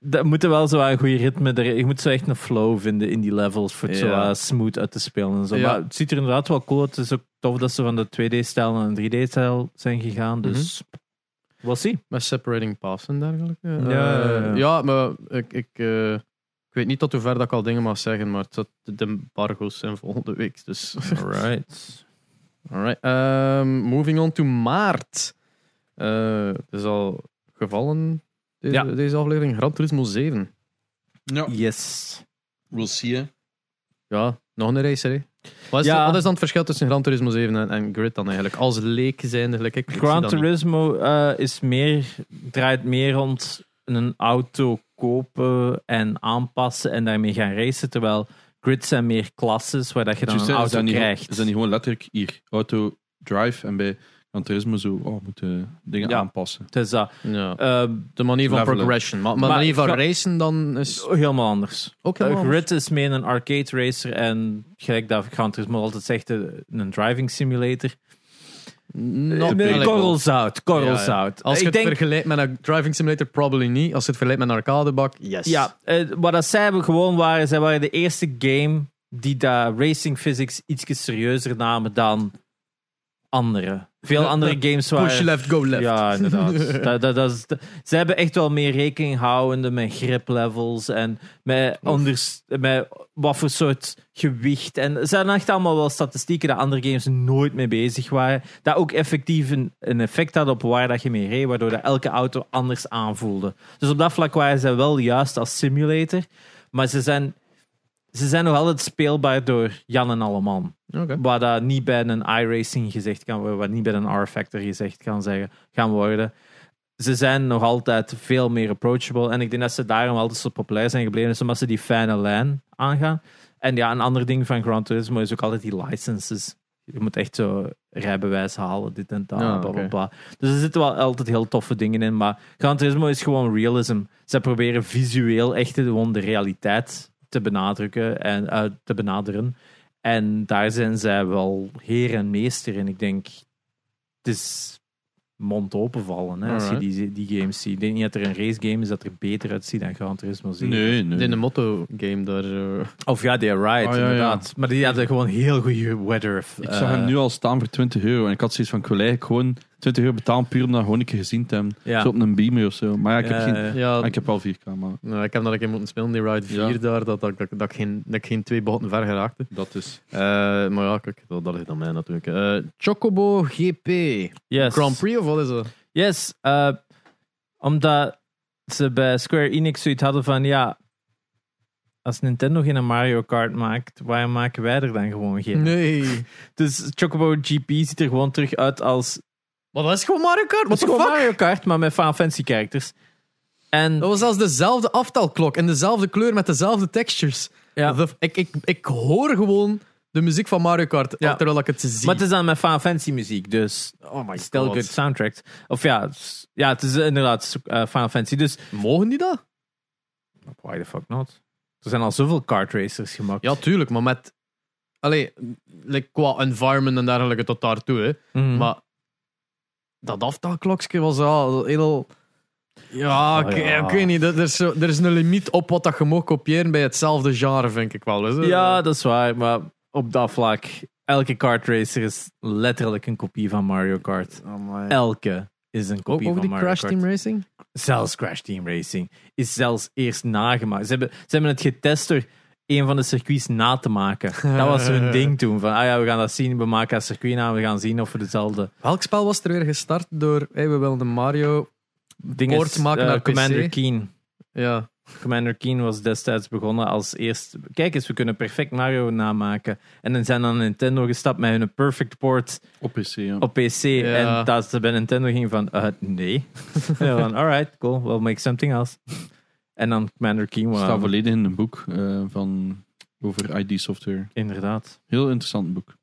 dat moet er wel zo een goede ritme. Er, je moet zo echt een flow vinden in die levels. Voor het zo
Ja.
eh, smooth uit te spelen. En zo.
Ja.
Maar het ziet er inderdaad wel cool uit. Het is ook tof dat ze van de 2D-stijl naar een 3D-stijl zijn gegaan. Dus
Mhm.
we'll see.
Met separating paths en dergelijke. Eh,
ja, ja, ja.
ja, maar ik, ik, eh, ik weet niet tot hoever dat ik al dingen mag zeggen, maar dat, de embargo's zijn volgende week. Dus. [laughs]
Alright.
Alright. ehm, moving on to maart. Eh, het is al gevallen, deze,
Ja.
deze aflevering. Gran Turismo 7.
Ja,
Yes.
we'll see. hè.
Ja, nog een racer, hè. Wat is,
Ja.
wat is dan het verschil tussen Gran Turismo 7 en, en Grid dan eigenlijk? Als leek zijnde, gelijk ik. ik zie
Gran
dat niet.
Turismo eh, is meer, draait meer rond een auto kopen en aanpassen en daarmee gaan racen. Terwijl grids zijn meer klasses waar dat je dan
Juist, hè,
een
eh,
is dat
auto
niet-
krijgt.
Is dat niet gewoon letterlijk hier, auto, drive en bij Gran Turismo zo, oh, we moeten dingen
Ja.
aanpassen.
Dus dat,
Ja.
eh,
De manier van
Levelen.
progression. Maar, maar de
Maar
manier van
Gran-
racen dan is
helemaal anders.
ook
Eh,
helemaal...
Grid is meer een arcade racer en gelijk dat Gran Turismo altijd zegt, eh, een driving simulator.
Not
Eh,
really.
Korrelzout,
Ja,
korrelzout.
Als je
Ik
het
denk
vergelijkt met een driving simulator, probably niet. Als je het vergelijkt met een arcadebak, yes.
Ja, eh, wat dat zij hebben gewoon waren, zij waren de eerste game die dat racing physics iets serieuzer namen dan andere. Veel
Ja,
andere
ja,
games
Push
waren...
left, go left. [laughs]
Ja, inderdaad. dat, dat, dat is, dat- ze hebben echt wel meer rekening houdende met grip levels en met, onders, met wat voor soort gewicht. En ze hadden echt allemaal wel statistieken dat andere games nooit mee bezig waren. Dat ook effectief een, een effect had op waar dat je mee reed, waardoor dat elke auto anders aanvoelde. Dus op dat vlak waren ze wel juist als simulator, maar ze zijn, ze zijn nog altijd speelbaar door Jan en Alleman.
Oké.
Wat dat niet bij een iRacing gezegd kan worden, wat niet bij een R-Factor gezegd kan zeggen, gaan worden. Ze zijn nog altijd veel meer approachable. En ik denk dat ze daarom altijd zo populair zijn gebleven, is omdat ze die fijne lijn aangaan. En ja, een ander ding van Gran Turismo is ook altijd die licenses. Je moet echt zo rijbewijs halen, dit en dat,
Ja,
bla, bla,
oké.
bla. Dus er zitten wel altijd heel toffe dingen in. Maar Gran Turismo is gewoon realism. Ze proberen visueel echt gewoon de realiteit te benadrukken en eh, te benaderen. En daar zijn zij wel heer en meester in. Ik denk, het is mond openvallen hè, als je
Alright.
die, die games ziet. Ik denk niet dat er een race game is dat er beter uitziet dan Gran Turismo 7.
Nee,
In de
nee.
motto-game daar. eh,
Of ja, die Riot,
Ah, ja, ja.
inderdaad. Maar die hadden gewoon heel goede weather. eh,
Ik zag hem nu al staan voor 20 euro. En ik had zoiets van, ik wil eigenlijk gewoon 20 euro betalen puur om dat gewoon een keer gezien te hebben.
Ja. Eh,
Zo op een Beamer of zo. Maar ja, ik heb, geen,
Ja,
ja,
ah, ik heb al 4K, maar
nou, ik heb dat een keer moeten spelen, die Ride 4
Ja.
daar, dat, dat, dat, dat, ik geen, dat ik geen twee botten ver geraakte.
dat is...
Eh, maar ja, kijk, dat, dat ligt aan mij natuurlijk. Eh, Chocobo GP.
yes.
Grand Prix of wat is dat?
Yes, eh, omdat ze bij Square Enix zoiets hadden van ja. Als Nintendo geen Mario Kart maakt, waarom maken wij er dan gewoon geen?
Nee.
Dus Chocobo GP ziet er gewoon terug uit als.
[laughs] Maar dat is gewoon Mario Kart. What
Het
the
is gewoon
fuck?
Mario Kart, maar met Final Fantasy characters. En
Dat was zelfs dezelfde aftalklok en dezelfde kleur met dezelfde textures.
ja.
The- ik, ik, ik hoor gewoon de muziek van Mario Kart
Ja.
terwijl ik het zie.
Maar het is dan met Final Fantasy muziek, dus
oh my
still good soundtrack. Of ja, s- ja het is inderdaad eh, Final Fantasy. Dus
Mogen die dat?
why the fuck not? Er zijn al zoveel kart racers gemaakt.
Ja, tuurlijk, maar met. Allee, like, qua environment en dergelijke tot daartoe. Hè.
Mhm.
Maar dat aftalklokje was al heel. Ja,
Ah,
ik,
ja.
ik weet niet. dat- Er is, zo- er is een limiet op wat dat je mag kopiëren bij hetzelfde genre, vind ik wel. Is
Ja, dat is waar, maar op dat vlak. Elke kart racer is letterlijk een kopie van Mario Kart. Elke is een
ook
kopie
over
Oh, van
die
Mario
Crash
Kart.
Team Racing?
Zelfs Crash Team Racing is zelfs eerst nagemaakt. Ze hebben, ze hebben het getest door een van de circuits na te maken. Dat was
[laughs]
hun ding toen. Van, ah ja, we gaan dat zien, we maken dat circuit na, we gaan zien of we dezelfde
Welk spel was er weer gestart door. Hey, we wilden Mario.
dingen...
Port maken
Eh,
naar PC.
Commander Keen.
Ja.
Commander Keen was destijds begonnen als eerst. Kijk eens, we kunnen perfect Mario namaken. En dan zijn dan Nintendo gestapt met hun Perfect Port
Op PC, ja.
op PC. En dat ze bij Nintendo ging van, eh,
[laughs]
nee. en van, alright, cool, we'll make something else. en dan Commander Keen
Het
was.
staat volledig in een boek eh, van, over ID-software.
Inderdaad.
Heel interessant boek.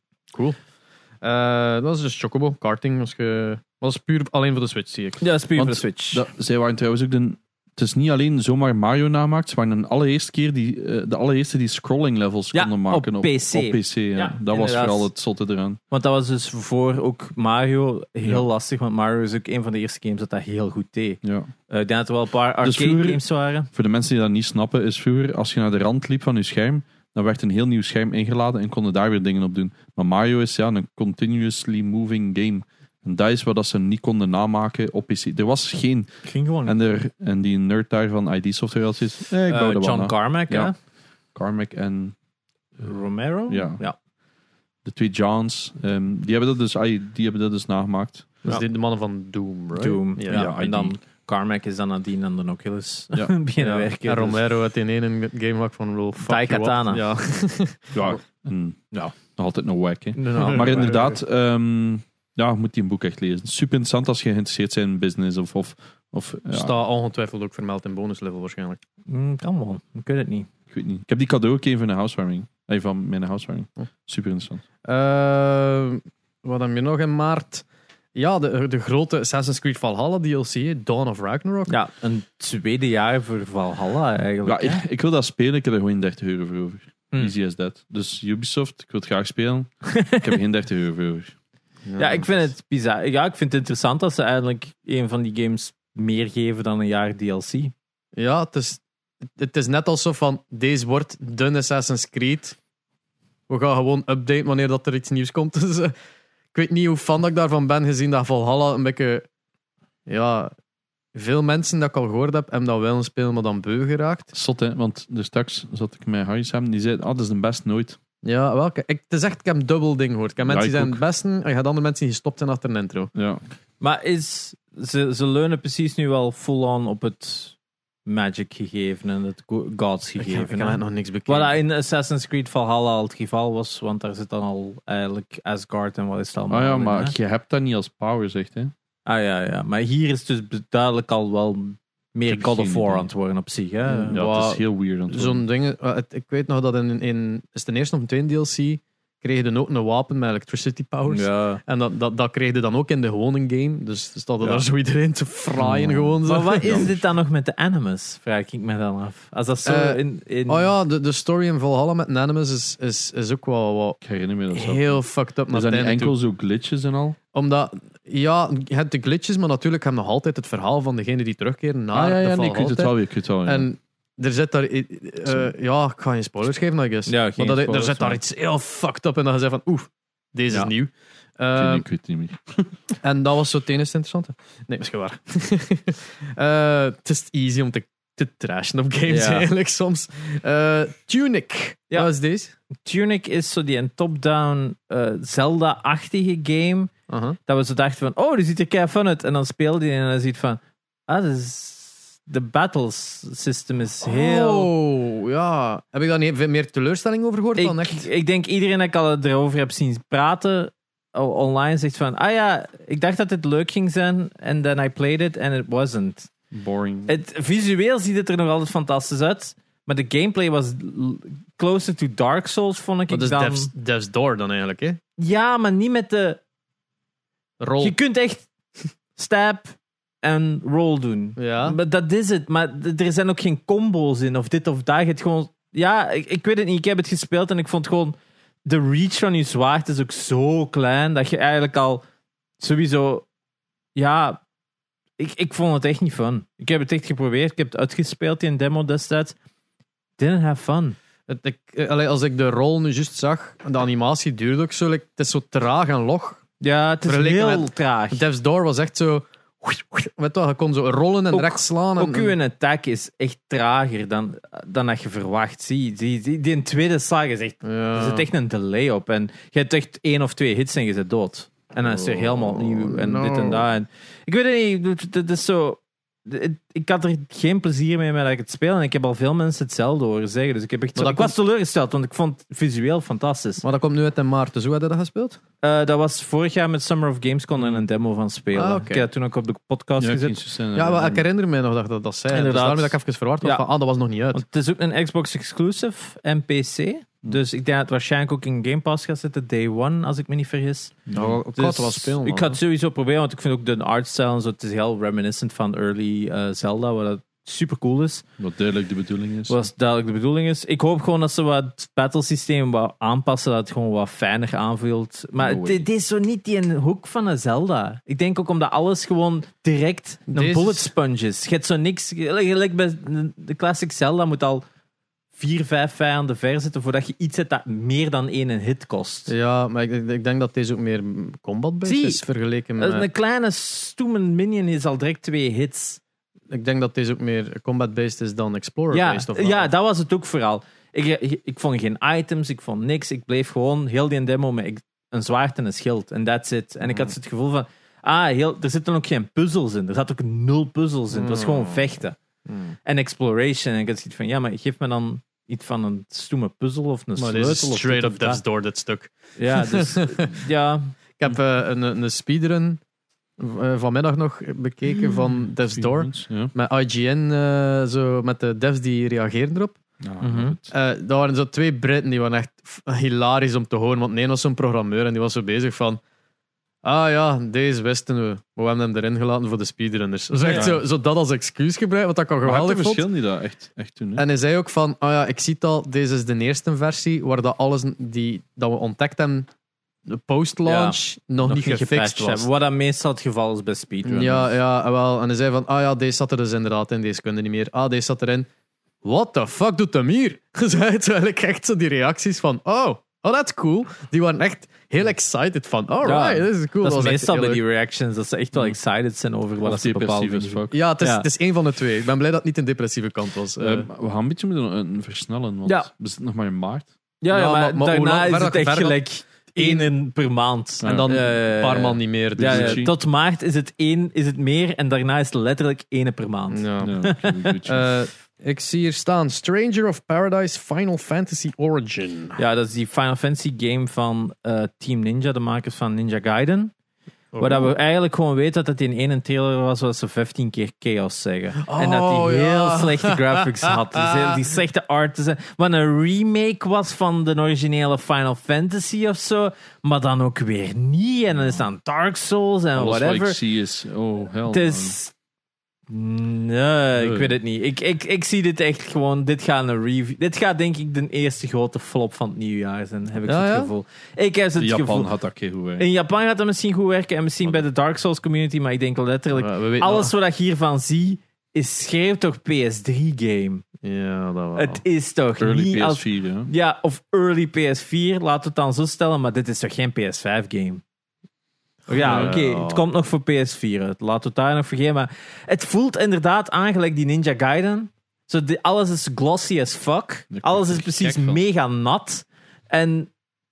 Eh, dat is dus Chocobo, karting. Was ge... was puur alleen voor de Switch, zie ik.
Ja, dat is puur
Want
voor de Switch.
Dat, zij waren trouwens ook de... Het is niet alleen zomaar Mario namaakt, ze waren de allereerste keer die, eh, de allereerste die scrolling levels
Ja,
konden
op
maken op
PC.
Op PC, ja.
Ja,
dat was
inderdaad.
vooral het zotte eraan.
Want dat was dus voor ook Mario
Ja.
heel lastig. Want Mario is ook een van de eerste games dat dat heel goed deed.
Ja.
Eh, ik denk dat er wel een paar arcade
Dus vroeger-
games waren.
Voor de mensen die dat niet snappen, is vroeger als je naar de rand liep van je scherm, dan werd een heel nieuw scherm ingeladen en konden daar weer dingen op doen. Maar Mario is ja een continuously moving game. En dat is wat dat ze niet konden namaken op PC. Er was geen.
Ging gewoon.
En, er, en die nerd daar van ID Software als is. Eh, ik bouw dat wel
John
na.
Carmack,
Ja.
hè?
Carmack en
Romero?
Ja.
ja.
de twee Johns. ehm, die, hebben dat dus, ai, die hebben dat dus nagemaakt.
Dat
Ja.
is de- de mannen van Doom, right?
Doom.
Ja.
Ja.
Ja,
en
ID.
dan Carmack is dan nadien aan de Oculus
Ja.
[laughs] beginnen
Ja.
werken.
En
dus-
Romero uit in één game maak van Roll.
Daikatana. [laughs]
Ja.
Ja. En,
Ja.
Nog altijd een wack, hè.
Ja,
Maar inderdaad, ehm, ja, je moet die een boek echt lezen. Super interessant als je geïnteresseerd bent in business of... of, of ja,
Staat ongetwijfeld ook vermeld in bonuslevel waarschijnlijk.
Mm, kan wel. Ik weet het niet.
Ik weet niet. Ik heb die cadeau ook even van de housewarming. Eh, van mijn housewarming.
Oh.
Super interessant.
Eh, wat hebben we nog in maart? Ja, de, de grote Assassin's Creed Valhalla DLC, Dawn of Ragnarok.
Ja, een tweede jaar voor Valhalla
Ja,
eigenlijk.
ik, ik wil dat spelen, ik heb er gewoon 30 euro voor over.
Hmm.
Easy as that. Dus Ubisoft, ik wil het graag spelen. ik heb er geen 30 euro voor over.
Ja, ik vind het bizar. Ja, ik vind het interessant dat ze eigenlijk een van die games meer geven dan een jaar DLC.
Ja, het is, het is net alsof van, deze wordt de Assassin's Creed. We gaan gewoon updaten wanneer dat er iets nieuws komt. [laughs] Dus, eh, Ik weet niet hoe fan dat ik daarvan ben, gezien dat Valhalla een beetje... Ja, veel mensen dat ik al gehoord heb, hebben dat wel een spelen, maar dan beu geraakt.
[laughs] Zot, hè? Want dus straks zat ik met Harry samen. Die zei: Ah, dat is de best nooit.
Ja, welke? Ik, het is echt, ik heb dubbel ding gehoord. Ik heb
Ja,
mensen die
ik
zijn het beste, en je had andere mensen die gestopt zijn achter een intro.
Ja.
Maar is, ze, ze leunen precies nu wel full-on op het magic gegeven en het go- gods
Ik, heb- ik
gegeven.
heb
hè.
echt nog niks bekeken.
Wat dat in Assassin's Creed Valhalla al het geval was, want daar zit dan al eigenlijk Asgard en wat is het allemaal.
Ah ja,
in, hè?
maar je hebt dat niet als power, zegt hè?
Ah ja, ja. Maar hier is dus duidelijk al wel meer
heb
God of
geen
War
idee.
aan het worden op zich. Hè?
Ja.
Ja,
Wat-
het is heel weird. aan het worden.
Zo'n ding, eh, het- ik weet nog dat in, in is het een eerste of een tweede DLC kreeg je dan ook een wapen met electricity powers.
Ja.
En dat, dat, dat kreeg je dan ook in de gewone game. Dus ze stonden daar zo iedereen te fraaien
Ja.
gewoon. Zo.
Maar
[laughs]
wat is dit dan nog met de animus? Vraag ik me dan af. Als dat zo
Eh,
in, in...
Oh ja, de, de story in Valhalla met Nanimus is, is, is ook wel, wel
Ik herinner me dat zo.
heel fucked up.
Er
naar
zijn
het
niet
einde toe.
enkel zo glitches en al.
Omdat, ja, je hebt de glitches, maar natuurlijk heb je nog altijd het verhaal van degene die terugkeren naar
ah ja, ja,
de
nee, ik weet het
Valhalla-tijd.
wel weer. Ik weet het wel, ja.
En er zit daar. eh, eh, ja, ik ga geen spoilers geven, I guess.
Ja,
maar
geen
dat, er
spoilers,
zit daar
maar-
iets heel fucked up in dat je zegt van oeh, deze
Ja.
is nieuw.
Ik
Ehm,
weet niet, ik weet het niet meer.
en dat was zo ten eerste interessant. hè. Nee, misschien
[laughs]
waar. Eh, het is easy om te, te trashen op games
Ja.
eigenlijk soms. Eh, Tunic.
Ja.
Wat is deze?
Tunic is zo die een top-down eh, Zelda-achtige game.
Aha.
Dat we zo dachten van, oh, die ziet er kei fun uit. En dan speelde die en dan ziet van, ah, dat is... De battles system is heel...
Oh, ja. Heb ik daar niet veel meer teleurstelling over gehoord dan
ik,
echt?
ik denk iedereen dat ik al erover heb zien praten o- online zegt van, ah ja, ik dacht dat dit leuk ging zijn. And then I played it and it wasn't.
Boring.
Het, visueel ziet het er nog altijd fantastisch uit. Maar de gameplay was l- closer to Dark Souls, vond ik.
Dat is
dan.
Dev's, Dev's Door dan eigenlijk, hè?
Ja, maar niet met de...
Rol.
Je kunt echt [laughs] stab en roll doen.
Ja.
Maar dat is het. Maar d- er zijn ook geen combo's in, of dit of dat. Het gewoon... Ja, ik, ik weet het niet. Ik heb het gespeeld en ik vond gewoon... De reach van je zwaard is ook zo klein, dat je eigenlijk al sowieso... Ja, ik, ik vond het echt niet fun. Ik heb het echt geprobeerd. Ik heb het uitgespeeld in demo destijds. Didn't have fun.
Het, ik, eh, allee, als ik de rol nu juist zag, de animatie duurde ook zo. like, het is zo traag en log.
Ja, het is
Vergeleken
heel
met-
traag.
Dev's Door was echt zo. Weet je, wel, je kon zo rollen en
Ook-
rechts slaan. En,
Ook uw attack is echt trager dan, dan dat je verwacht. Zie, zie, zie, die tweede slag is echt,
Ja.
er zit echt een delay op. En je hebt echt één of twee hits en je zit dood. En dan is er helemaal nieuw en
Oh, no.
dit en dat. En, ik weet het niet, het- het is zo... het- Ik had er geen plezier mee met dat ik het speel. En ik heb al veel mensen hetzelfde horen zeggen. Dus ik, heb echt
Maar
zo-
dat
ik was teleurgesteld, want ik vond het visueel fantastisch.
Maar dat komt nu uit in maart, dus hoe hadden dat gespeeld?
Eh, dat was vorig jaar met Summer of Gamescon en een demo van spelen.
Ah, oké.
Ik heb dat toen ook op de podcast
Ja, ik
gezet.
vind het zo-
Ja, maar ik herinner me nog dat dat, dat zei. Dus
Inderdaad.
daarom dat ik even verward was
Ja.
van, ah, dat was nog niet uit.
Want het is ook een Xbox exclusive en PC.
Hm.
Dus ik denk dat het waarschijnlijk ook in Game Pass gaat zitten, day one, als ik me niet vergis.
Nou, ik
Dus
had wel spelen.
Ik ga het sowieso proberen, want ik vind ook de artstyle en zo, het is heel reminiscent van early eh, Zelda, wat super cool is.
Wat duidelijk de bedoeling is.
Wat duidelijk de bedoeling is. Ik hoop gewoon dat ze wat het battlesysteem wat aanpassen, dat het gewoon wat fijner aanvoelt. Maar
No
het
way.
dit is zo niet die een hoek van een Zelda. Ik denk ook omdat alles gewoon direct een
Deze-
bullet sponge is. Je hebt zo niks... Gelijk bij de classic Zelda moet al vier, vijf vijanden ver zitten voordat je iets hebt dat meer dan één hit kost.
Ja, maar ik, ik- ik denk dat deze ook meer combat-based
Zie,
is vergeleken met...
Een een kleine stoeme minion is al direct twee hits.
Ik denk dat deze ook meer combat-based is dan
Ja,
explorer-based. of wat?
ja, dat was het ook vooral. Ik, ik, ik vond geen items, ik vond niks. Ik bleef gewoon heel die demo met ik- een zwaard en een schild. En that's it. En ik
Mhm.
had het gevoel van... Ah, heel, er zitten ook geen puzzels in. Er zat ook nul puzzels in. Het was
Mm.
gewoon vechten.
Hmm.
En exploration. En ik had zoiets van... Ja, maar geef me dan iets van een stoeme puzzel of een
Maar
sleutel.
deze
of
is
dit
straight
of
up
dat.
Death's Door, dit stuk. [laughs]
Ja, dus... ja,
Ik heb eh, een, een speedrun eh, vanmiddag nog bekeken van Death's Door.
Ja.
Met IGN, eh, zo, met de devs die reageerden erop.
Ja,
Mhm.
goed.
Eh daar waren zo twee Britten die waren echt f- hilarisch om te horen. Want de een was zo'n programmeur en die was zo bezig van. Ah ja, deze wisten we. Maar we hebben hem erin gelaten voor de speedrunners. Dus echt
Ja.
zo, zo dat als excuus gebruikt, wat ik al
Maar had het
geweldig vond.
verschil niet dat echt, echt toen? hè?
En hij zei ook van, ah ja, ik zie het al, deze is de eerste versie waar dat alles die, dat we ontdekt hebben, de post-launch, nog,
nog
niet gefixt
gepatcht
was.
hebben. Wat dan meestal het geval is bij speedrunners.
Ja, ja, wel. En hij zei van, ah ja, deze zat er dus inderdaad in, deze kunnen niet meer. Ah, deze [laughs] zat erin. What the fuck doet hem hier? Dus hij had eigenlijk echt zo die reacties van, oh, oh, that's cool. Die waren echt heel excited van, alright,
Ja,
dit is cool.
dat is
was echt
meestal
heel
bij
leuk. Mm.
die reactions, dat ze echt wel
Hmm.
excited zijn over wat
Of
ze bepaald
depressief as fuck.
Ja, het is,
Ja.
het is één van de twee. Ik ben blij dat het niet een depressieve kant was. Eh,
Eh, maar we gaan een beetje moeten eh, versnellen, want
Ja.
we zitten nog maar in maart.
Ja,
Ja,
ja, maar,
Nou, maar- maar hoe
daarna
lang-
is
waar
het
dat
echt
verder-
gelijk één in per maand.
en dan
Eh,
een paar man niet meer. Dus
Ja,
Gucci.
ja, tot maart is het één, is het meer en daarna is het letterlijk één per maand.
ja.
Ja, oké, goed.
Eh, ik zie hier staan Stranger of Paradise Final Fantasy Origin.
Ja, dat is die Final Fantasy game van eh, Team Ninja, de makers van Ninja Gaiden.
Oh.
Waar dat we eigenlijk gewoon weten dat het in één trailer was waar ze 15 keer chaos zeggen. en dat
Oh,
die heel
ja.
slechte graphics had. Dus heel die slechte art. Dus, eh, Wat een remake was van de originele Final Fantasy of zo. Maar dan ook weer niet. En dan is dan Dark Souls en
Alles wat ik
whatever.
zie is, oh hell.
Het is.
Oh,
Nee, ik weet het niet. Ik, ik, ik zie dit echt gewoon. Dit gaat een review. Dit gaat denk ik de eerste grote flop van het nieuwjaar zijn. Heb ik
Ja,
het
ja?
gevoel. Ik heb het
In Japan
gevoel.
had dat keer goed werken.
In Japan gaat dat misschien goed werken en misschien bij de Dark Souls community, maar ik denk letterlijk
Ja, we weten
alles wat ik hiervan zie is schreeuwt toch PS3 game.
Ja, dat wel.
Het is toch
Early
niet
PS4,
als
ja.
ja of early PS4. Laten we het dan zo stellen, maar dit is toch geen PS5 game. Ja,
Ja.
oké, het komt nog voor PS4 uit. Laten we het daar nog vergeten. Maar het voelt inderdaad aan gelijk die Ninja Gaiden. Zo, die- alles is glossy as fuck.
Daar
Alles
word
is
ik
precies
gek van.
mega nat. En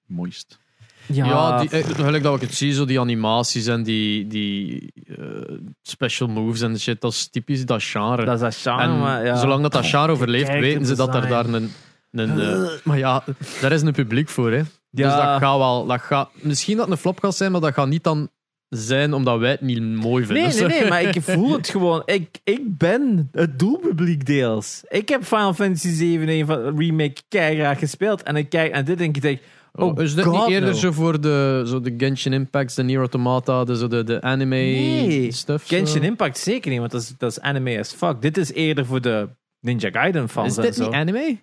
Moist.
ja,
Ja, die, eh, gelijk dat ik het zie, zo die animaties en die, die eh, special moves en shit, dat is typisch dat genre.
dat is dat charme.
en
maar ja.
zolang dat dat genre overleeft,
Kijk,
weten
het
ze dat er daar
design.
een... een eh, maar ja, daar is een publiek voor, hè. Dus
Ja.
dat gaat wel... Dat gaat, misschien dat het een flop gaat zijn, maar dat gaat niet dan zijn omdat wij het niet mooi vinden.
Nee, nee,
Zo.
nee, maar ik voel het gewoon. Ik, ik ben het doelpubliek deels. Ik heb Final Fantasy 7 een van remake keihard gespeeld. En ik kijk en dit en ik denk,
[laughs]
oh,
Oh, is dit
God,
niet eerder
no.
zo voor de, zo de Genshin Impacts, de Nier Automata, de, zo de, de anime
Nee,
stuff? zo?
Genshin Impact zeker niet, want dat is, dat is anime as fuck. Dit is eerder voor de Ninja Gaiden
Is
fans en
dit
zo.
niet anime?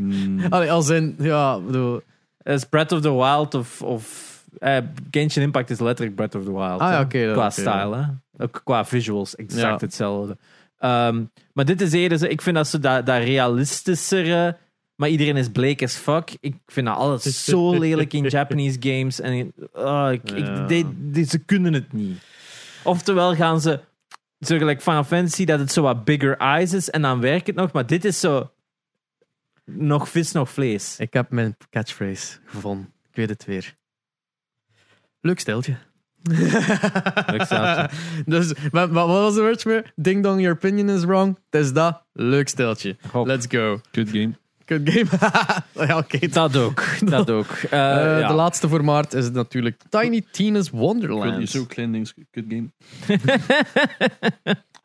Mm.
Allee, als in, ja, bedoel...
Het is Eh, Breath of the Wild of... of eh, Genshin Impact is letterlijk Breath of the Wild.
Ah, ja,
hè.
oké, dat-
qua
oké,
style, hè. Ook qua visuals, exact
Ja.
hetzelfde. Ehm, maar dit is eerder... zo- Ik vind dat ze dat, dat realistischere... Maar iedereen is bleek as fuck. Ik vind dat
[laughs]
altijd zo lelijk in Japanese games. En ah, ik, ik-
Ja.
die- die- ze kunnen het niet. Oftewel gaan ze... Zo gelijk Final Fantasy, dat het zo wat bigger eyes is. En dan werkt het nog. Maar dit is zo... Nog vis, nog vlees.
Ik heb mijn catchphrase gevonden. Ik weet het weer. Leuk
[laughs]
steltje. Leuk
steltje.
[laughs] dus, maar, maar wat was de word meer? Ding dong, your opinion is wrong. Het is dat. Leuk steltje.
Hop.
Let's go.
Good game.
Good game. [laughs] ja, oké.
Dat ook, dat ook. Eh,
Eh,
ja.
De laatste voor maart is natuurlijk Tiny Tina's
Good,
Wonderland.
zo klein ding, good game.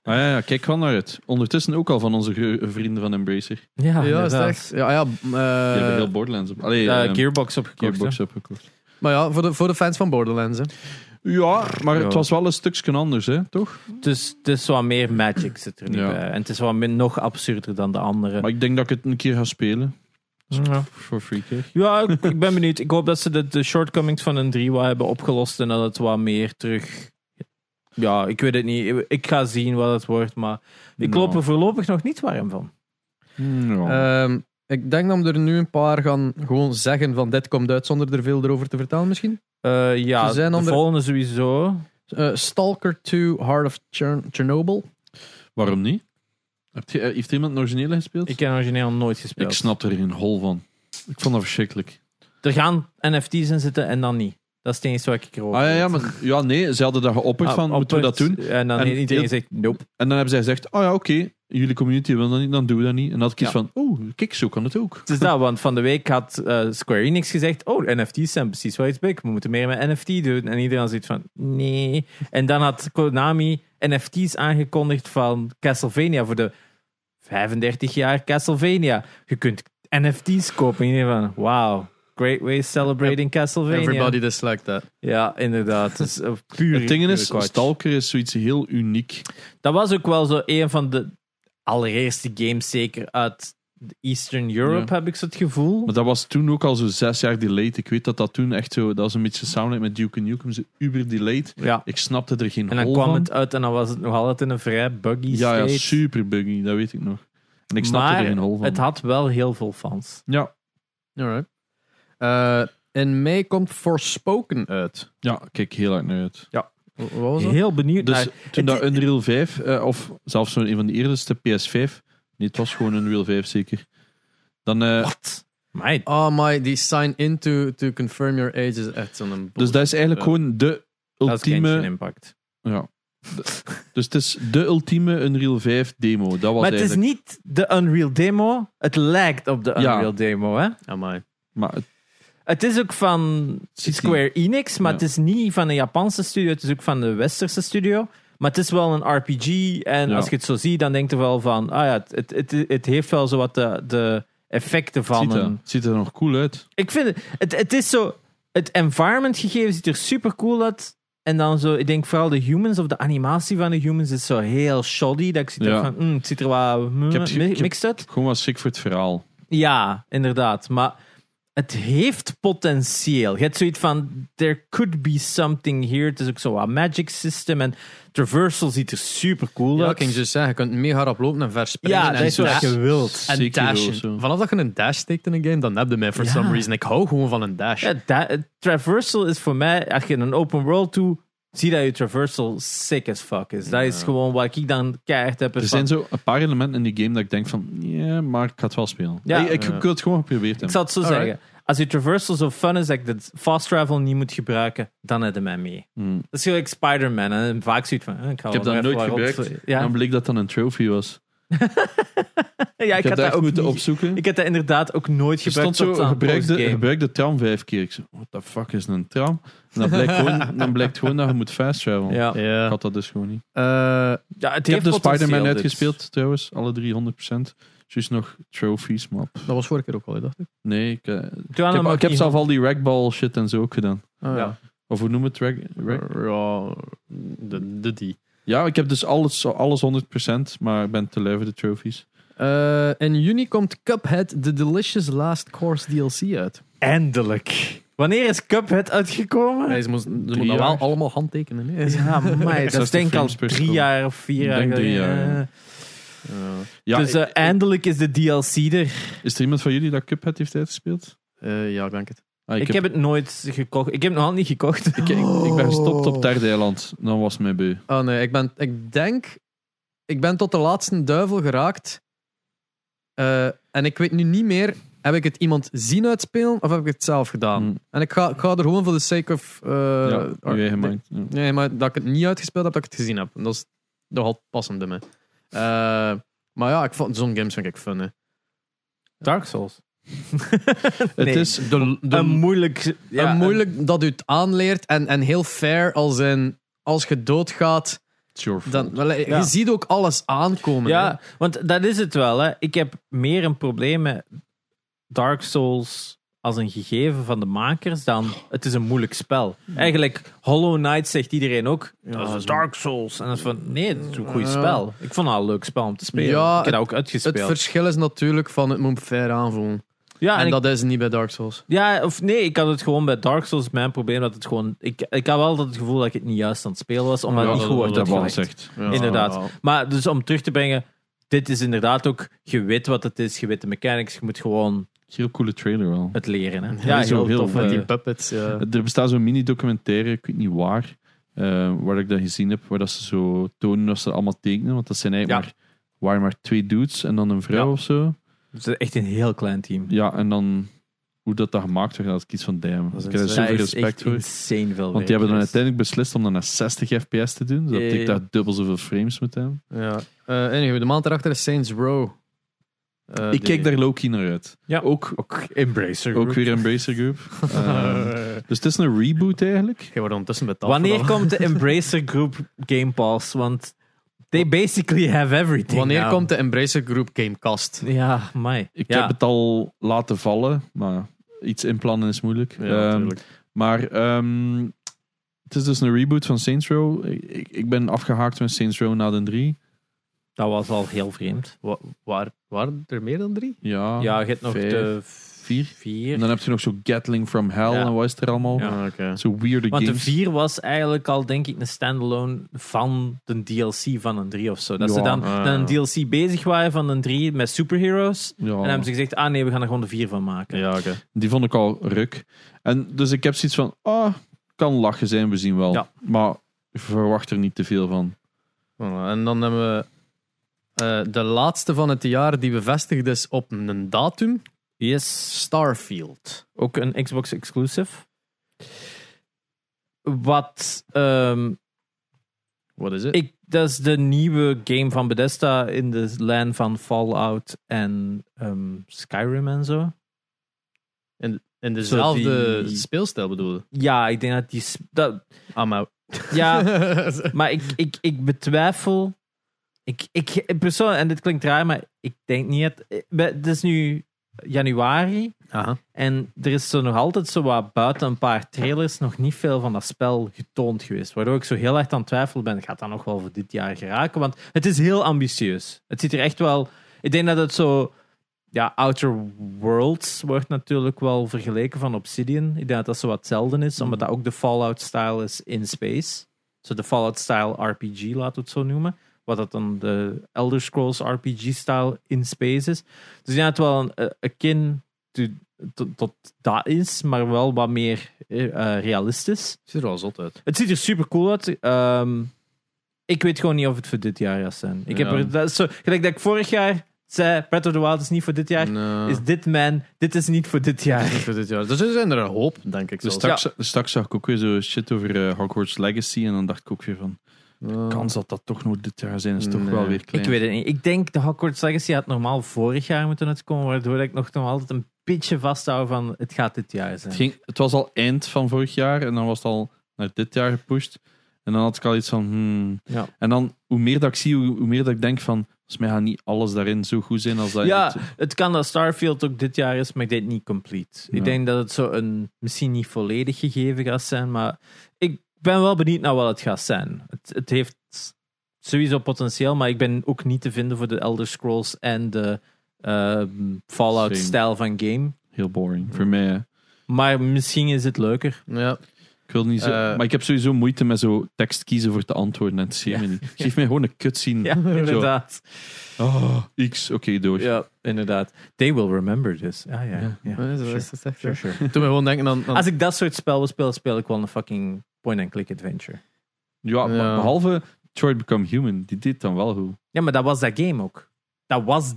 ah ja, ja, kijk gewoon naar het. Ondertussen ook al van onze ge- vrienden van Embracer.
ja,
ja, is
Ah, inderdaad.
het echt? Ja, ja, m,
Die hebben
eh,
heel Borderlands op. Allee,
Eh,
ehm,
Gearbox opgekocht.
Gearbox opgekocht.
maar ja, voor de, voor de fans van Borderlands. Hè.
Ja, maar
Ja.
het was wel een stukje anders, hè, toch?
hè. Dus het is wat meer Magic zit er nu
Ja.
bij. En het is wat min, nog absurder dan de andere.
Maar ik denk dat ik het een keer ga spelen.
Ja,
Voor free krijg.
ja ik, ik ben benieuwd. Ik hoop dat ze de, de shortcomings van een 3 wat hebben opgelost en dat het wat meer terug... Ja, ik weet het niet. Ik ga zien wat het wordt, maar ik
Ja.
loop er voorlopig nog niet warm van.
Hmm,
Oh.
Ja.
Ehm, ik denk dat we er nu een paar gaan gewoon zeggen van dit komt uit zonder er veel over te vertellen misschien.
Eh, ja,
Ze zijn
de
onder-
volgende sowieso.
Eh, Stalker 2 Heart of Chern- Chernobyl.
Waarom niet? Heb je, eh, heeft iemand het originele gespeeld?
Ik heb origineel nooit gespeeld.
Ik snap er geen hol van. Ik vond dat verschrikkelijk.
Er gaan NFT's in zitten en dan niet. Dat is het enige wat ik erover
Ah ja,
weet.
ja, maar, ja, nee, ze hadden dat geopperd
Oh, Ah,
van, moeten we dat doen?
oppert. En dan
En
iedereen
heel-
zegt, nope.
En dan hebben zij gezegd, oh ja, oké, jullie community wil dat niet, dan doen we dat niet. En dan had ik iets
Ja.
van, oh, kijk, zo kan het ook.
Het is dat, want van de week had eh, Square Enix gezegd, oh, NFT's zijn precies wel iets big. We moeten meer met NFT doen. En iedereen zit van, nee. En dan had Konami NFT's aangekondigd van Castlevania voor de 35 jaar Castlevania. Je kunt NFT's kopen. En iedereen van, wow. Great way celebrating Castlevania.
Everybody disliked that.
Ja, inderdaad. Het is eh, puur
Het ding
puur
is,
kwatsch.
Stalker is zoiets heel uniek.
Dat was ook wel zo een van de allereerste games, zeker uit Eastern Europe, heb ik zo het gevoel.
Maar dat was toen ook al zo zes jaar delayed. Ik weet dat dat toen echt zo, dat was een beetje samenlijk met Duke Nukem, zo uber delayed.
Ja.
Ik snapte er geen
En dan
hol
kwam
van.
het uit en dan was het nog altijd in een vrij buggy
ja,
state.
ja, super buggy, dat weet ik nog. En ik snapte
maar
er geen hol van.
het had wel heel veel fans.
Ja,
Alright. Eh, in mei komt Forspoken uit.
Ja, kijk heel hard naar uit.
Wa- Wat was dat?
Heel benieuwd
Dus
naar.
toen dat Unreal 5, eh, of zelfs zo'n een van de eerste PS5, nee, het was gewoon Unreal 5 zeker. Dan, eh,
Wat? Mijn.
Oh my, die sign in to, to confirm your age is echt zo'n bullshit.
dus dat is eigenlijk
Eh,
gewoon de
Dat is Genshin
ultieme.
Impact.
Ja. De- dus het is de ultieme Unreal 5 demo. Dat was
Maar het
eigenlijk.
is niet de Unreal demo. Het lijkt op de
Ja.
Unreal demo, hè?
Amai.
Maar het-
Het is ook van
City.
Square Enix, maar
Ja.
het is niet van een Japanse studio, het is ook van de Westerse studio. Maar het is wel een RPG en
Ja.
als je het zo ziet, dan denk je wel van, ah ja, het, het, het, het heeft wel zo wat de, de effecten van
ziet, er,
een...
het ziet er nog cool uit.
Ik vind het, het, het is zo, het environment gegeven ziet er super cool uit. En dan zo, ik denk vooral de humans of de animatie van de humans is zo heel shoddy. Dat ik zit er
Ja.
van, mm, het ziet er wat
Ik heb- ik
mi-
heb-
mixed uit.
Gewoon wat sick voor het verhaal.
Ja, inderdaad. Maar het heeft potentieel. Je hebt zoiets van, there could be something here. Het is ook zo wat magic system. En traversal ziet er super cool
Ja,
uit.
kan je dus zeggen, je kunt mega hard oplopen en verspringen.
Ja,
en
dat is
zo-
wat je wilt.
En
Sekiro of
dashen.
zo.
Vanaf dat je een dash steekt in een game, dan heb je mij for
Ja.
some reason. Ik hou gewoon van een dash.
Ja, da- eh, traversal is voor mij, als je in een open world toe, zie dat je traversal sick as fuck is. Dat is gewoon wat ik dan keihard heb.
Er
ervan.
zijn zo een paar elementen in die game dat ik denk van, ja, maar ik ga het wel spelen.
Ja.
ik, ik, ik wil het gewoon geprobeerd hebben.
Ik zal het zo
Alright.
zeggen. Als je traversal zo fun is dat je dat fast travel niet moet gebruiken, dan heb je mij mee.
Mm.
Dat is gelijk Spider-Man. En vaak zoiets van, eh, ik, ga
Ik heb dat
wel even
nooit
wat
gebruikt.
rond- Ja.
Dan bleek dat dan een trophy was.
ja, ik,
ik heb dat
had dat
echt
ook
moeten
niet-
opzoeken.
Ik heb dat inderdaad ook nooit
Er
gebruikt.
stond zo,
tot aan
gebruik de,
postgame.
gebruik de tram vijf keer. Ik zei, what the fuck is een tram? En dan blijkt
[laughs]
gewoon, dan blijkt gewoon dat je moet fast travel.
Ja.
Ik
Ja.
had dat dus gewoon niet.
Eh,
ja, het
Ik heb
heeft
de
potentieel, dus.
Spider-Man
dit.
uitgespeeld, trouwens. Alle 300%. Dus nog trophies, maar... pff,
dat was vorige keer ook al, dacht ik.
Nee, ik, eh, ik
Toen
heb,
hem
ik heb
ook
zelf al die ragball shit en zo ook gedaan.
Ah, ja.
Of hoe noem het? Rag, rag-
Ja, de, de die.
Ja, ik heb dus alles, alles 100%, maar ik ben te lui voor de trophies.
Eh, in juni komt Cuphead The Delicious Last Course DLC uit.
niet- Eindelijk. Wanneer is Cuphead uitgekomen?
Nee, ze moesten ze
Drie
moeten dat wel
jaar.
allemaal handtekenen. hè.
Ja, maar [laughs] dat is
60
denk ik al
frames per
drie
seconde.
jaar of vier
Ik
jaar
denk drie
geleden.
jaar, ja.
Ja.
Ja,
dus eh, eindelijk is de DLC er.
is er iemand van jullie dat Cuphead heeft uitgespeeld?
Eh, ja, ik denk het.
Ah,
Ik, heb het nooit gekocht. Ik heb het nog altijd niet gekocht.
ik, ik, ik ben gestopt op derde eiland. Dan was het mij beu.
Oh nee, ik, ben, ik denk... Ik ben tot de laatste duivel geraakt. Eh, en ik weet nu niet meer, heb ik het iemand zien uitspelen of heb ik het zelf
Ah.
gedaan?
Mm.
En ik ga, ik ga er gewoon voor de sake of... eh,
ja,
or-
uw eigen
de-
mind. Ja.
Nee, maar dat ik het niet uitgespeeld heb, dat ik het gezien heb. En Dat is nogal passend bij mij. Eh, maar ja, ik vond, zo'n games vind ik fun. Hè.
Dark Souls. [laughs]
Het is
De, de,
een moeilijk...
en
Ja,
moeilijk dat u het aanleert en, en heel fair als in als je doodgaat,
It's your fault.
dan, wel, eh, je
Ja.
ziet ook alles aankomen.
Ja, want dat is het wel. Hè. Ik heb meer een probleem met Dark Souls als een gegeven van de makers dan het is een moeilijk spel.
Hmm.
Eigenlijk, Hollow Knight zegt iedereen ook, dat is Dark Souls. En dat is van, nee, het is een goed
Ja.
spel. Ik vond het al een leuk spel om te spelen.
Ja,
ik heb dat ook
hè. Het
uitgespeeld.
verschil is natuurlijk van het moet fair aanvoelen.
ja,
En,
en ik-
dat is niet bij Dark Souls.
ja, of nee, ik had het gewoon bij Dark Souls mijn probleem dat het gewoon... Ik, ik had wel altijd het gevoel dat ik het niet juist aan het spelen was, omdat
Ja,
het niet
dat-
goed wordt
dat wel
uitgelegd.
gezegd.
Ja.
Inderdaad.
Ja.
Maar dus om terug te brengen, dit is inderdaad ook, je weet wat het is, je weet de mechanics, je moet gewoon
Heel coole trailer wel.
het leren. Hè?
Ja, zo heel
tof.
veel
Met
eh,
die puppets. Ja.
Er bestaat zo'n mini-documentaire, ik weet niet waar, eh, waar ik dat gezien heb, waar dat ze zo tonen dat ze allemaal tekenen, want dat zijn eigenlijk
Ja.
maar, waren maar twee dudes en dan een vrouw
Ja.
of zo.
het is echt een heel klein team.
Ja, en dan hoe dat, dat gemaakt werd, dat is iets van damn.
is
Ik heb
insane.
er zoveel
Daar is
respect
echt
voor.
insane veel
Want die hebben dan uiteindelijk beslist om dan naar 60 fps te doen, zodat
Ja, ja,
ik
ja.
daar dubbel zoveel frames moet hebben.
Ja. Eh, anyway, de maand erachter is Saints Row. Eh, die-
ik kijk daar low-key naar uit.
Ja.
Ook,
ook Embracer.
ook weer Embracer
[laughs]
Group. Ehm, dus het is een reboot eigenlijk.
Je wordt ondertussen betaald.
Wanneer
voor
komt de Embracer Group Game Pass? Want they basically have
dat.
everything.
Wanneer
now.
komt de Embracer Group Gamecast?
Ja, mij.
Ik
ja.
heb het al laten vallen, maar iets inplannen is moeilijk.
Ja,
Ehm,
natuurlijk.
Maar ehm, het is dus een reboot van Saints Row. Ik, ik- ik ben afgehaakt met Saints Row na de 3.
Dat was al heel vreemd.
Wa- waar, waren er meer dan drie?
Ja,
ja, je hebt nog
Eh,
vijf.
de
Vier.
Vier.
En dan heb je nog zo Gatling from Hell
Ja.
en wat is er allemaal.
Ja.
Ah, oké.
Zo weirde
Want de
games.
4 was eigenlijk al, denk ik, een standalone van de DLC van een 3 of zo. Dat ze
Ja,
dan,
ah.
dan een DLC bezig waren van een 3 met superheroes.
Ja.
En dan hebben ze gezegd, ah nee, we gaan er gewoon de 4 van maken.
Ja, oké.
Die vond ik al ruk. En dus ik heb zoiets van, ah, kan lachen zijn, we zien wel.
Ja.
Maar ik verwacht er niet te veel van.
Voilà, En dan hebben we eh, de laatste van het jaar die bevestigd is op een datum.
Yes.
Starfield.
Ook een Xbox exclusive. Wat ehm,
Wat is het?
ik, dat is de nieuwe game van Bethesda in de lijn van Fallout en ehm, Skyrim en zo.
In dezelfde
Zo die-
speelstijl bedoel je?
Ja, ik denk dat die. s- Dat,
Ah,
[laughs]
maar...
ja, [laughs] Maar ik, ik, ik betwijfel. Ik, ik, persoon, en dit klinkt raar, maar ik denk niet. Het, eh, het is nu januari.
Aha.
En er is zo nog altijd zo wat buiten een paar trailers nog niet veel van dat spel getoond geweest. Waardoor ik zo heel erg aan het twijfelen ben. Gaat dat nog wel voor dit jaar geraken? Want het is heel ambitieus. Het ziet er echt wel. Ik denk dat het zo. Ja, Outer Worlds wordt natuurlijk wel vergeleken van Obsidian. Ik denk dat dat zo wat zelden is, omdat dat ook de Fallout-style is in space. Zo de Fallout-style RPG, laten we het zo noemen. Wat dat dan de Elder Scrolls RPG-style in space is. Dus ja, het wel een, eh, akin to- to- tot dat is, maar wel wat meer eh, eh, realistisch.
Ziet er wel zot uit.
Het ziet er super cool uit. Ehm, ik weet gewoon niet of het voor dit jaar gaat zijn. Ik
Ja.
heb er, dat is zo, gelijk dat ik vorig jaar zei, Breath of the Wild is niet voor dit jaar.
Nee.
Is dit man, dit is niet voor dit jaar.
Voor dit jaar. Dus er zijn er een hoop, denk ik.
Dus
zelfs.
straks, straks zag ik ook weer zo shit over eh, Hogwarts Legacy. En dan dacht ik ook weer van,
Ja.
kans dat dat toch nog dit jaar zijn is toch
Nee.
wel weer klein.
Ik weet het niet. Ik denk de Hogwarts Legacy had normaal vorig jaar moeten uitkomen, waardoor ik nog, nog altijd een beetje vasthoud van het gaat dit jaar zijn.
Het, ging, het was al eind van vorig jaar en dan was het al naar dit jaar gepusht. En dan had ik al iets van, hmm.
Ja.
En dan, hoe meer dat ik zie, hoe, hoe meer dat ik denk van, volgens mij gaat niet alles daarin zo goed zijn als dat... in
Ja,
het-
het kan dat Starfield ook dit jaar is, maar ik denk niet complete.
Ja.
Ik denk dat het zo een misschien niet volledig gegeven gaat zijn, maar ik ben wel benieuwd naar wat het gaat zijn. Het, het heeft sowieso potentieel, maar ik ben ook niet te vinden voor de Elder Scrolls en de
Same.
Fallout-stijl van game.
Heel boring. Voor mij, hè.
Maar misschien is het leuker.
Ja.
Ik wil niet zo,
Eh,
maar ik heb sowieso moeite met zo tekst kiezen voor te antwoorden. En het zie
[laughs]
me niet. Geef mij gewoon een cutscene.
[laughs] Ja, inderdaad.
Ah, X, oké, door.
Ja, inderdaad. They will remember this. Ah, ja, ja.
Ja, zo is het echt,
Sure,
ja.
sure.
Toen we gewoon denken aan... aan-
Als ik dat soort spel wil spelen, speel ik wel een fucking point-and-click adventure.
Ja, maar
Ja.
behalve Detroit Become Human, die deed dan wel goed.
Ja, maar dat was dat game ook. Dat was.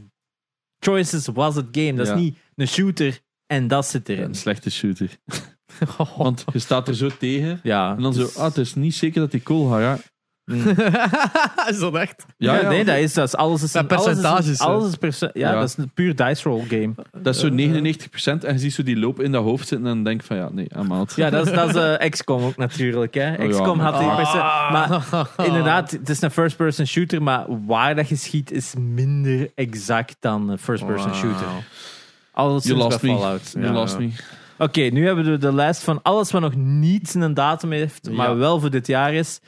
Choices was het game. Dat
Ja.
is niet een shooter en dat zit erin.
Een slechte shooter.
[laughs]
Want je staat er zo tegen.
Ja.
En dan zo,
Dus-
ah, het is niet zeker dat die cool gaat. Ja,
[laughs] is dat echt?
Ja, nee,
dat,
dat is, dat is alles. Is
Ja,
een- alles is een-
percentages, hè.
Alles is perce- ja,
Ja.
dat is een puur dice roll game.
is zo 99%. En je ziet zo die loop in dat hoofd zitten. En dan denk je van, ja, nee, I'm out.
Ja, dat is, dat is eh, XCOM ook natuurlijk. Hè.
ja.
XCOM had die
Ah.
perce- [laughs] Maar inderdaad, het is een first-person shooter, maar waar dat je schiet is minder exact dan een first-person
Wauw.
shooter. Alles
You
is
lost
bij
me.
Fallout.
You
Ja.
lost me.
Oké, nu hebben we de lijst van alles wat nog niet een datum heeft, maar
Ja.
wel voor dit jaar is.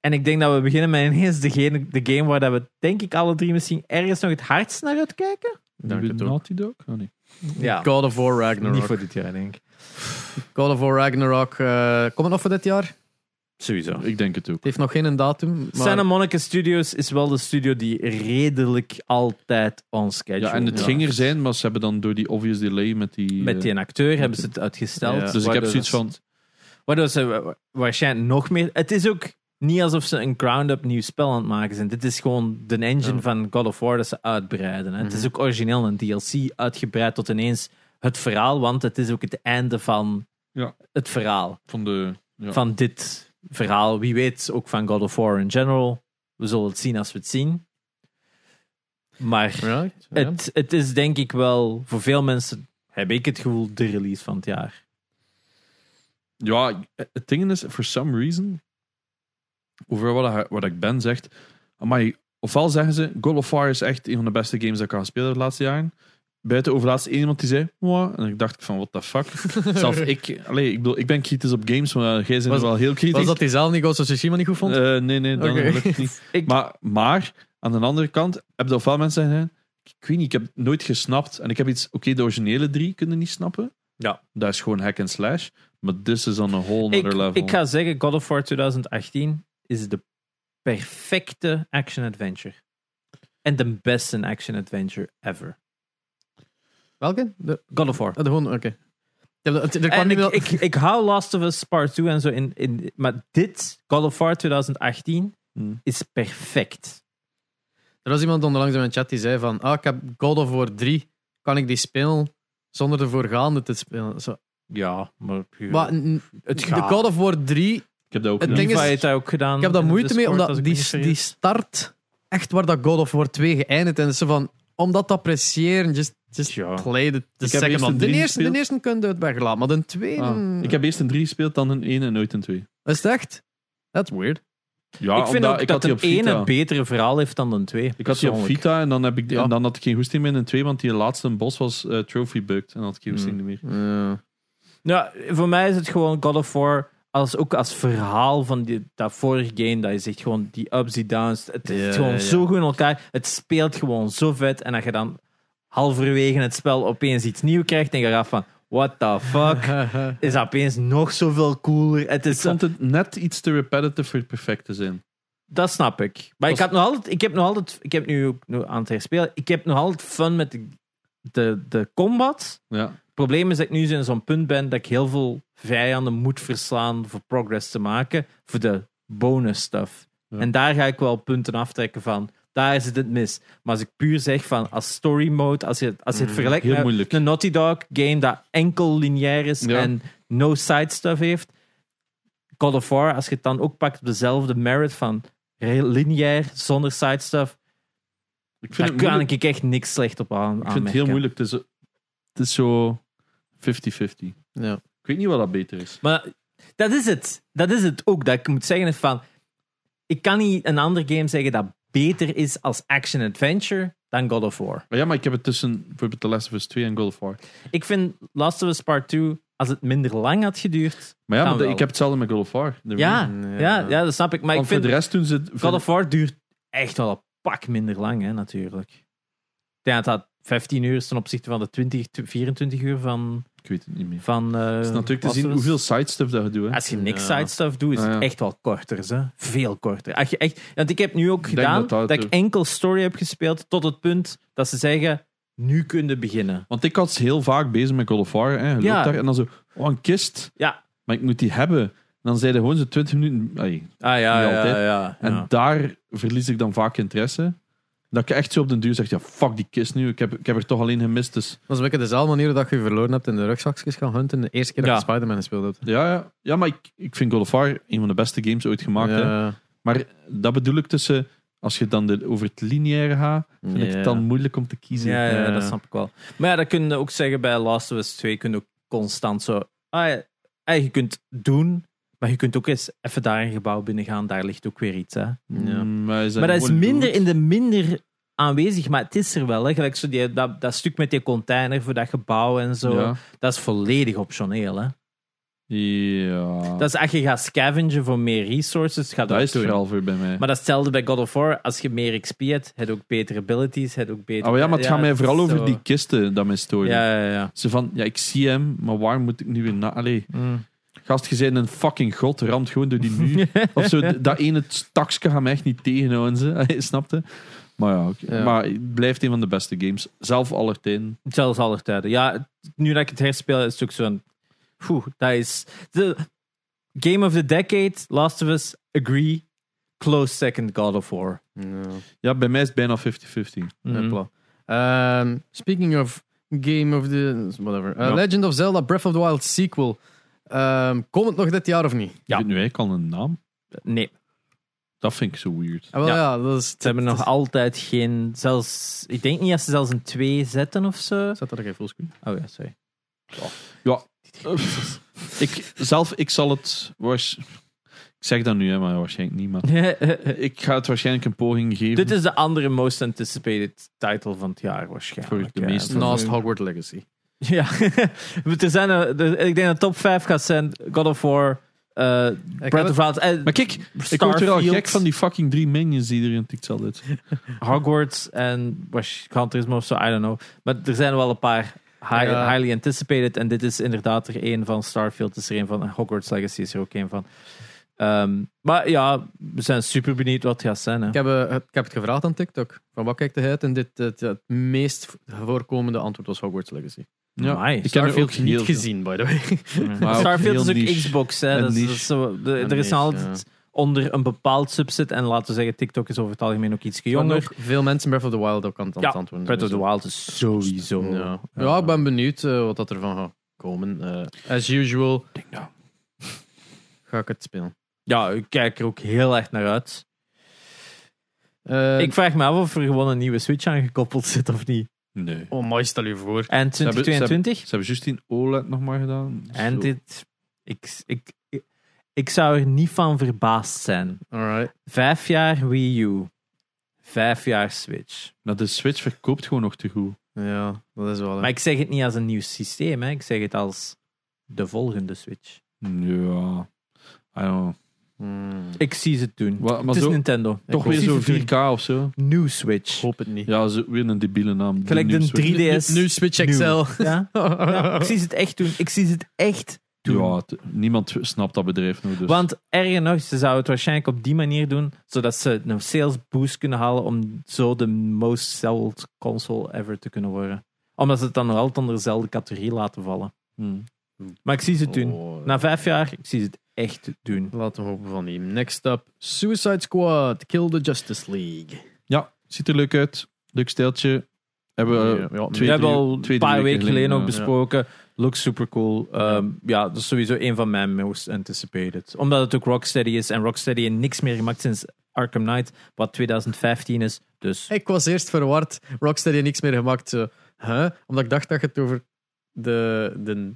En ik denk dat we beginnen met ineens degene, de game waar dat we denk ik alle drie misschien ergens nog het hardst naar uitkijken.
Dank
Nieuwe
je toch.
Naughty Dog? Oh, nee.
Ja,
God of War
niet
Ragnarok.
voor dit jaar denk ik.
God of War Ragnarok. eh, komt het nog voor dit jaar? Het
Sowieso.
Ik denk het ook.
heeft nog geen datum. Maar...
Santa Monica Studios is wel de studio die redelijk altijd on schedule
Ja, en het
is.
ging er zijn, maar ze hebben dan door die obvious delay met die...
Met
eh,
die acteur hebben ze het uitgesteld.
Ja.
Dus ik heb
waardoor
zoiets
dat-
van,
Waardoor ze wa- wa- waarschijnlijk nog meer. Het is ook niet alsof ze een ground-up nieuw spel aan het maken zijn. Dit is gewoon de engine
Ja.
van God of War dat ze uitbreiden. Hè. Het is ook origineel een DLC uitgebreid tot ineens het verhaal, want het is ook het einde van
Ja.
het verhaal.
van de... Ja.
Van dit verhaal. Wie weet ook van God of War in general. We zullen het zien als we het zien. Maar
Ja, ja.
het, het is denk ik wel voor veel mensen, heb ik het gevoel, de release van het jaar.
Ja, het ding is, for some reason, over wat, hij- wat ik ben zegt, amai, ofwel zeggen ze, God of War is echt een van de beste games dat ik kan spelen de laatste jaren. Buiten overlaatst één iemand die zei, "Mwah," en ik dacht van, what the fuck. Zelf ik, allee, ik, bedoel, ik ben kritisch op games, maar eh, jij bent
Was-
wel heel kritisch.
Was dat diezelfde die Ghost of Tsushima niet goed vond?
Eh, nee, nee, dan
Oké.
lukt het niet.
Ik-
Maar, maar, aan de andere kant, heb je ofwel mensen zeggen, ik weet niet, ik heb het nooit gesnapt. En ik heb iets, oké, de originele drie kunnen niet snappen.
Ja.
Dat is gewoon hack and slash. Maar this is on a whole
Ik,
nother level.
ik ga zeggen, God of War 2018 is de perfecte action-adventure. En de beste action-adventure ever.
Welke? De,
God of War.
ah, de gewoon, oké. Ja, dat- er kwam
En
niet
ik,
wel-
ik, ik hou Last of Us Part 2 en zo in, in. Maar dit, God of War 2018,
Hmm.
is perfect.
Er was iemand onderlangs in mijn chat die zei van, ah, ik heb God of War 3, kan ik die spelen zonder de voorgaande te spelen? Zo.
Ja, maar.
Maar n-
het
de God of War 3,
Ik heb dat ook
Het
niet.
ding is-
Levi heeft dat ook gedaan.
ik heb daar
in de
moeite mee,
Discord,
omdat
als ik
die,
me niet
die
vergis.
start echt waar dat God of War 2 geëindigd is. Zo van, om dat te appreciëren, just, just
Ja.
play the, the
heb
second
eerst
one.
een
De
drie
eerste, de
gespeeld.
eerste kun je het weglaten, maar de tweede...
Ah, Ik heb eerst een 3 gespeeld, dan een 1 en nooit een 2.
Is het echt? That's weird.
Ja,
ik vind
omdat
ook
ik had
dat
die op
de ene
Vita.
een betere verhaal heeft dan de twee.
Ik
Dus
had die op
persoonlijk.
Vita en dan, heb ik,
Ja.
en dan had ik geen goesting meer in een 2, want die laatste boss was eh, Trophy Bugged. En dan had ik geen goesting
Hmm.
meer.
Ja, voor mij is het gewoon God of War. Als, ook als verhaal van die, dat vorige game, dat je zegt gewoon die ups, die downs. Het
Ja,
is gewoon
ja.
zo goed in elkaar. Het speelt gewoon zo vet. En dat je dan halverwege het spel opeens iets nieuws krijgt. En je gaat van, what the
[laughs]
fuck? Is dat opeens nog zoveel cooler? Het
Ik
is,
vond het net iets te repetitive voor het perfect te zijn.
dat snap ik. Maar ik,
Was-
had nog altijd, ik heb nog altijd, ik heb nu ook nu aan het herspelen. Ik heb nog altijd fun met de, de, de combat.
Ja.
Het probleem is dat ik nu in zo'n punt ben dat ik heel veel vijanden moet verslaan voor progress te maken, voor de bonus stuff.
Ja.
En daar ga ik wel punten aftrekken van. Daar zit het mis. Maar als ik puur zeg van als story mode, als je, als je het vergelijkt
Mm, heel
met
moeilijk.
een Naughty Dog game dat enkel lineair is
Ja.
en no side stuff heeft, God of War, als je het dan ook pakt op dezelfde merit van heel lineair, zonder side stuff,
Ik vind
daar
het
kan
moeilijk.
ik echt niks slecht op aan.
Ik vind het heel moeilijk. Het is, het is zo 50-50.
Ja.
Ik weet niet wat dat beter is.
Maar dat is het. Dat is het ook. Dat ik moet zeggen is van... Ik kan niet een ander game zeggen dat beter is als action-adventure dan God of War.
Maar ja, maar ik heb het tussen bijvoorbeeld The Last of Us 2 en God of War.
Ik vind Last of Us Part 2, als het minder lang had geduurd...
Maar ja,
Dan
maar de-
wel.
ik heb hetzelfde met God of War. De remake.
Ja,
Ja.
ja, ja dat snap ik. Maar
Want
ik vind
voor de rest doen ze...
God of War duurt echt wel een pak minder lang, hè, natuurlijk. Ik denk dat dat 15 uur is ten opzichte van de 20, 24 uur van...
Ik weet het niet meer.
van eh,
Het is natuurlijk
Last
te zien
of Us.
hoeveel side stuff dat je doet. Hè.
Als je niks
Ja.
side stuff doet, is
Ah,
het
ja.
echt wel korter. Hè? Veel korter. Als je echt, want ik heb nu ook
denk
gedaan
dat
dat,
dat
ik
ook-
enkel story heb gespeeld tot het punt dat ze zeggen, nu kun je beginnen.
Want ik was heel vaak bezig met God of War. Hè. Je
Ja.
loopt daar en dan zo... Oh, een kist.
Ja.
Maar ik moet die hebben. En dan zeiden gewoon zo 20 minuten... Ai.
Ah
ja,
ja.
ja, En daar verlies ik dan vaak interesse. Dat ik echt zo op den duur zeg... Ja, fuck die kist nu. Ik heb, ik heb er toch alleen gemist. Dus
Dat is een beetje dezelfde manier dat je verloren hebt in de rugzakjes gaan hunten. De eerste keer dat
Ja.
je Spider-Man gespeeld hebt.
ja, ja. ja maar ik, ik vind God of War een van de beste games ooit gemaakt. Hè.
Ja.
Maar dat bedoel ik tussen... Als je dan de, over het lineaire gaat, vind ik
Ja.
het dan moeilijk om te kiezen.
Ja, ja,
Ja.
dat snap ik wel. Maar ja, dat kun je ook zeggen bij Last of Us 2. Kun je ook constant zo... Ah, ja, ah, je kunt doen, maar je kunt ook eens even daar een gebouw binnen gaan. Daar ligt ook weer iets, hè.
Ja.
Mm, Maar, is
Maar dat is
gewoon
minder
dood?
in de minder aanwezig, maar het is er wel. Hè. Gelijk zo die, dat, dat stuk met die container voor dat gebouw en zo.
Ja.
Dat is volledig optioneel. Hè.
ja.
Dat is als je gaat scavengen voor meer resources, gaat
Dat
dat
is
doen.
er al voor bij mij.
Maar dat is hetzelfde bij God of War. Als je meer XP hebt, heb je ook betere abilities, heb je ook betere...
oh ja, maar het gaat mij
het
vooral
is
over
zo.
die kisten dat mij stoorde.
Ja, ja, ja.
Ze van, ja, ik zie hem, maar waar moet ik nu weer na... Allee,
Hmm.
gast, je bent een fucking god, ramt gewoon door die muur. of zo, d- dat ene taksje gaat mij echt niet tegenhouden, ze. [laughs] Allee, snapte? Maar ja, oké.
Ja.
maar het blijft een van de beste games. Zelf aller tijden.
Zelfs alle tijden. Ja, nu dat ik het herspeel, is het ook zo'n... Poeh, dat is... De Game of the Decade, Last of Us, Agree, close second God of War.
Ja.
Ja, bij mij is het bijna 50-50.
Mhm.
Hopla. Ehm, speaking of Game of the... Whatever. Uh,
Ja.
Legend of Zelda Breath of the Wild sequel. Ehm komt het nog dit jaar of niet?
Ja.
Ik weet nu eigenlijk al een naam.
Nee,
Dat vind ik zo weird.
Ah, wel,
Ja.
ja. dat is...
ze hebben nog altijd geen... Zelfs, ik denk niet dat ze zelfs een 2 zetten of zo.
Zet dat er geen fullscreen?
Oh ja, [laughs] sorry.
ik, zelf, ik zal het... waars- Ik zeg dat nu, hè, maar waarschijnlijk niet. Maar ik ga het waarschijnlijk een poging geven.
Dit is de andere most anticipated title van het jaar waarschijnlijk.
Voor de
Ja,
meeste.
[laughs] voor-
Naast Hogwarts Legacy.
eh, Ja, Maar er zijn er, er- ik denk dat de top 5 gaat zijn God of War, eh Breath
het-
of the Wild, eh,
Maar kijk, ik word er al
Starfield.
gek van die fucking drie minions die iedereen tikt altijd.
Hogwarts en was Gran Turismo of zo, I don't know. Maar er zijn wel een paar high-
Ja.
highly anticipated. En dit is inderdaad er één van. Starfield is er één van. en Hogwarts Legacy is er ook één van. Ehm, maar ja, we zijn super benieuwd wat het gaat zijn. Hè.
Ik heb, eh, het, ik heb het gevraagd aan TikTok. Van wat kijkt hij uit? En dit, het, het meest voorkomende antwoord was Hogwarts Legacy.
Ja,
Amai.
ik heb er ook
Starfield niet
heel veel.
gezien, by the way.
Maar ook
Starfield is
heel
ook
niche.
Xbox. Hè.
En
Dat is, dat
niche.
is zo, de-
En
er is
niche,
altijd onder een bepaald subset. En laten we zeggen, TikTok is over het algemeen ook iets
[laughs] En
jonger.
ook veel mensen Breath of the Wild ook aan het aan
Ja,
het antwoorden.
Breath of the Wild is sowieso.
Ja, ja ik ben benieuwd eh, wat dat ervan gaat komen. Eh, as usual ga ik het spelen.
Ja, ik kijk er ook heel erg naar uit.
Eh,
ik vraag me af of er gewoon een nieuwe Switch aangekoppeld zit of niet.
Nee.
Oh, mooi, stel je voor.
En
hebben- ze hebben-
2022?
Ze hebben juist die OLED nog maar gedaan.
En
Zo.
dit... Ik, ik, ik, ik zou er niet van verbaasd zijn.
Alright.
Vijf jaar Wii U. Vijf jaar Switch.
Maar de Switch verkoopt gewoon nog te goed.
Ja, dat is wel. hè.
Maar ik zeg het niet als een nieuw systeem. Hè. Ik zeg het als de volgende Switch.
Ja. I don't know.
Hmm.
Ik zie ze doen.
Wa- maar
het is
zo-
Nintendo.
Toch
hoop-
weer zo'n
Ik zie ze
4K of zo.
doen. Nieuw
Ik
Switch.
hoop het niet.
Ja, zo, weer een debiele naam. De
Gelijk de
nieuwe Switch.
3DS.
Nu Switch XL.
[laughs]
Ja? Ja, ik zie ze het echt doen. Ik zie ze het echt doen.
Ja, het- niemand snapt dat bedrijf nog. Dus.
Want erger nog, ze zouden het waarschijnlijk op die manier doen, zodat ze een sales boost kunnen halen om zo de most sold console ever te kunnen worden. Omdat ze het dan nog altijd onder dezelfde categorie laten vallen.
Hmm.
Maar ik zie ze het doen.
Oh,
Na vijf jaar, ik zie ze het echt doen.
Laten we hopen van die. Next up, Suicide Squad, Kill the Justice League.
Ja, ziet er leuk uit. Leuk steltje. Hebben we
Ja, ja,
twee,
We
drie-
hebben al
twee,
een
drie
paar weken geleden ook
eh,
besproken. Looks super cool. Ehm, ja, dat is sowieso een van mijn most anticipated. Omdat het ook Rocksteady is en Rocksteady heeft niks meer gemaakt sinds Arkham Knight, wat 2015 is. Dus
Ik was eerst verward. Rockstar heeft niks meer gemaakt. Zo, huh? Omdat ik dacht dat je het over de, de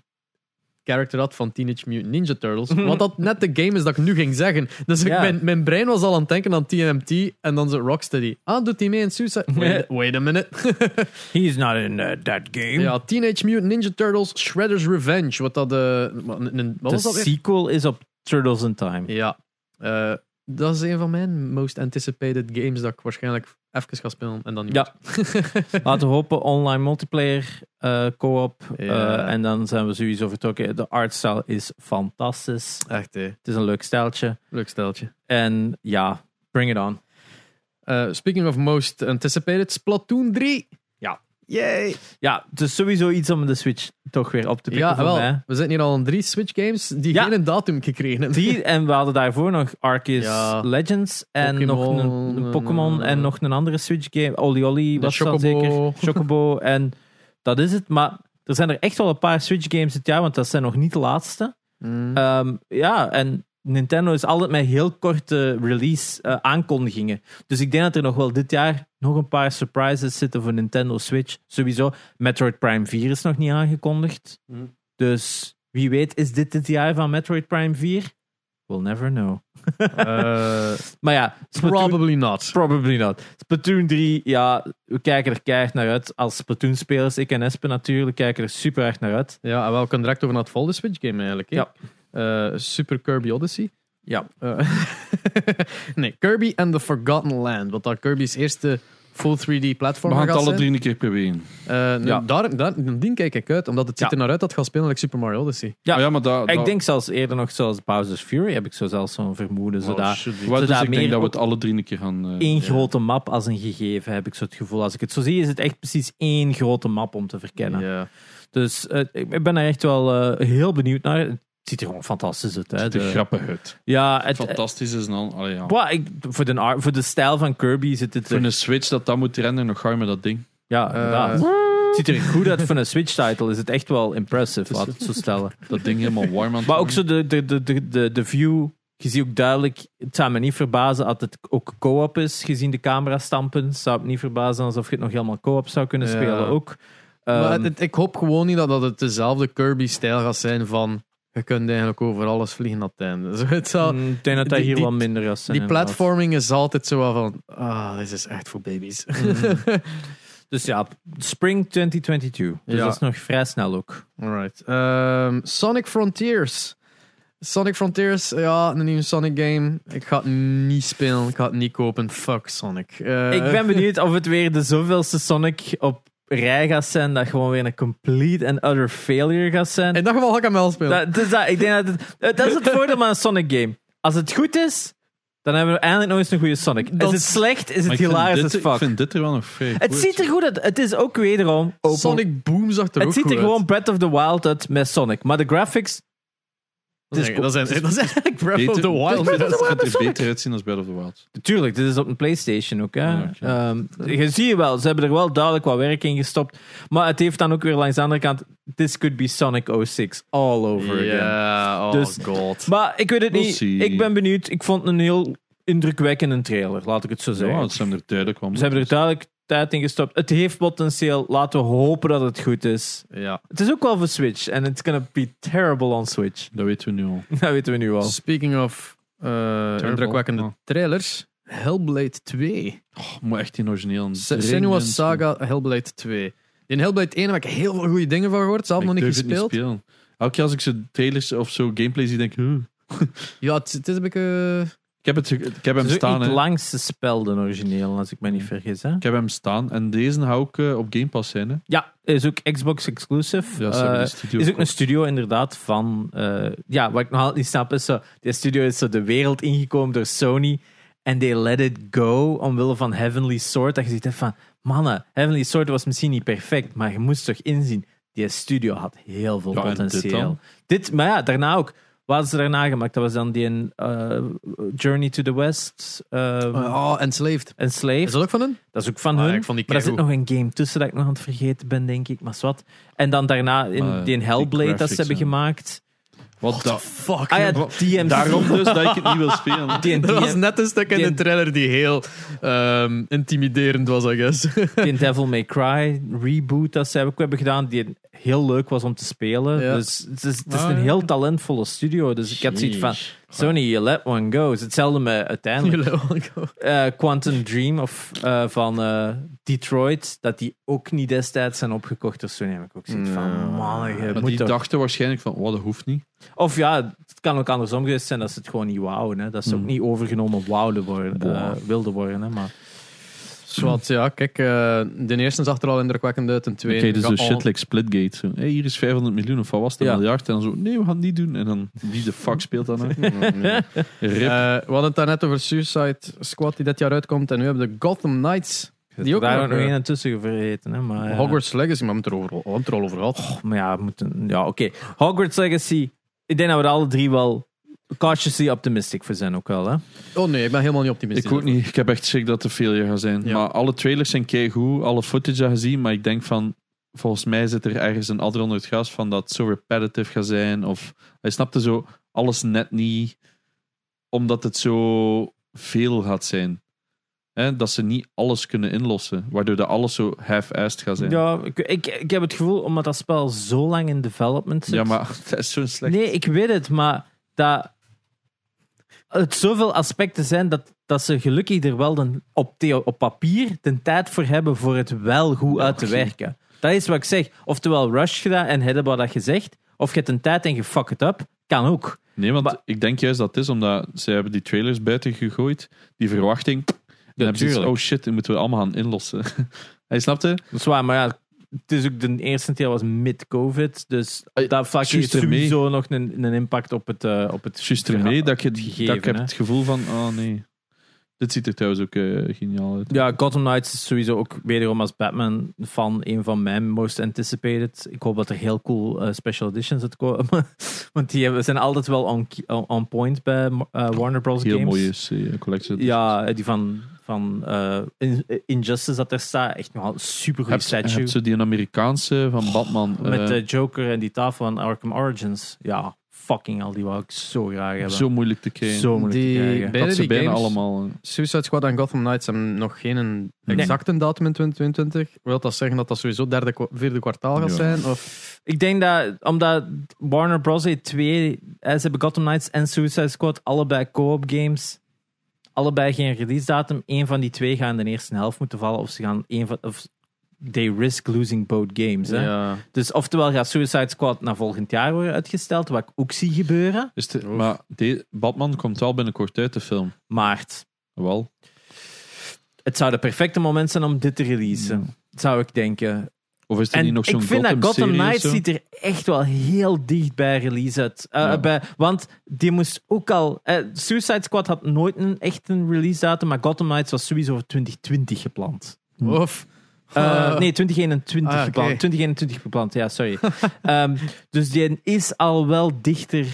character had van Teenage Mutant Ninja Turtles.
[laughs]
Wat dat net de game is dat ik nu ging zeggen. Dus ik-
Ja.
mijn, mijn brein was al aan het denken aan TMT en dan zo Rocksteady. Ah, doet hij mee in
[laughs]
Suicide? Wait, wait a minute.
he's not in eh, that game.
ja, Teenage Mutant Ninja Turtles Shredder's Revenge. Wat dat... eh, wat een- een- wat
De
was dat weer?
sequel is op Turtles in Time.
Ja. Eh, dat is een van mijn most anticipated games dat ik waarschijnlijk even ga spelen en dan niet
Ja. [laughs] Laten we hopen, online multiplayer, eh, co-op. eh,
Ja.
en dan zijn we sowieso vertrokken. De artstyle is fantastisch.
meer. Echt, hè.
Het is een leuk stijltje.
Leuk steltje.
En ja, bring it on.
Uh, speaking of most anticipated, Splatoon 3.
Ja.
Yay.
Ja, het is sowieso iets om de Switch toch weer op te pikken
Ja,
voor
wel.
mij.
We zitten hier al aan drie Switch games die
Ja.
geen datum gekregen hebben.
Die, en we hadden daarvoor nog Arceus
Ja.
Legends en
Pokémon,
nog een, een Pokémon
eh,
en nog een andere Switch game. Oli
[laughs]
Oli
De
was dat
Chocobo.
zeker. Chocobo. en dat is het. Maar er zijn er echt wel een paar Switch games dit jaar, want dat zijn nog niet de laatste. [laughs]
Mm.
Ehm, ja, en Nintendo is altijd met heel korte release eh, aankondigingen. Dus ik denk dat er nog wel dit jaar nog een paar surprises zitten voor Nintendo Switch. Sowieso, Metroid Prime 4 is nog niet aangekondigd.
Mm.
Dus wie weet is dit het jaar van Metroid Prime 4? We'll never know.
Eh,
Maar ja, Splatoon,
probably not.
probably not. Splatoon 3, ja, we kijken er keihard naar uit. Als Splatoon-spelers, ik en Espen natuurlijk, kijken er super hard naar uit.
Ja, en wel, we kunnen direct over naar het volgende Switch game eigenlijk. hè.
Ja.
Eh, Super Kirby Odyssey.
Ja.
Eh, [laughs] nee, Kirby and the Forgotten Land. Wat dat Kirby's eerste full 3D
We
platform
gaan
gaat
het alle
zijn.
drie een keer proberen.
Eh, nu,
Ja.
daar, daar, die kijk ik uit, omdat het ziet
Ja.
er naar uit dat het gaat spelen like Super Mario Odyssey.
Ja.
Ja, Oh ja maar dat,
Ik
dat-
denk zelfs eerder nog, zoals Bowser's Fury, heb ik zo zelfs zo'n vermoeden. Zodat
Wat, dus
zodat
ik denk
meer
dat we
op-
het alle drie een keer gaan... eh,
één grote map als een gegeven, heb ik zo het gevoel. Als ik het zo zie, is het echt precies één grote map om te verkennen.
Ja.
Dus eh, ik ik ben er echt wel eh, heel benieuwd naar. Het ziet er gewoon fantastisch uit. Hè?
Het ziet er
De-
grappig uit.
ja, het,
Fantastisch is dan... Allee, ja.
eh, boah, ik, voor, de, ar- voor de stijl van Kirby zit het
Voor
er...
een Switch dat dat moet rennen, nog ga je met dat ding.
Ja,
Eh.
inderdaad. Het ziet er goed uit voor een Switch-title. Is het echt wel impressive, laat het zo stellen.
Dat ding helemaal warm aan het
[laughs] Maar ook
worden.
zo de, de, de, de, de, de view. Je ziet ook duidelijk, het zou me niet verbazen dat het ook co-op is, gezien de camera stampen. Zou het niet verbazen alsof je het nog helemaal co-op zou kunnen
Ja.
spelen ook.
Maar
Ehm,
het- het- ik hoop gewoon niet dat, dat het dezelfde Kirby-stijl gaat zijn van je kunt eigenlijk over alles vliegen aan het einde. [laughs] Zo, het zal-
Mm, Ik denk dat dat
die-
hier
die-
wel minder is.
die platforming is altijd zo wel van, ah, dit is echt voor baby's.
Mm.
[laughs]
Dus ja, spring 2022. Dus
Ja.
dat is nog vrij snel ook.
Alright. Ehm, Sonic Frontiers. Sonic Frontiers, ja, een nieuwe Sonic game. Ik ga het niet spelen, ik ga het niet kopen. Fuck Sonic. Eh,
Ik ben benieuwd of het weer de zoveelste Sonic op rij gaat zijn dat gewoon weer een complete and utter failure gaat zijn.
In dat geval ga ik hem wel spelen.
Dat, dus dat, ik denk dat, het- eh, dat is het voordeel van een Sonic game. Als het goed is, dan hebben we eindelijk nog eens een goede Sonic.
Dat-
is het slecht, is
Maar
het
ik vind
hilarisch
dit-
as fuck.
Ik vind dit er wel nog vrij
Het
goed
ziet er goed uit. Het is ook wederom open.
Sonic Boom zag er ook
het ziet
goed
er
uit.
gewoon Breath of the Wild uit met Sonic. Maar de graphics...
Dat is,
het is-
dat is, dat is eigenlijk
[laughs]
Breath of
Beter-
the Wild. [laughs]
Het
Dat is-
gaat er beter uitzien als Battle of the Wild.
Tuurlijk, dit is op een PlayStation ook. Hè?
Ja, oké.
Ehm, je ziet wel, ze hebben er wel duidelijk wat werk in gestopt. Maar het heeft dan ook weer langs de andere kant. This could be Sonic 06 all over again.
Ja, oh
Dus-
god.
Maar ik weet het
We'll
niet.
see.
Ik ben benieuwd. Ik vond het een heel indrukwekkende trailer, laat ik het zo zeggen.
Ja, het zijn er duidelijk wel.
Ze hebben er duidelijk tijd in gestopt. Het heeft potentieel. Laten we hopen dat het goed is.
Ja.
Het is ook wel voor Switch. En it's gonna be terrible on Switch. [laughs]
Dat weten we nu al.
Dat weten we nu al.
Speaking of eh indrukwekkende
Oh.
trailers, Hellblade 2.
Oh, maar echt in origineel. een
Se- Senua
dringend-
Saga Hellblade 2. In Hellblade 1 heb ik heel veel goede dingen van gehoord, zelf
Ik
nog niet
durf het
gespeeld.
spelen. Elke keer als ik zo trailers of zo gameplay zie, denk ik... "Huh."
ja, het, het is een beetje.
Ik heb, het, ge- ik heb hem
Het is ook
staan.
niet
hè.
langs de spel, de origineel, als ik me niet vergis. Hè?
Ik heb hem staan. En deze hou ik eh, op Game Pass zijn. Hè.
Ja, is ook Xbox exclusive.
Ja, ze hebben
Eh,
die studio
is ook een
verkocht.
studio inderdaad van... eh, ja, wat ik nog altijd niet snap is, zo, die studio is zo de wereld ingekomen door Sony en they let it go omwille van Heavenly Sword. Dat je ziet hè, van, mannen, Heavenly Sword was misschien niet perfect, maar je moest toch inzien, die studio had heel veel
Ja, en dit
potentieel.
dan?
Dit, maar ja, daarna ook. Wat hadden ze daarna gemaakt? Dat was dan die eh, Journey to the West, en
eh, oh, Enslaved. Is
Enslaved.
dat ook van hun?
Dat is ook van
Ah,
hun.
ik vond die
maar er zit
keigoed.
nog een game tussen dat ik nog aan het vergeten ben, denk ik. Maar zwart. En dan daarna in
Maar,
die
die
Hellblade dat ze
graphics,
hebben
ja.
gemaakt.
Wat da-
Fuck.
Ah ja,
joh.
DMC.
Daarom dus dat ik het niet wil spelen. [laughs]
[laughs] Die,
er was
die,
net een stuk in
die-
de trailer die heel ehm, intimiderend was, I [laughs] guess.
die Devil May Cry reboot dat ze hebben- ook hebben gedaan, die heel leuk was om te spelen.
Ja.
Dus het is, het is
Ah,
een
ja.
heel talentvolle studio. Dus ik heb zoiets van,
Jeez.
Sony, you let one go. Het is hetzelfde met
[laughs]
uiteindelijk eh, Quantum Dream of, eh, van eh, Detroit, dat die ook niet destijds zijn opgekocht door Sony. Heb ik ook zoiets van, man, je
Maar
moet
die
toch-
dachten waarschijnlijk van, oh, dat hoeft niet.
Of ja, het kan ook andersom geweest zijn dat ze het gewoon niet wouden. Hè. Dat ze
Hmm.
ook niet overgenomen wouden worden, eh,
Boah.
wilden worden. Hè. Maar
Zwat, ja, kijk, eh, de eerste zag er al indrukwekkend uit, en
Oké,
tweede.
dus zo
ja,
shit like Splitgate. Zo. Hey, hier is 500 miljoen of wat was het, een
Ja.
miljard. En dan zo, nee, we gaan het niet doen. En dan, wie de fuck speelt dat [laughs] nou?
Eh,
Rip.
we hadden het daarnet over Suicide Squad die dit jaar uitkomt, en nu hebben we de Gotham Knights. Die ook
daar
nog,
nog
eh,
één en tussen vergeten. Hè. Maar, eh,
Hogwarts Legacy, maar we hebben het er, over- we hebben het er al over gehad.
Maar ja, we moeten, ja oké. Hogwarts Legacy. Ik denk dat we er alle drie wel cautiously optimistic voor zijn ook wel. Hè.
Oh nee, ik ben helemaal niet optimistisch.
Ik ook niet. Ik heb echt schrik dat er failure gaat zijn.
Ja.
Maar alle trailers zijn keigoed, alle footage dat gezien. Maar ik denk van, volgens mij zit er ergens een adder onder het gras van dat het zo repetitive gaat zijn. Of hij snapte zo alles net niet, omdat het zo veel gaat zijn. Hè, dat ze niet alles kunnen inlossen, waardoor dat alles zo half-assed gaat zijn.
Ja, ik, ik, ik heb het gevoel, omdat dat spel zo lang in development zit.
Ja, maar [laughs] dat is zo'n slecht.
Nee, ik weet het, maar dat het zoveel aspecten zijn dat, dat ze gelukkig er wel den, op, theo- op papier de tijd voor hebben voor het wel goed uit te werken. Dat is wat ik zeg. Oftewel Rush gedaan en Hedaba dat gezegd, of je hebt een tijd en je fuck het up, kan ook.
Nee, want
Maar-
ik denk juist dat het is omdat ze hebben die trailers buiten gegooid, die verwachting. En dan hebben ze zoiets,
tuurlijk.
oh shit, die moeten we allemaal gaan inlossen. [laughs] Hij snapte?
Dat is waar, maar ja, het is ook de eerste keer was mid-covid, dus
Ah,
op dat vlak heeft
juist ermee.
sowieso nog een, een impact op het... eh, op het
Juist ermee dat, ik,
gegeven,
dat ik heb
hè.
het gevoel van, oh nee. Dit ziet er trouwens ook eh, geniaal uit.
Ja, Gotham Knights is sowieso ook wederom als Batman van een van mijn most anticipated. Ik hoop dat er heel cool eh, special editions uitkomen. [laughs] Want die hebben- zijn altijd wel on, on point bij eh, Warner Bros.
Heel
games.
mooie eh, collectie.
Ja, eh, die van, van eh, In- Injustice dat er staat. Echt nog super goed
Dus heb je
statue.
hebt zo die een Amerikaanse van Batman.
Met
eh,
de Joker en die tafel van Arkham Origins. Ja, fucking al die wou ik zo graag hebben.
zo moeilijk te krijgen.
Zo moeilijk
Die-
te krijgen.
dat
Beide
ze
die
bijna
games-
allemaal. eh,
Suicide Squad en Gotham Knights hebben nog geen exacte datum in 2022. Wil dat zeggen dat dat sowieso derde, kwa- vierde kwartaal gaat
Ja.
zijn? Of
Ik denk dat omdat Warner Bros. heeft twee, eh, ze hebben Gotham Knights en Suicide Squad, allebei co-op games, allebei geen release datum. Eén van die twee gaat in de eerste helft moeten vallen, of ze gaan één van, of they risk losing both games. Hè?
Ja.
Dus oftewel gaat Suicide Squad naar volgend jaar worden uitgesteld, wat ik ook zie gebeuren.
Is het- maar de, Batman komt wel binnenkort uit, de film.
Maart.
Wel.
Het zou het perfecte moment zijn om dit te releasen. Zou ik denken.
Of is er niet
En
nog zo'n
ik vind dat Gotham
Gotham-serie of
Knights
zo?
ziet er echt wel heel dicht bij release uit. Eh,
Ja.
bij, want die moest ook al... eh, Suicide Squad had nooit een echt een release datum, maar Gotham Knights was sowieso voor 2020 gepland.
Of.
Eh,
Eh,
nee, 2021
Ah, oké.
gepland. 2021 gepland, ja, sorry. [laughs] Ehm, dus die is al wel dichter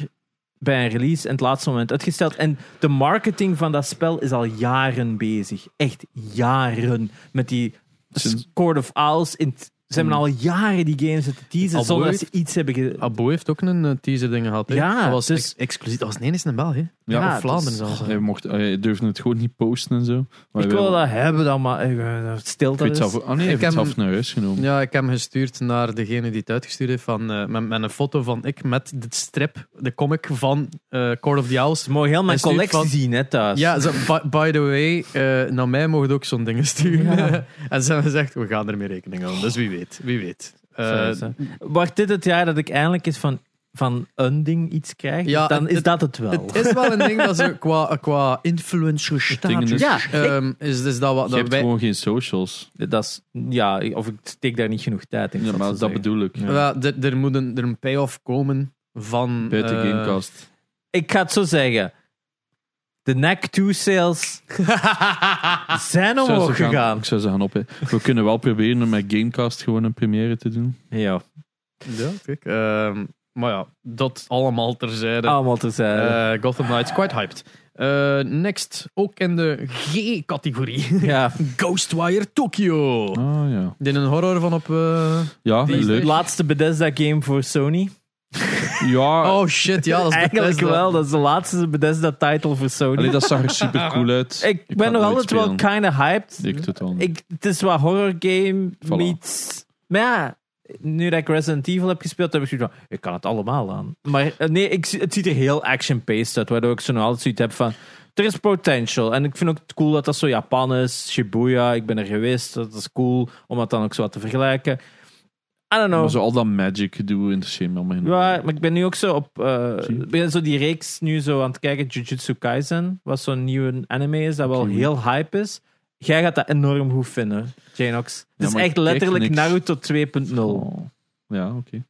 bij een release en het laatste moment uitgesteld. En de marketing van dat spel is al jaren bezig. Echt jaren. Met die
Sinds-
Court of Owls. In t- ze hebben al jaren die games te teasen
Hmm. Al
zonder dat
ooit?
ze iets hebben... ge-
Abo heeft ook een eh, teaser ding gehad. Hè?
Ja,
dat was
dus-
ex- exclusief. Dat was nee, is in België.
Ja,
Ja,
Ja,
of Vlaanderen
dus-
zelfs.
Hij, mocht, hij durfde het gewoon niet posten en zo. Maar
Ik
hij
wil dat hebben dan, maar eh, stil
Ik weet
dat
zelf,
is.
ook- ah nee, hij
Ik
heeft het
heb-
zelf naar huis genomen.
Ja, ik heb hem gestuurd naar degene die het uitgestuurd heeft van, eh, met, met een foto van ik met dit strip, de comic van eh Court of the Owls.
Ze mogen heel mijn
Hij stuurt
collectie
van-
zien, hè, thuis.
Ja, ze- by, by the way, eh, naar mij mogen ook zo'n dingen sturen.
Ja.
[laughs] en ze hebben gezegd, we gaan ermee rekening houden. Dus wie weet, wie weet. Eh,
Zo is dat. Wordt dit het jaar dat ik eindelijk eens van, van een ding iets krijg?
Ja,
dan
het-
is
het-
dat het wel.
het is wel een ding dat ze qua, qua influencer
ding is-
status...
ja, ik-
ehm, is dus dat wat
Je
dat
hebt
wij
gewoon geen socials.
eh, dat is, ja, of ik steek daar niet genoeg tijd in.
Ja, maar dat bedoel ik.
Ja. er, er moet een, er een payoff komen van...
Buiten
eh,
Gamecast.
Ik ga het zo zeggen. De NAC 2 sales
Ah,
zijn
Ik zou ze
omhoog
gaan-
gegaan.
Ik zou ze gaan op. We kunnen wel proberen om met Gamecast gewoon een première te doen.
Ja,
[laughs] Ja, kijk. Ehm, maar ja, dat allemaal terzijde.
allemaal te zeggen.
Eh, Gotham Knights, quite hyped. Eh, next, ook in de G-categorie. [laughs]
ja,
Ghostwire Tokyo.
Ah ja.
Dit een horror van op... eh,
Ja,
Die is
leuk.
echt-
laatste Bethesda game voor Sony.
Ja,
Oh shit, ja, dat is
Eigenlijk
Bethesda.
wel, dat is de laatste Bethesda title voor Sony.
allee, dat zag er super cool uit.
ik,
ga
ben
het
nog
nooit
altijd wel
spelen.
kinda hyped.
Ik totaal niet.
Ik, het is wat horror game
Voilà.
meets... Maar ja, nu dat ik Resident Evil heb gespeeld, heb ik zoiets van... Ik kan het allemaal aan. Maar eh, nee, ik, zie- het ziet er heel action-paced uit. Waardoor ik zo nog altijd zoiets heb van... Er is potential. En ik vind ook het cool dat dat zo Japan is. Shibuya, ik ben er geweest. Dat is cool. Om dat dan ook zo wat te vergelijken. I don't know.
Maar zo al dat magic doen interesseert me allemaal helemaal
Ja,
niet.
maar ik ben nu ook zo op. eh,
Zie.
ik ben zo die reeks nu zo aan het kijken. Jujutsu Kaisen. Wat zo'n nieuwe anime is. Dat wel
Oké.
heel hype is. Jij gaat dat enorm goed vinden, Janox. Het
Ja,
is
maar
echt
ik kijk
letterlijk
niks.
Naruto 2.0. [laughs]
Oh. Ja, oké.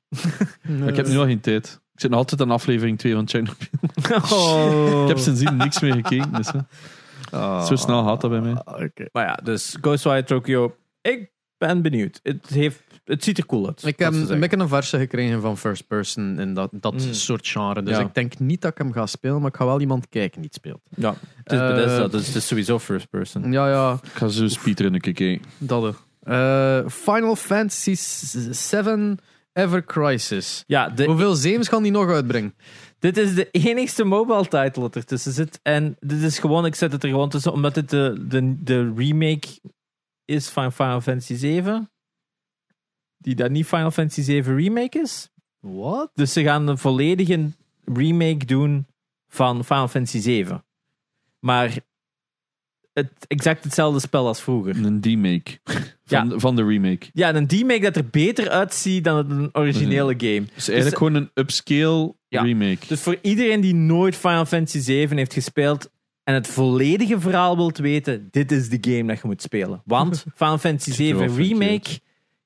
Maar Ik heb
Dus-
nu al geen tijd. Ik zit nog altijd aan aflevering 2 van Chernobyl.
Oh.
Ik heb sindsdien niks meer gekeken. Dus, hè. Zo snel gaat dat bij mij.
Ah, oké.
Maar ja, dus Ghostwire Tokyo. Ik ben benieuwd. Het, heeft, het ziet er cool uit.
Ik ehm,
dat
heb
ze
een
zeggen.
beetje een verse gekregen van first person in dat, dat
Mm.
soort genre. Dus
Ja.
ik denk niet dat ik hem ga spelen, maar ik ga wel iemand kijken die het speelt.
Ja, het is
Eh, mm.
Bethesda, dus het is sowieso first person.
Ja, ja.
Ik ga zo speedrun een keer kijken.
Dat er. Eh, Final Fantasy 7 Ever Crisis.
Ja, de
Hoeveel zeems gaan die nog uitbrengen?
Dit is de enigste mobile title dat ertussen zit. En dit is gewoon, ik zet het er gewoon tussen, omdat dit de, de, de remake is van Final Fantasy VII. Die dan niet Final Fantasy VII Remake is.
Wat?
Dus ze gaan een volledige remake doen van Final Fantasy VII. Maar het, exact hetzelfde spel als vroeger.
Een remake. Van, van de remake.
Ja, en een remake dat er beter uitziet dan het een originele game.
Dus eigenlijk gewoon een upscale
Ja.
remake.
Dus voor iedereen die nooit Final Fantasy 7 heeft gespeeld en het volledige verhaal wilt weten, dit is de game dat je moet spelen. Want
[laughs]
Final Fantasy
Ziet er wel
7
funky
Remake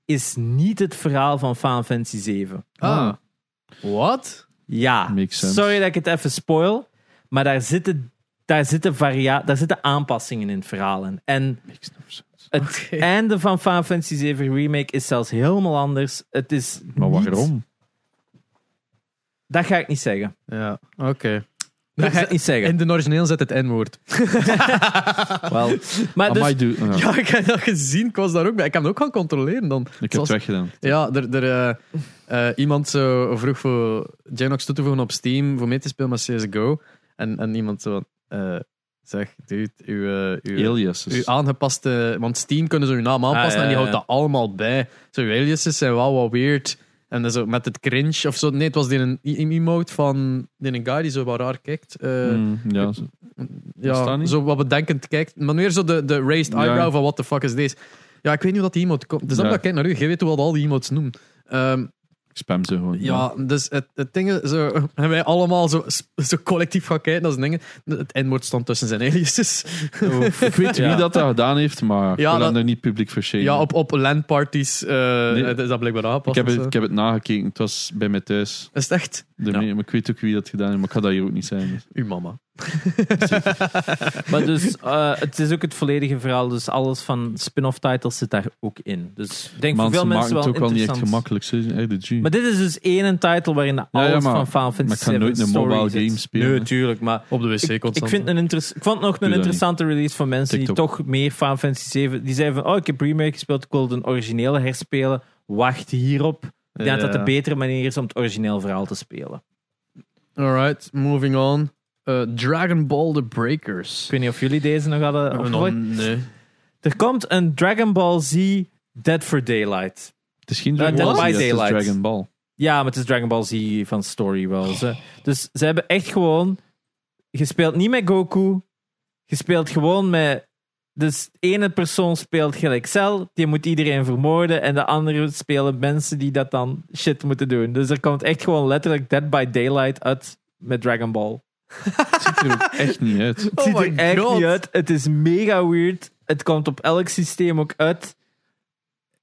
is niet het verhaal van Final Fantasy 7.
Ah. Wat?
Ja,
Makes sense.
sorry dat ik het even spoil, maar daar zitten, daar zitten, varia daar zitten aanpassingen in het verhaal in. En
Makes no sense.
het
Oké.
einde van Final Fantasy 7 Remake is zelfs helemaal anders. Het is
Maar
niet-
waarom?
dat ga ik niet zeggen.
Ja, oké.
Dat ga ik niet zeggen.
[laughs]
In de origineel zit het N-woord.
Wel, maar dus,
Amai, doe- ja,
[laughs] Ja, ik heb dat gezien. Ik was daar ook bij. Ik kan het ook gaan controleren dan.
Ik heb
Zoals-
het weggedaan.
Ja, er, er, eh, eh, iemand zo vroeg voor Genox toe te voegen op Steam voor mee te spelen met CSGO. En, en iemand zo eh, zeg, dude, uw, eh, uw, uw
Aliases.
aangepaste... Want Steam kunnen zo uw naam aanpassen
Ah, ja,
en die
ja,
houdt dat allemaal bij. Zo, uw aliases zijn wel wat weird. En dan zo met het cringe of zo. Nee, het was die een e- emote van die een guy die zo wat raar kijkt. Eh,
Mm, ja, zo- Is
ja,
dat niet?
zo wat bedenkend kijkt. Maar meer zo de, de raised
Ja.
eyebrow van what the fuck is this. Ja, ik weet niet hoe dat die emote komt. Dus dat
Ja.
dat ik kijk naar u. Jij weet hoe we al die emotes noemen. Ehm,
Ik spam ze gewoon.
ja, dus het, het ding is, zo, [laughs] en wij allemaal zo, zo collectief gaan kijken naar zijn dingen. Het N-woord stond tussen zijn aliases.
[laughs] Ik weet
Ja.
wie dat, dat gedaan heeft, maar ik
Ja,
wil dat
dat-
nu niet publiek verschenen.
Ja, op, op landparties eh,
Nee.
het is dat blijkbaar
ik,
aangepast.
heb
of
het,
zo.
ik heb het nagekeken, het was bij mij thuis.
Is het echt
De
Ja.
me- maar ik weet ook wie dat gedaan heeft, maar ik ga dat hier ook niet zijn. dus.
uw mama?
Maar dus, eh, het is ook het volledige verhaal. Dus alles van spin-off titles zit daar ook in. Dus ik denk
Maar
voor
ze
veel
maken
mensen
het
wel
ook wel niet echt
interessant.
gemakkelijk. Ze zijn echt de G.
Maar dit is dus één title waarin alles
ja, maar-
van Final
Maar ik
Fantasy
ga nooit
VII
een
story
mobile
zit.
game spelen.
Nee, tuurlijk, maar...
Op de wc
Ik, ik,
constant.
vind een interess- ik vond nog
dat
een
niet.
interessante release van mensen die
TikTok.
toch meer Final Fantasy 7... Die zeiden van, oh, ik heb remake gespeeld, ik wil de originele herspelen. Wacht hierop. Ik denk dat dat
Ja.
de betere manier is om het origineel verhaal te spelen.
Alright, moving on. Eh, Dragon Ball The Breakers.
Ik weet niet of jullie deze nog hadden
Eh,
opgevolgd.
nee.
Er komt een Dragon Ball Z Dead for Daylight.
het is geen
Dead
Dragon Ball,
by
Z, het is
Daylight.
Dragon Ball.
Ja, maar het is Dragon Ball Z van Story wel. Ze- Dus ze hebben echt gewoon gespeeld niet met Goku. Gespeeld gewoon met. Dus ene persoon speelt gelijk Cell, die moet iedereen vermoorden. En de andere spelen mensen die dat dan shit moeten doen. Dus er komt echt gewoon letterlijk Dead by Daylight uit met Dragon Ball.
Het ziet er ook echt niet
[laughs]
uit.
Het ziet er
Oh my
echt
God.
niet uit. Het is mega weird. Het komt op elk systeem ook uit.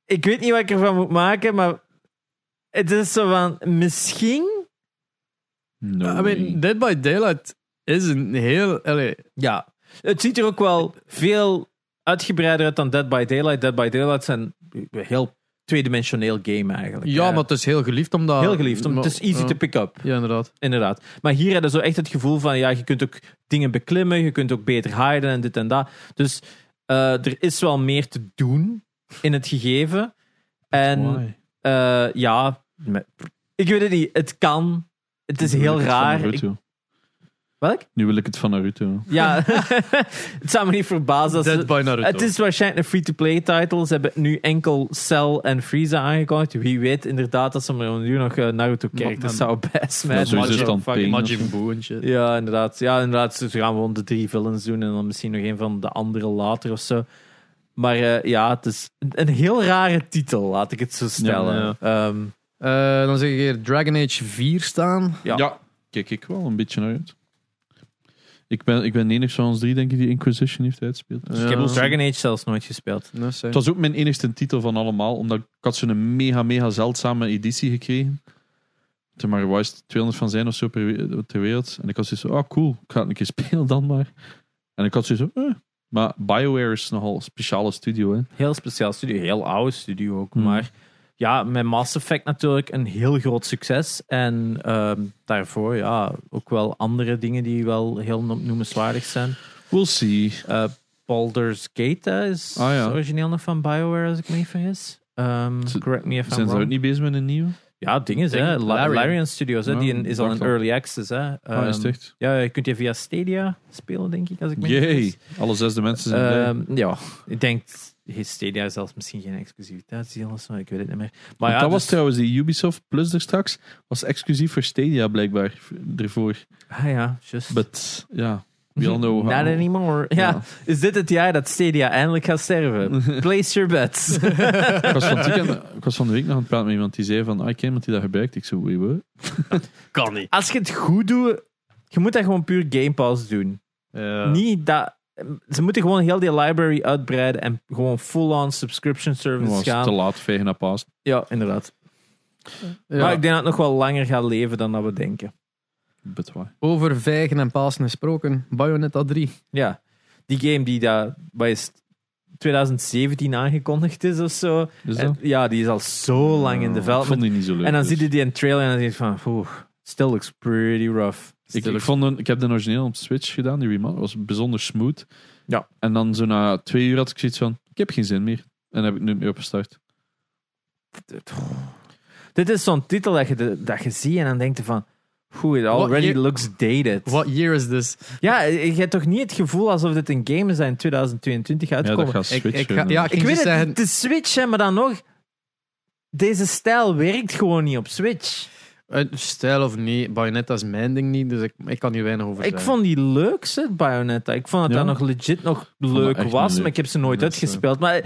Ik weet niet wat ik ervan moet maken, maar het is zo van misschien. Ah,
No
I mean,
way.
Dead by Daylight is een heel... allee,
Ja, het ziet er ook wel veel uitgebreider uit dan Dead by Daylight. Dead by Daylight zijn een heel tweedimensioneel game eigenlijk.
ja,
hè.
maar het is heel geliefd omdat...
heel geliefd. om- Het is easy
ja.
to pick up.
Ja, inderdaad.
inderdaad. Maar hier hadden ze zo echt het gevoel van, ja, je kunt ook dingen beklimmen, je kunt ook beter hiden en dit en dat. Dus eh, er is wel meer te doen in het gegeven. En
Why?
eh, ja, me- ik weet het niet, het kan. Het is
Nu wil
heel
ik het van
raar. Ik-
Naruto.
welk?
Nu wil ik het van Naruto.
Ja, [laughs] het zou me niet verbazen als ze-
Dead by Naruto.
Het is waarschijnlijk een free-to-play title. Ze hebben nu enkel Cell en Frieza aangekondigd. Wie weet inderdaad dat ze maar nu nog eh,
Maar-
Naruto-characters zou best
Ja,
met.
sowieso is het dan Pain of
Majin Buu en shit.
Ja, inderdaad. Ja, inderdaad. Ze gaan gewoon de drie villains doen en dan misschien nog een van de andere later of zo. Maar eh, ja, het is een- een heel rare titel, laat ik het zo stellen.
Ja,
Ehm,
Eh, dan zeg ik hier Dragon Age 4 staan.
Ja.
kijk ik wel een beetje naar uit. Ik ben, ik ben de enige van ons drie, denk ik, die Inquisition heeft uitspeeld.
Ja.
Ik heb Dragon Age zelfs nooit gespeeld.
No, sorry.
Het was ook mijn enigste titel van allemaal, omdat ik had zo'n mega, mega zeldzame editie gekregen. Er maar waar is het, 200 van zijn of zo per, we- ter wereld. En ik had zoiets van, ah cool, ik ga het een keer [laughs] spelen dan maar. En ik had zoiets van, eh. Maar BioWare is nogal een speciale studio, hè.
Heel speciaal studio, heel oude studio ook.
Hmm.
Maar ja, met Mass Effect natuurlijk een heel groot succes. En ehm, daarvoor ja, ook wel andere dingen die wel heel no- noemenswaardig zijn.
We'll see.
Eh Baldur's Gate hè, is
Ah, ja.
origineel nog van Bioware, als ik me niet vergis. Ehm,
Z-
correct me if I'm
Zijn ze
wrong.
ook niet bezig met een nieuwe?
Ja, het ding is, hè,
Denk-
La-
Larian.
Larian. Studios, hè,
Ja,
die in- is al
wacht
in
al.
early access. Hè.
ah, is het
Ehm,
echt?
ja, je kunt je via Stadia spelen, denk ik, als ik me niet
Yay!
vergis.
Alle zesde mensen zijn blij.
Ehm, ja, ik denk, heeft Stadia is zelfs misschien geen exclusiviteitsdeal of zo, ik weet het niet meer. Maar
Want
ja,
dat was
dus-
trouwens die Ubisoft Plus er straks. Was exclusief voor Stadia blijkbaar v- ervoor.
Ah ja, just.
But ja, we all
[laughs]
know
Not
how.
anymore. Ja.
Ja.
is dit het jaar dat Stadia eindelijk gaat
[laughs]
sterven? Place your bets.
Ik was, van het weekend- ik was van de week nog aan het praten met iemand die zei van, ah, ik ken iemand die dat gebruikt. Ik zo, wee, wat?
kan niet.
Als je het goed doet, je moet dat gewoon puur Game Pass doen.
Ja.
Niet dat. Ze moeten gewoon heel die library uitbreiden en gewoon full-on subscription
Het
service
was
gaan.
te laat, vegen naar paas.
Ja, inderdaad.
Ja.
Maar ik denk dat het nog wel langer gaat leven dan dat we denken.
But why?
Over vijgen en Pasen gesproken. Bayonetta 3.
Ja. Die game die daar wat is het, 2017 aangekondigd is of zo.
Dus
En-
dat?
ja, die is al zo Eh, lang in
Ik vond
development.
die niet zo leuk.
En dan
dus.
ziet je die in trailer en dan denk je van, oeh, still looks pretty rough.
Ik, ik, vond een, ik heb de origineel op Switch gedaan, die remake. was bijzonder smooth.
Ja.
En dan zo na twee uur had ik zoiets van, ik heb geen zin meer. En heb ik nu meer opgestart.
Dit is zo'n titel dat je, de- dat je ziet en dan denkt je van, oeh, it
Wat
already
je-
looks dated.
What year is this?
Ja, je hebt toch niet het gevoel alsof dit een game is dat in 2022
Ja,
uitkomt?
dat gaat
Ik,
Switch.
ik ga, ja, ik, ging
ik weet
juist
het,
zeggen,
de Switch, hè, maar dan nog... Deze stijl werkt gewoon niet op Switch.
eh, Stijl of niet, Bayonetta is mijn ding niet, dus ik, ik kan hier weinig over
Ik
zeggen.
vond die leukste Bayonetta. Ik vond dat
Ja?
dat nog legit nog
dat
leuk
echt
was,
leuk.
maar ik heb ze nooit
Dat is, eh,
uitgespeeld. Maar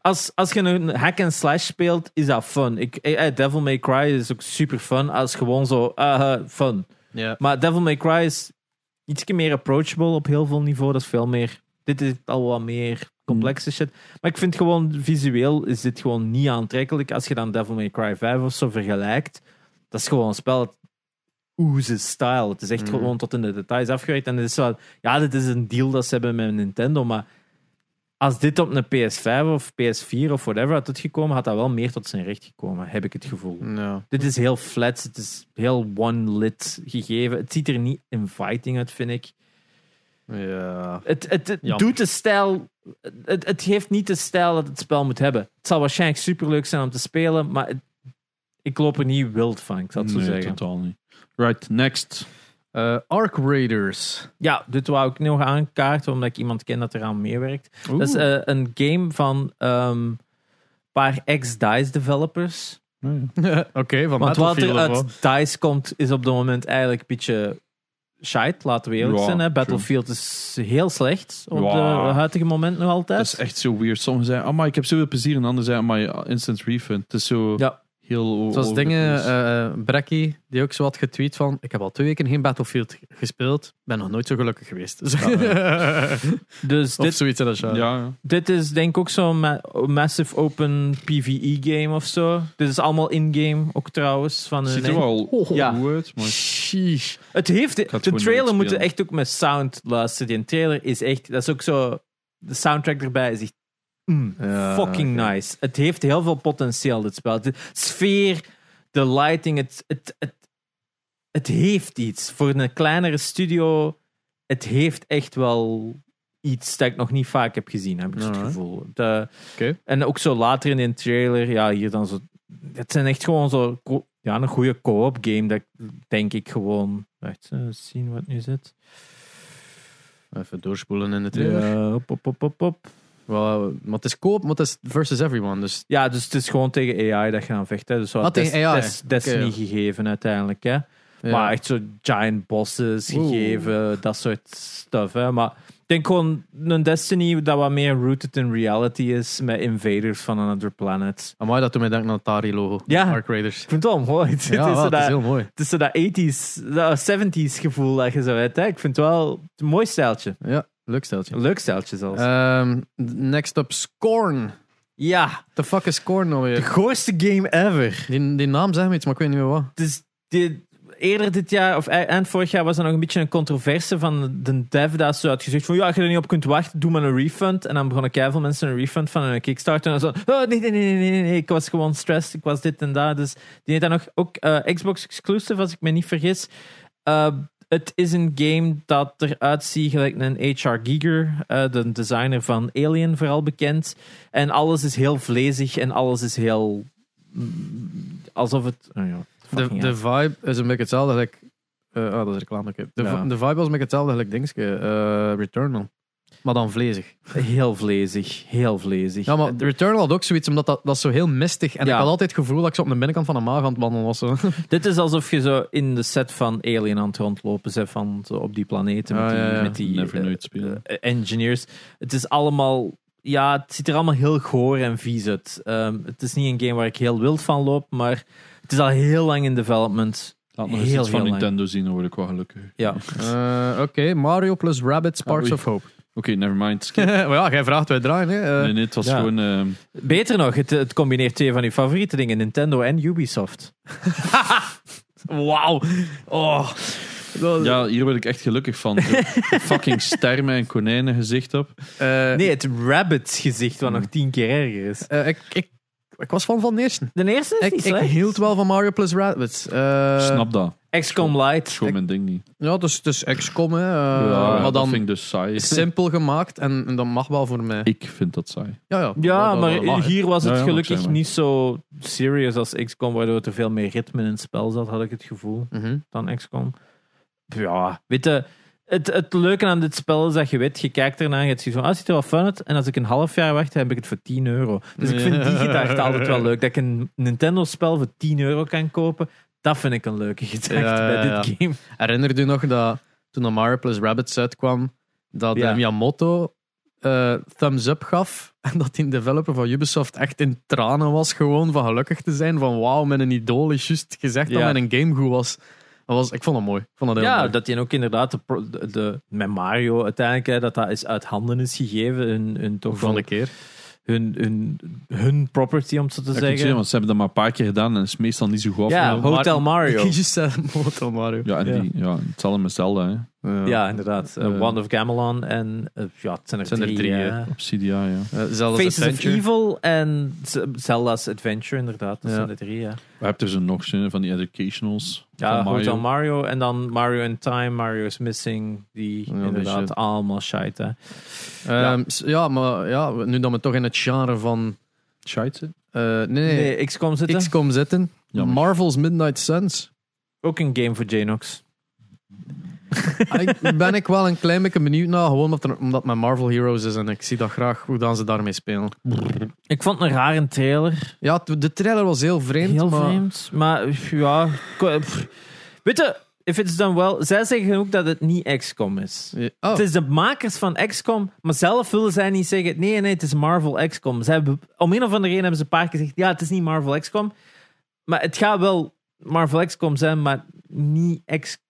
als, als je een hack and slash speelt, is dat fun. Ik, eh, eh, Devil May Cry is ook super fun als gewoon zo ah, eh, fun.
Ja.
Maar Devil May Cry is iets meer approachable op heel veel niveau. Dat is veel meer. Dit is al wat meer complexe shit. Maar ik vind gewoon visueel is dit gewoon niet aantrekkelijk. Als je dan Devil May Cry 5 of zo vergelijkt, dat is gewoon een spel. dat Oeze style. Het is echt
Mhm.
gewoon tot in de details afgewerkt. En het is wel, ja, dit is een deal dat ze hebben met Nintendo. Maar als dit op een PS5 of PS4 of whatever had het gekomen, had dat wel meer tot zijn recht gekomen, heb ik het gevoel.
Ja.
Dit is heel flats. Het is heel one-lit gegeven. Het ziet er niet inviting uit, vind ik.
ja.
Het, het, het
Jammer.
doet de stijl... Het, het heeft niet de stijl dat het spel moet hebben. Het zal waarschijnlijk superleuk zijn om te spelen, maar het- ik loop er niet wild van, ik zal het zo
nee,
zeggen.
totaal niet. Right, next.
Eh, Arc Raiders. [laughs]
Ja, dit wou ik nog aankaarten, omdat ik iemand ken dat eraan meewerkt.
Oeh.
Dat is eh, een game van ehm, een paar ex-DICE developers.
nou
Oké, van
Want wat er
Battlefield of
uit
wat?
DICE komt, is op dit moment eigenlijk een beetje shite, laten we eerlijk
Ja,
zijn. Hè?
true.
Battlefield is heel slecht op
Ja.
de huidige moment nog altijd.
Dat is echt zo weird. Sommigen zeiden, maar ik heb zoveel plezier. En anderen zeiden, maar instant refund. Het is zo
Ja.
heel... o-
Zoals
over the
dingen,
place.
eh Brekkie, die ook zo had getweet van ik heb al twee weken geen Battlefield gespeeld, ben nog nooit zo gelukkig geweest. [laughs]
Dus
of
dit,
zoiets in dat genre.
ja, ja.
dit is denk ik ook zo'n ma- massive open PvE-game of zo. Dit is allemaal in-game ook trouwens. Van
ziet
een-
er wel
Oh,
goed
ja.
uit, maar...
Sheesh.
Het heeft,
ga het
de
gewoon
trailer
nooit
moet je
spelen.
echt ook met sound luisteren. Die trailer is echt, dat is ook zo. De soundtrack erbij is echt mm,
Ja,
fucking
Ah, oké.
nice. Het heeft heel veel potentieel, dit spel. De sfeer, de lighting, het, het, het, het heeft iets. Voor een kleinere studio, het heeft echt wel iets dat ik nog niet vaak heb gezien, heb ik zo het
Alright.
gevoel. De-
Oké.
En ook zo later in de trailer, ja, hier dan zo. Het zijn echt gewoon zo. co- Ja, een goede co-op game, dat denk ik gewoon. Wacht, eh, eens zien wat nu zit.
Even doorspoelen in de trailer.
Ja, op, op, op, op, op.
Wel, maar het is koop, maar het is versus everyone. Dus
ja, dus het is gewoon tegen AI dat je aan vechten. hè. Dus zo
Ah, tegen
Des-
AI.
Des- Destiny
Oké.
gegeven uiteindelijk. Hè.
ja.
Maar echt zo giant bosses
Oeh.
gegeven, dat soort stuff. Hè. Maar ik denk gewoon een Destiny dat wat meer rooted in reality is met invaders van another planet.
Amai, dat doet mij denken aan het Atari-logo.
Ja.
Arc [laughs] Raiders.
Ik vind het wel mooi. [laughs] Het
Ja,
is
wel,
zo
het is
dat,
heel mooi.
het is zo dat 80s, dat 70s gevoel dat je zo hebt. Hè. Ik vind het wel een mooi stijltje.
Ja, leuk steltje.
Een leuk stijltje zelfs.
Ehm, next up, Scorn.
ja,
The fuck is Scorn nou
de
weer?
goorste game ever.
Die, die naam zegt me iets, maar ik weet niet meer wat.
Dus dit, eerder dit jaar, of e- eind vorig jaar, was er nog een beetje een controverse van de dev dat zo had gezegd van, ja, als je er niet op kunt wachten, doe maar een refund. En dan begonnen keiveel mensen een refund van een Kickstarter. En dan zo, oh, nee, nee, nee, nee, nee, nee, ik was gewoon stressed, ik was dit en dat. Dus die heeft dan nog, ook eh, Xbox exclusive, als ik me niet vergis. Eh, het is een game dat eruit ziet gelijk een H.R. Giger, eh, de designer van Alien, vooral bekend. En alles is heel vlezig en alles is heel... mm, alsof het... oh ja,
De,
fucking
de vibe is een beetje hetzelfde. Like, eh, ah, dat is reclame. oké. De,
Ja.
de vibe was een beetje hetzelfde. Like, dingetje, eh, Returnal. Maar dan vlezig.
Heel vlezig, heel vlezig. Eh,
Ja, maar Returnal had ook zoiets, omdat dat, dat is zo heel mistig. En
Ja.
ik had altijd het gevoel dat ik zo op de binnenkant van een maag aan het wandelen was. Zo.
Dit is alsof je zo in de set van Alien aan het rondlopen bent van zo op die planeten met
Ah,
die,
ja, ja.
met die
Never
eh,
nooit spelen.
eh, engineers. Het is allemaal, ja, het ziet er allemaal heel goor en vies uit. Ehm, het is niet een game waar ik heel wild van loop, maar het is al heel lang in development.
Laat nog eens
Heel,
iets van
heel lang.
Nintendo zien, dan word ik wel gelukkig. Oké,
Ja,
Eh, Oké, Mario plus Rabbit Sparks
Ah,
of Hope. [laughs]
never mind.
[laughs]
Skip.
maar ja, jij vraagt, wij draaien. Hè. Eh,
Nee, nee, het was
Ja.
gewoon... ehm,
beter nog, het, het combineert twee van je favoriete dingen, Nintendo en Ubisoft. [laughs] Wauw. Oh. Dat-
ja, hier word ik echt gelukkig van.
[laughs]
fucking sterren en konijnen gezicht op.
eh,
Nee, het rabbit gezicht, wat nog tien keer erger is.
eh, ik, ik, ik was fan van de eerste.
De eerste is
Ik,
niet
ik
slecht.
hield wel van Mario plus Rabbits. Eh,
Snap dat. Dat
XCOM
is
Light.
gewoon mijn ding niet.
Ja, dus, dus XCOM, hè. eh,
Ja,
maar
dat
dan
vind ik dus saai.
simpel gemaakt. En, en dat mag wel voor mij.
[laughs] Ik vind dat saai.
Ja, ja,
Ja,
dat- dat- dat
maar
mag, hè.
hier was het
Ja, ja,
gelukkig
mag zijn, maar.
niet zo serious als XCOM, waardoor er veel meer ritme in het spel zat, had ik het gevoel,
Mhm.
dan XCOM. Ja, weet je, het, het leuke aan dit spel is dat je weet, je kijkt ernaar en je hebt zoiets van, ah, ziet er wel fun uit, en als ik een half jaar wacht, heb ik het voor 10 euro. Dus ik vind die gedachte altijd wel leuk, dat ik een Nintendo-spel voor 10 euro kan kopen, dat vind ik een leuke gedachte
Ja, ja,
bij dit
ja.
game.
Herinner je nog dat toen dat Mario plus Rabbits uitkwam, dat
Ja.
eh, Miyamoto eh, thumbs up gaf. [laughs] En dat die developer van Ubisoft echt in tranen was, gewoon van gelukkig te zijn. Van wauw, mijn idool is juist gezegd
Ja.
dat mijn game goed was. Dat was. Ik vond dat mooi. Ik vond dat heel
ja,
mooi.
dat die ook inderdaad de, pro- de, de- met Mario uiteindelijk, hè, dat dat is uit handen is gegeven. Hun, hun, toch
van
wel
de keer.
hun, hun, hun property, om het zo te
Dat kan ik zeggen,
zeggen.
want ze hebben dat maar een paar keer gedaan en het is meestal niet zo goed
Ja,
afgelopen.
Hotel
[laughs]
Mario.
Ik just said Motel Mario.
Ja, en
Ja.
Die, ja, hetzelfde met Zelda, hè.
[laughs] Ja, inderdaad. Eh,
Eh,
Wand of Gamelon en eh, ja, het zijn er
zijn er
drie.
drie,
hè.
hè.
Obsidia, ja.
Eh, Zelda's
Faces
Adventure.
of Evil en Z- Zelda's Adventure, inderdaad. Dat
Ja.
zijn de drie, ja.
We hebben er zo nog zin van die educationals.
Ja,
van Mario.
Hotel Mario en dan Mario in Time, Mario's Missing, die
die
inderdaad
shit.
allemaal shite. hè.
Ehm, s- ja. maar ja, nu dat we toch in het genre van...
Scheitse.
eh, nee, nee,
Nee, XCOM zitten.
XCOM zitten.
Jammer.
Marvel's Midnight Suns.
Ook een game voor Janox.
ik ben ik wel een klein beetje benieuwd naar, gewoon omdat, er, omdat mijn Marvel Heroes is en ik zie dat graag hoe dan ze daarmee spelen.
Ik vond het een rare trailer.
Ja, t- de trailer was heel vreemd,
Heel
maar
vreemd. Maar ja, ko- pff. weet je, if it's done well, zij zeggen ook dat het niet XCOM is.
Ja, oh,
Het is de makers van XCOM, maar zelf willen zij niet zeggen: nee, nee, het is Marvel XCOM. Ze hebben, om een of andere reden hebben ze een paar keer gezegd: ja, het is niet Marvel XCOM. Maar het gaat wel Marvel XCOM zijn, maar niet X.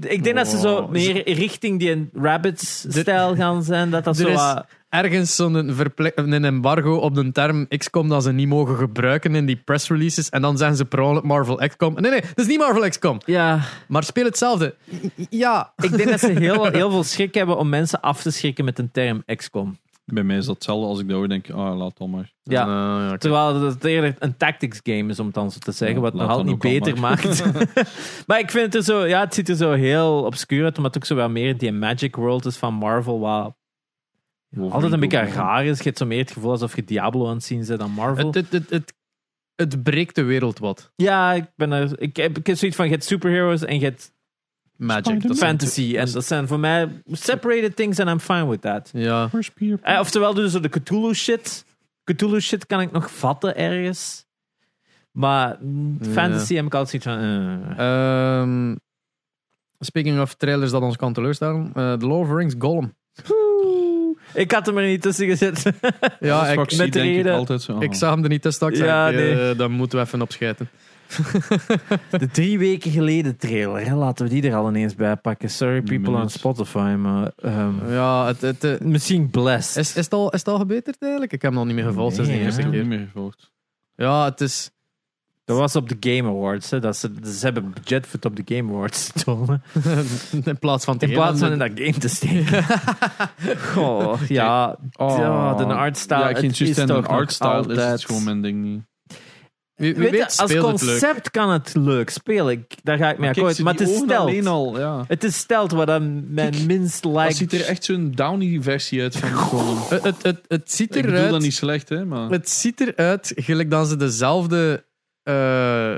Ik denk dat ze zo
Oh,
meer richting die Rabbits-stijl gaan zijn. Dat dat
dus er
zo.
is-
wat-
ergens zo'n verple- een embargo op de term XCOM dat ze niet mogen gebruiken in die press releases. En dan zeggen ze per ongeluk Marvel XCOM. Nee, nee, dat is niet Marvel XCOM.
ja,
Maar speel hetzelfde. Ja.
ik denk dat ze heel, heel veel schrik hebben om mensen af te schrikken met een term XCOM.
Bij mij is dat hetzelfde als ik dat hoor, denk ik, ah, laat al maar.
Ja.
Eh, ja,
Terwijl het eerder een tactics game is, om het dan zo te zeggen.
Ja,
wat het nog
laat
altijd niet
dan ook al
beter maakt.
[laughs]
[laughs] maar ik vind het er zo... Ja, het ziet er zo heel obscuur uit. Omdat het ook zo wel meer die Magic World is van Marvel. Wat altijd een beetje raar is. Je hebt zo meer het gevoel alsof je Diablo aan het zien bent dan Marvel.
Het, het, het, het, het breekt de wereld wat.
ja, ik ben er... Ik heb, ik heb zoiets van, je hebt superheroes en je hebt
Magic. dat zijn-
fantasy. En dat zijn voor mij separated things and I'm fine with that.
Ja.
Eh, oftewel, dus zo de Cthulhu shit. Cthulhu shit kan ik nog vatten ergens. Maar mm,
Ja.
fantasy heb ik altijd zoiets van... eh.
Ehm, speaking of trailers dat ons kan teleurstellen. eh The Lord of the Rings Gollum.
Ik had hem er niet tussen gezet.
Ja, ik,
met de
denk ik
reden-
altijd zo. ah.
ik zag hem er niet tussen. dat Ik
Ja,
ja,
nee.
dan Eh, moeten we even opschijten.
[laughs] De drie weken geleden trailer, hè? laten we die er al ineens bij pakken. Sorry people on
Minuut.
Spotify, maar... ehm,
Ja, het, het, eh,
misschien Blessed.
is, is, het al, is het al gebeterd eigenlijk? Ik heb hem nog niet meer gevolgd sinds
Nee,
de
Ik
eerste
heb
keer.
niet meer gevolgd.
Ja, het is... [laughs]
Dat was op de Game Awards. Hè? Dat ze, ze hebben budget voor het op de Game Awards te tonen.
in plaats van... te
In plaats van in
gaan-
dat game te steken.
[laughs]
Goh, ja. Ja, de
Ah,
artstyle,
oh. Ja, ik
het
ging
is
juist zeggen,
toch
de
nog
artstyle is
altijd-
het gewoon mijn ding niet.
Wie, wie
Weet je,
weet,
als
speelt het leuk.
concept kan het leuk spelen. Ik- Daar ga ik mee
kijk,
akkoord.
ze
Maar het
die
is
ogen
stelt.
alleen al, ja.
Het is stelt wat dan mijn
Kijk,
minst
Dat
lijkt.
ziet er echt zo'n downy versie uit van Gollum.
Het, het, het, het ziet
Ik bedoel dat
eruit...
niet slecht, hè, maar...
Het ziet eruit gelijk dat ze dezelfde eh,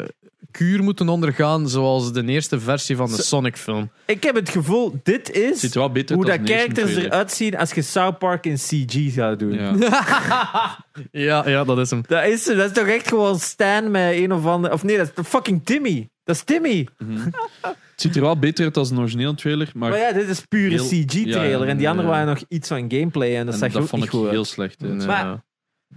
kuur moeten ondergaan zoals de eerste versie van de
Ze-
Sonic-film.
Ik heb het gevoel, dit
Het ziet
is
er wel beter
hoe
uit
dat
als de eerste
characters
trailer.
eruit zien als je South Park in CG zou doen.
Ja.
[laughs]
Ja, ja, dat is hem.
Dat, is, dat is toch echt gewoon Stan met een of ander... Of nee, dat is toch fucking Timmy. Dat is Timmy.
Het ziet er wel beter uit als een origineel trailer, maar,
Maar ja, dit is pure
Heel-
CG-trailer.
ja, ja,
en die andere
ja.
waren nog iets van gameplay. En dat
en
zag je ook
vond
niet
ik
goed.
heel slecht. uit.
Ja.
Maar-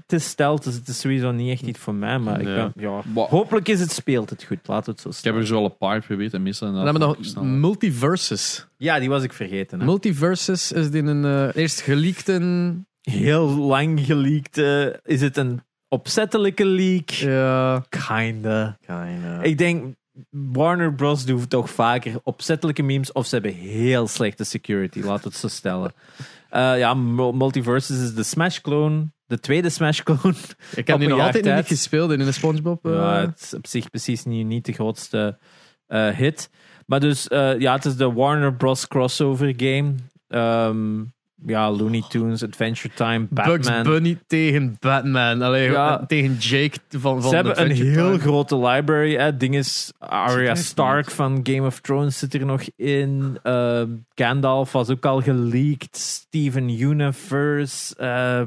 Het is stelt, dus het is sowieso niet echt iets voor mij. Maar ik
Ja.
ben- ja.
Wa-
hopelijk is het speelt het goed. Laat het zo
Ik heb
staan.
er zo wel een paar geprobeerd en meestal...
Dan hebben we nog Multiverses.
Ja, die was ik vergeten. hè.
Multiverses is die een eh, eerst geleakte...
Heel lang geleakt. eh, is het een opzettelijke leak?
Ja,
Kinda. Ik denk, Warner Bros. doen toch vaker opzettelijke memes of ze hebben heel slechte security, laat het zo stellen. [laughs] Eh, ja, Mul- Multiverses is de Smash-clone, de tweede Smash-clone.
ik
Op
heb
een
die nog
jaar
altijd
tijd.
niet gespeeld in de Spongebob. eh.
Ja, het is op zich precies niet, niet de grootste eh, hit. Maar dus, eh, ja, het is de Warner Bros. crossover game. Ehm, ja, Looney Tunes, Adventure Time,
Bugs
Batman.
Bunny tegen Batman. Allee,
Ja.
eh, tegen Jake van, van
Ze hebben een
Adventure
heel
Time.
grote library. Hè. Ding is, Arya
echt
Stark van Game of Thrones zit er nog in. Eh, Gandalf was ook al geleakt. Steven Universe. eh,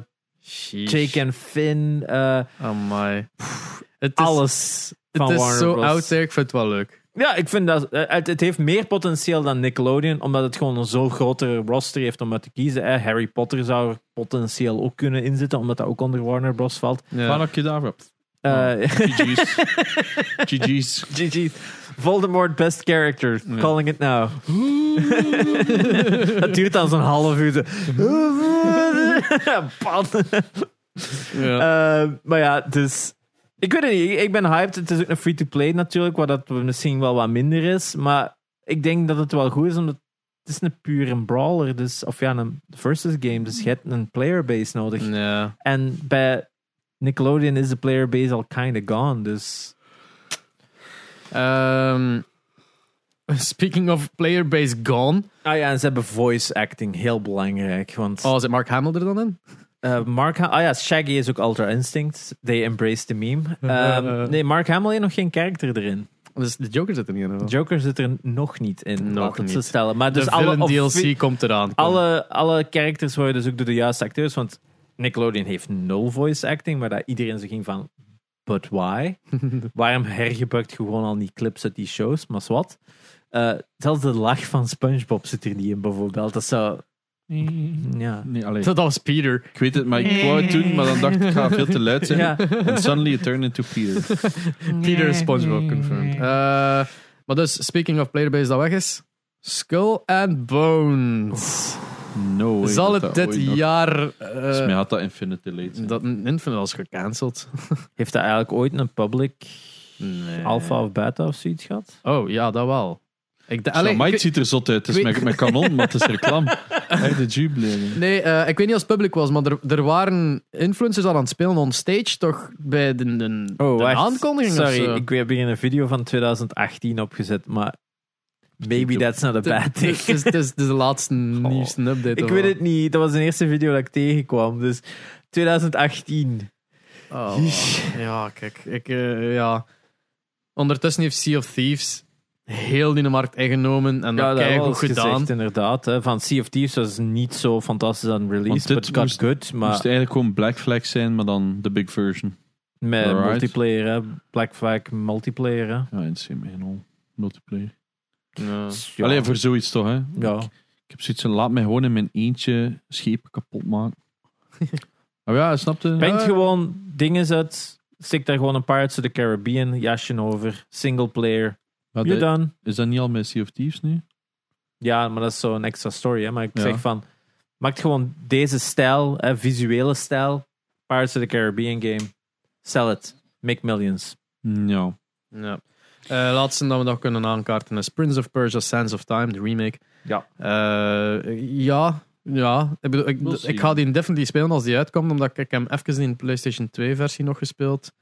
Sheesh.
Jake en Finn. eh,
Amai. Het is,
alles
het
van
is
Warner
zo
Bros.
oud, hè. ik vind het wel leuk.
Ja, ik vind dat eh, het, het heeft meer potentieel dan Nickelodeon, omdat het gewoon een zo grotere roster heeft om uit te kiezen. hè. Harry Potter zou er potentieel ook kunnen inzitten, omdat dat ook onder Warner Bros. valt.
Ja.
Farah Kedavra.
Eh, [laughs]
GG's. GG's.
GG. Voldemort best character.
Ja.
Calling it now. dat duurt dan zo'n half uur. zo. Bam.
Ja.
Eh, maar ja, dus... Ik weet het niet. Ik ben hyped. Het is ook een free-to-play natuurlijk, waar dat misschien wel wat minder is. Maar ik denk dat het wel goed is, omdat het is een puur een brawler. Dus, of ja, een versus game. Dus je hebt een playerbase nodig.
ja.
En bij Nickelodeon is de playerbase al kind of gone. Dus
Ehm, speaking of player base gone.
Ah ja, en ze hebben voice acting, heel belangrijk. Want
Oh, zit Mark Hamill er dan in?
eh, Mark, Ha- ah ja, Shaggy is ook Ultra Instinct. They embrace the meme.
[laughs]
Ehm,
eh.
nee, Mark Hamill heeft nog geen karakter erin.
Dus de Joker zit er niet in. wel.
Joker zit er nog niet in,
Nog
laat het zo
niet.
stellen. Maar dus
de
alle,
villain
offi-
DLC komt eraan.
alle, alle characters worden dus ook door de juiste acteurs. Want Nickelodeon heeft nul voice acting, maar dat iedereen zo ging van... But
[laughs]
why? Waarom hergebruikt je gewoon al die clips uit die shows? Maar wat? zelfs de lach van SpongeBob zit er niet in, bijvoorbeeld. Dat zou... Ja.
Nee, allee.
Dat was Peter.
Ik weet het, maar ik wou het doen, maar dan dacht ik, ik ga veel te luid zijn.
Ja.
En suddenly it turned into Peter.
Peter is SpongeBob confirmed. Eh, maar dus, speaking of playerbase dat weg is. Skull and Bones.
[laughs]
No way.
Zal
dat
het
dat
dit
ooit nog-
jaar...
Volgens
eh
mij had dat Infinity Late. zijn.
dat Infinite was gecanceld.
[laughs] Heeft dat eigenlijk ooit een public
Nee.
alpha of beta of zoiets gehad?
Oh, ja, dat wel. Ik, de,
Allee,
allee, ik-
ziet er zot uit. Het is
ik
met, met kanon, maar het is reclame. Echt de jubileum.
Nee, eh, ik weet niet of het public was, maar er, er waren influencers al aan het spelen on stage, toch bij de, de, de aankondiging of
Oh, Sorry,
zo.
ik heb hier een video van 2018 opgezet, maar maybe that's not a
Het-
bad
het is-
thing.
Het is- het is de laatste nieuwste update.
[laughs] Ik
of
weet
wat.
het niet, dat was de eerste video dat ik tegenkwam, dus 2018.
Oh, ja, kijk. Ik, eh, ja. Ondertussen heeft Sea of Thieves heel die markt ingenomen en dat,
was
goed gedaan.
inderdaad. Hè. Van Sea of Thieves was niet zo fantastisch aan
Want
release,
dit
but it got
moest-
good,
Het
maar
moest eigenlijk gewoon Black Flag zijn, maar dan de big version.
met
Alright.
multiplayer, hè. Black Flag multiplayer. hè.
Ja, in same en al. Multiplayer.
Ja.
Ja.
Alleen voor zoiets toch, hè?
Ja.
Ik heb zoiets van, laat mij gewoon in mijn eentje schepen kapot maken. Oh ja, snapte?
Brengt gewoon dingen uit. Stik daar gewoon een Pirates of the Caribbean jasje over. Single player.
Maar
You're
dat-
done.
is dat niet al met Sea of Thieves nu?
Ja, maar dat is zo'n extra story. Hè? Maar ik
Ja.
zeg van... Maak gewoon deze stijl, hè, visuele stijl. Pirates of the Caribbean game. Sell it. Make millions.
Ja.
Ja. Eh, laatste dat we nog kunnen aankaarten is Prince of Persia Sands of Time, de remake.
Ja.
Eh, ja, ja. Ik, bedoel, ik,
We'll
ik
see.
ga die definitely spelen als die uitkomt, omdat ik hem even in de PlayStation 2 versie nog gespeeld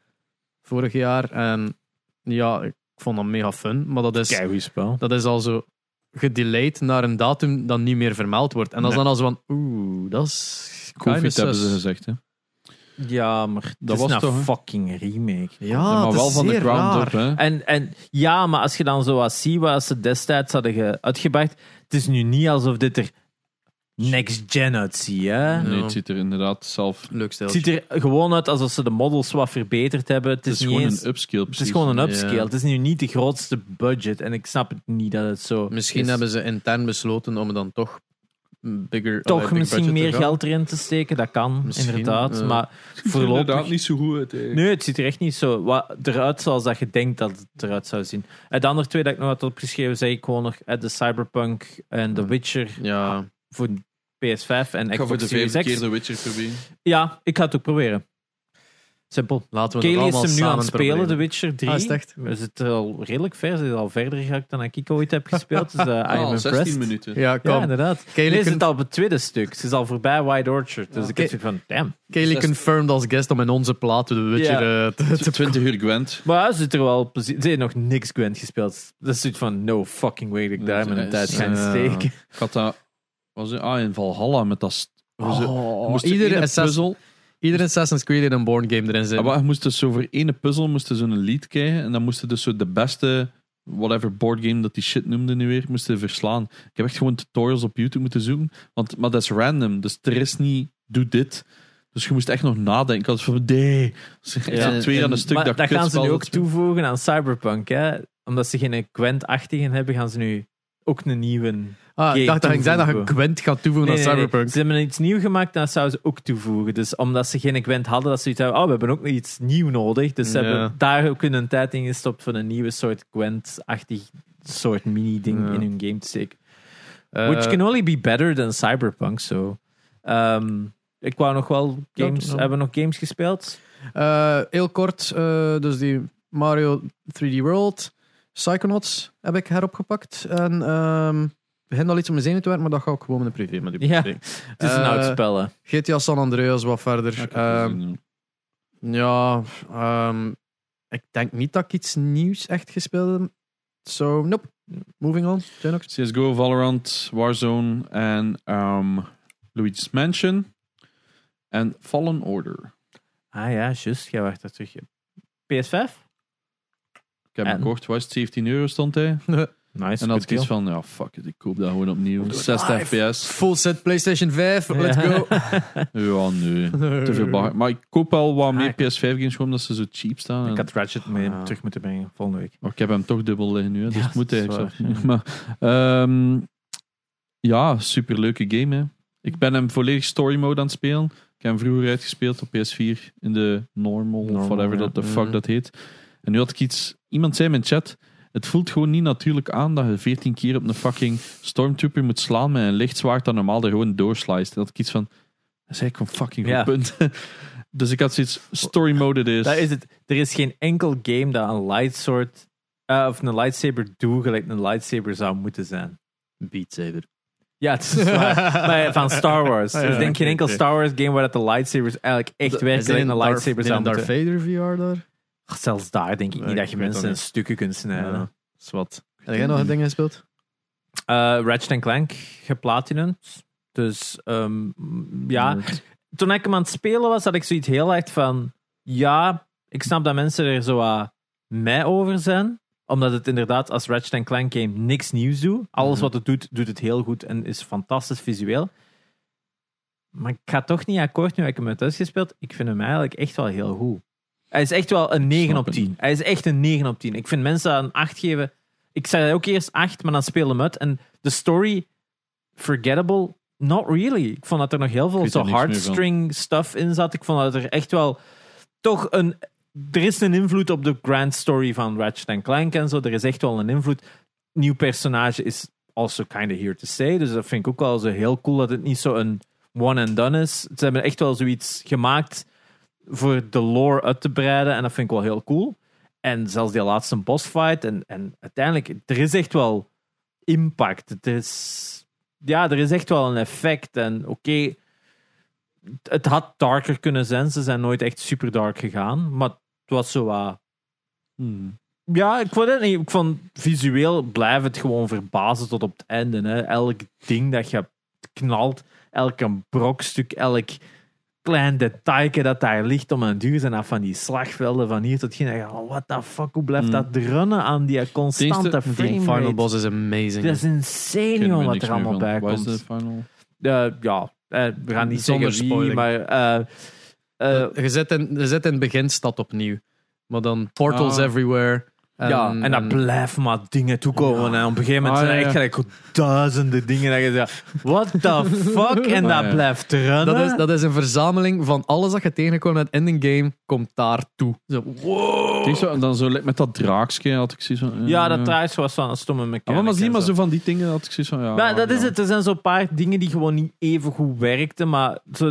vorig jaar. En ja, ik vond dat mega fun, maar dat is,
Keigoed spel.
dat is al zo gedelayed naar een datum dat niet meer vermeld wordt. En dat is dan al zo van, oeh, dat is kinda
Covid hebben
sus.
ze gezegd, hè?
Ja, maar
was
dat was een
toch, hè?
fucking remake.
Ja,
maar
Ah, het is
wel van de
zeer
ground
raar.
up, hè?
En, en ja, maar als je dan zo wat ziet wat ze destijds hadden ge- uitgebracht, het is nu niet alsof dit er next gen uitziet. Hè?
Ja.
Nee, het ziet er inderdaad zelf...
Leuk stel.
Het ziet er gewoon uit alsof ze de models wat verbeterd hebben. Het
Het
is,
is
niet
gewoon
eens-
een upscale,
het is
precies.
gewoon een
Ja.
upscale. Het is nu niet de grootste budget. En ik snap het niet dat het zo.
Misschien
is.
hebben ze intern besloten om het dan toch bigger,
toch
allee, big
misschien
budget te
meer
gaan.
geld erin te steken. Dat kan,
Misschien,
inderdaad.
eh.
maar voorlopig.
niet zo goed uit, eigenlijk.
Nee, het ziet er echt niet zo wat eruit zoals dat je denkt dat het eruit zou zien. Het andere twee dat ik nog had opgeschreven, zei ik gewoon nog eh, de Cyberpunk en The Witcher
Ja,
voor PS5 en
Ik ga voor de
Xbox Series
vijfde
X.
keer The Witcher proberen.
Ja, ik ga het ook proberen. Simpel.
laten we
Kelly
het
is
allemaal
hem nu
samen
aan het spelen, The
proberen.
Witcher 3.
Ah, is het echt?
We zitten al redelijk ver. Ze is al verder geraakt dan ik ooit heb gespeeld.
[laughs]
Dus eh, I am
Ah, 16
impressed.
minuten.
Ja, kom.
Ja, inderdaad.
Kelly,
Nee, ze
con-
zit al op het tweede stuk. Ze is al voorbij Wide Orchard. Dus ik heb zoiets van, damn.
Kelly
zes-
confirmed als guest om in onze plaat The Witcher
Ja.
eh, te, te
20 uur Gwent.
Maar ja, ze zit er wel... plezier- Ze heeft nog niks Gwent gespeeld. Dat is zoiets van, no fucking way dat ik daar
Nee,
mijn
ze
tijd
is- eh,
ga in
ja.
steken.
Ik had dat... Was het, ah, in Valhalla met dat... st- hoe ze-
Oh,
moesten
iedere
ene
Assassin-
puzzel...
[laughs] Iedere Assassin's Creed in een Born game erin
Ja,
Ah,
zit.
maar je moest dus zo voor ene puzzel moest je zo'n lead krijgen. En dan moesten dus zo de beste whatever board game dat die shit noemde nu weer, moesten verslaan. Ik heb echt gewoon tutorials op YouTube moeten zoeken. Want, maar dat is random. Dus er is niet, doe dit. Dus je moest echt nog nadenken. Ik had van, nee. Dus echt
Ja,
zo twee
en-
aan een stuk
Maar
dat
dat gaan ze
kutspel
nu
dat
ook
ze-
toevoegen aan Cyberpunk, hè. omdat ze geen Gwent-achtigen hebben, gaan ze nu ook een nieuwe.
Ah,
Oké,
ik dacht dat ik zei dat je
toevoegen.
Gwent gaat toevoegen
Nee,
aan
nee, nee.
Cyberpunk.
Ze hebben iets nieuw gemaakt en dat zouden ze ook toevoegen. Dus omdat ze geen Gwent hadden, dat ze iets hebben, oh, we hebben ook nog iets nieuw nodig. Dus ze
Ja.
hebben daar ook hun tijd in gestopt van een nieuwe soort Gwent-achtig soort mini-ding
Ja.
in hun game te steken.
Eh,
Which can only be better than Cyberpunk, so. Ehm, ik wou nog wel games.
Ja, ja.
Hebben we nog games gespeeld?
eh, heel kort, eh, dus die Mario 3D World, Psychonauts heb ik heropgepakt. En ehm begin al iets om mijn zenuwen te werken, maar dat ga ik gewoon in de preview met u
Ja.
bespreken.
Het is een
Eh,
oud spel, hè.
GTA San Andreas wat verder.
Ja, ik heb het
Ehm,
gezien, ja.
Ja, ehm, ik denk niet dat ik iets nieuws echt gespeeld heb. So, nope. Moving on. Genox.
CSGO, Valorant, Warzone en ehm, Luigi's Mansion. En Fallen Order.
Ah ja, juist. Jij wacht dat terug. PS5?
Ik heb
En?
hem gekocht, was het 17 euro stond hij.
Nice.
En dan had ik iets van, ja fuck it, ik koop dat gewoon opnieuw. 60 fps.
Full set PlayStation 5. Let's go.
Ja, nee. Te veel bagger. Maar ik koop al wat meer
Ah,
PS5 games gewoon omdat ze zo cheap staan. En-
Ik had Ratchet mee
Ah.
terug moeten brengen volgende week.
Maar ik heb hem toch dubbel liggen nu, hè, dus
Ja,
het moet
dat is
eigenlijk zo. [laughs] Maar, ehm, ja, superleuke game. Hè. Ik ben hem volledig story mode aan het spelen. Ik heb hem vroeger uitgespeeld op PS4 in de normal, of
Normal,
whatever
ja.
dat de
Mhm.
fuck dat heet. En nu had ik iets. Iemand zei in mijn chat: Het voelt gewoon niet natuurlijk aan dat je 14 keer op een fucking stormtrooper moet slaan met een lichtzwaard dat normaal er gewoon doorslijst. En dat ik iets van. Dat is eigenlijk een fucking goed
Ja.
punt. [laughs] dus ik had zoiets. Story mode het is.
Dus-
Dat is het. Er is geen enkel game dat een lightsword eh, of een lightsaber doe gelijk een lightsaber zou moeten zijn.
[laughs] Beat Saber.
Ja, het is
[laughs]
waar. Maar van Star Wars.
Ah,
Er
ja,
is denk ik geen
oké,
enkel
oké.
Star Wars game waar dat de lightsabers eigenlijk echt werken gelijk een lightsaber zou
Darth,
moeten.
Darth Vader VR daar?
Ach, Zelfs daar denk ik
Nee,
niet dat
ik
je
weet
mensen
dat
in
niet.
stukken kunt snijden.
Ja. Is wat. Heb jij nog een ding gespeeld?
Eh, Ratchet Clank geplatinumd. Dus ehm, ja, toen ik hem aan het spelen was, had ik zoiets heel echt van... Ja, ik snap dat mensen er zo aan mij over zijn. Omdat het inderdaad als Ratchet Clank game niks nieuws doet. Alles
Mhm.
wat het doet, doet het heel goed en is fantastisch visueel. Maar ik ga toch niet akkoord nu dat ik hem heb uitgespeeld. Ik vind hem eigenlijk echt wel heel goed. Hij is echt wel een 9
snap
op
het.
10. Hij is echt een 9 op 10. Ik vind mensen aan 8 geven... Ik zei ook eerst 8, maar dan speel hem uit. En de story, forgettable, not really. Ik vond dat er nog heel veel
weet
zo
er niks meer van.
hardstring stuff in zat. Ik vond dat er echt wel toch een... Er is een invloed op de grand story van Ratchet Clank en zo. Er is echt wel een invloed. Nieuw personage is also kind of here to stay. Dus dat vind ik ook wel zo heel cool dat het niet zo een one and done is. Ze hebben echt wel zoiets gemaakt voor de lore uit te breiden. En dat vind ik wel heel cool. En zelfs die laatste boss fight. En, en uiteindelijk, er is echt wel impact. Het is, ja, er is echt wel een effect. En oké, het had darker kunnen zijn. Ze zijn nooit echt super dark gegaan. Maar het was zo wat
Hmm.
ja, ik vond het niet. Ik vond visueel blijft het gewoon verbazen tot op het einde. Hè. Elk ding dat je knalt, elke brokstuk, elk klein detailje dat daar ligt om een duur zijn af van die slagvelden van hier tot hier. Wat the fuck, hoe blijft
Mm.
dat runnen aan die constante
Het
Die
frame
final
rate?
boss is amazing.
Dat is insane,
Ik ken
joh,
er
wat
niks
er
meer
allemaal
van.
bij
Wat is
komt.
de final?
Eh, ja, eh, we gaan niet
Zonder
zeggen wie,
spoiling.
maar... eh, eh,
je, zit in, je zit in het beginstad opnieuw. Maar dan portals
Ah.
everywhere.
ja, en dat blijft maar dingen toekomen. En op een gegeven moment
Ah,
zijn er
ehm, ja,
echt
ja.
gelijk duizenden dingen. Dat je zegt, what
[laughs]
the fuck? En dat
Ah, ja.
blijft runnen.
Dat is, dat is een verzameling van alles dat je tegenkomt uit Ending Game, komt daar toe. Zo, wow.
Het is zo- en dan zo like, met dat draakske had ik zoiets van...
Oh. ja,
eh,
dat trouwens was van een stomme
Ja,
mechanic.
maar, maar zie
en
maar
zo.
zo van die dingen had ik zoiets van... Ja,
Maar dat
ja.
is het. Er zijn zo'n paar dingen die gewoon niet even goed werkten, maar zo,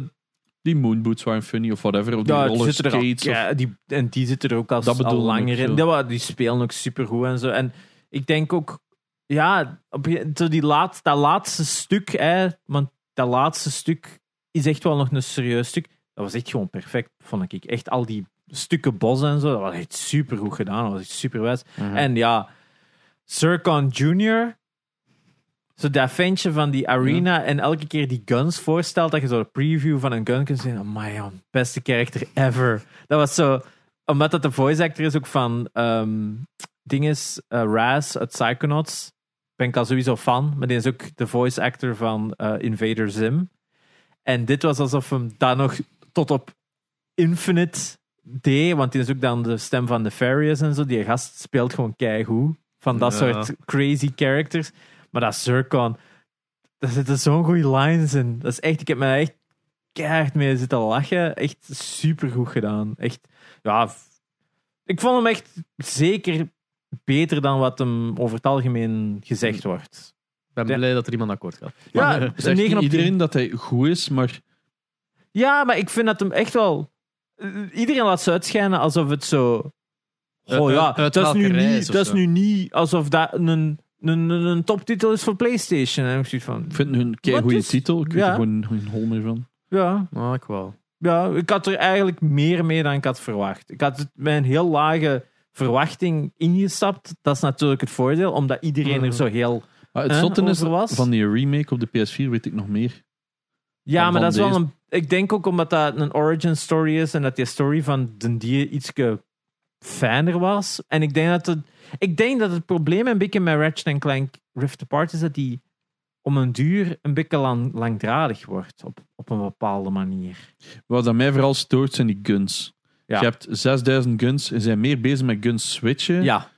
Die moonboots waren funny of whatever. Of die
ja, die
roller
zitten er al,
skates. of-
ja, die, en die zitten er ook al,
Dat
al
bedoel ik
langer
zo.
in. Ja, maar die spelen ook supergoed en zo. En ik denk ook, ja, op, je- zo die laat, dat laatste stuk, hè, want dat laatste stuk is echt wel nog een serieus stuk. Dat was echt gewoon perfect, vond ik. Echt al die stukken bos en zo, dat was echt supergoed gedaan. Dat was echt superwijs.
Mhm.
En ja, Sircon Jr. Zo dat ventje van die arena en elke keer die guns voorstelt, dat je zo een preview van een gun kunt zien. Oh my god, beste character ever. Dat was zo, omdat dat de voice actor is ook van ehm dinges, eh, Raz uit Psychonauts. Ben ik al sowieso fan, maar die is ook de voice actor van eh, Invader Zim. En dit was alsof hem daar nog tot op Infinite deed, want die is ook dan de stem van Nefarious en zo. Die gast speelt gewoon keigoed. van dat
Ja.
soort crazy characters. Maar dat Zircon, daar zitten zo'n goede lines in. Dat is echt, ik heb me echt keihard mee zitten lachen. Echt super goed gedaan. Echt, ja, f- ik vond hem echt zeker beter dan wat hem over het algemeen gezegd wordt.
Ik ben
Ja.
blij dat er iemand akkoord gaat.
Ja,
Maar, eh,
Een
Zegt
negen op
iedereen
tien.
dat hij goed is, maar
Ja, maar ik vind dat hem echt wel. Iedereen laat ze uitschijnen alsof het zo. Oh
Uit-
ja,
uit
dat is, nu
welke reis
niet,
of
dat is
zo.
nu niet alsof dat een, een, een, een toptitel is voor PlayStation. En ik zoiets van.
ik vind hun een goede
is-
titel. Ik
ja.
weet er gewoon geen hol meer van.
Ja,
ah, ik wel.
Ja, ik had er eigenlijk meer mee dan ik had verwacht. Ik had het met een heel lage verwachting ingestapt. Dat is natuurlijk het voordeel, omdat iedereen
Mhm.
er zo heel.
Maar het
Eh,
zotte is,
over was?
van die remake op de PS4 weet ik nog meer.
Ja,
Van-
maar dat is
van
wel een. Ik denk ook omdat dat een origin story is en dat die story van den dier ietske fijner was. En ik denk dat het, ik denk dat het probleem een beetje met Ratchet Clank Rift Apart is dat die om een duur een beetje lang, langdradig wordt op, op een bepaalde manier.
Wat dat mij vooral stoort zijn die guns.
Ja.
Je hebt 6000 guns en zijn meer bezig met guns switchen.
Ja,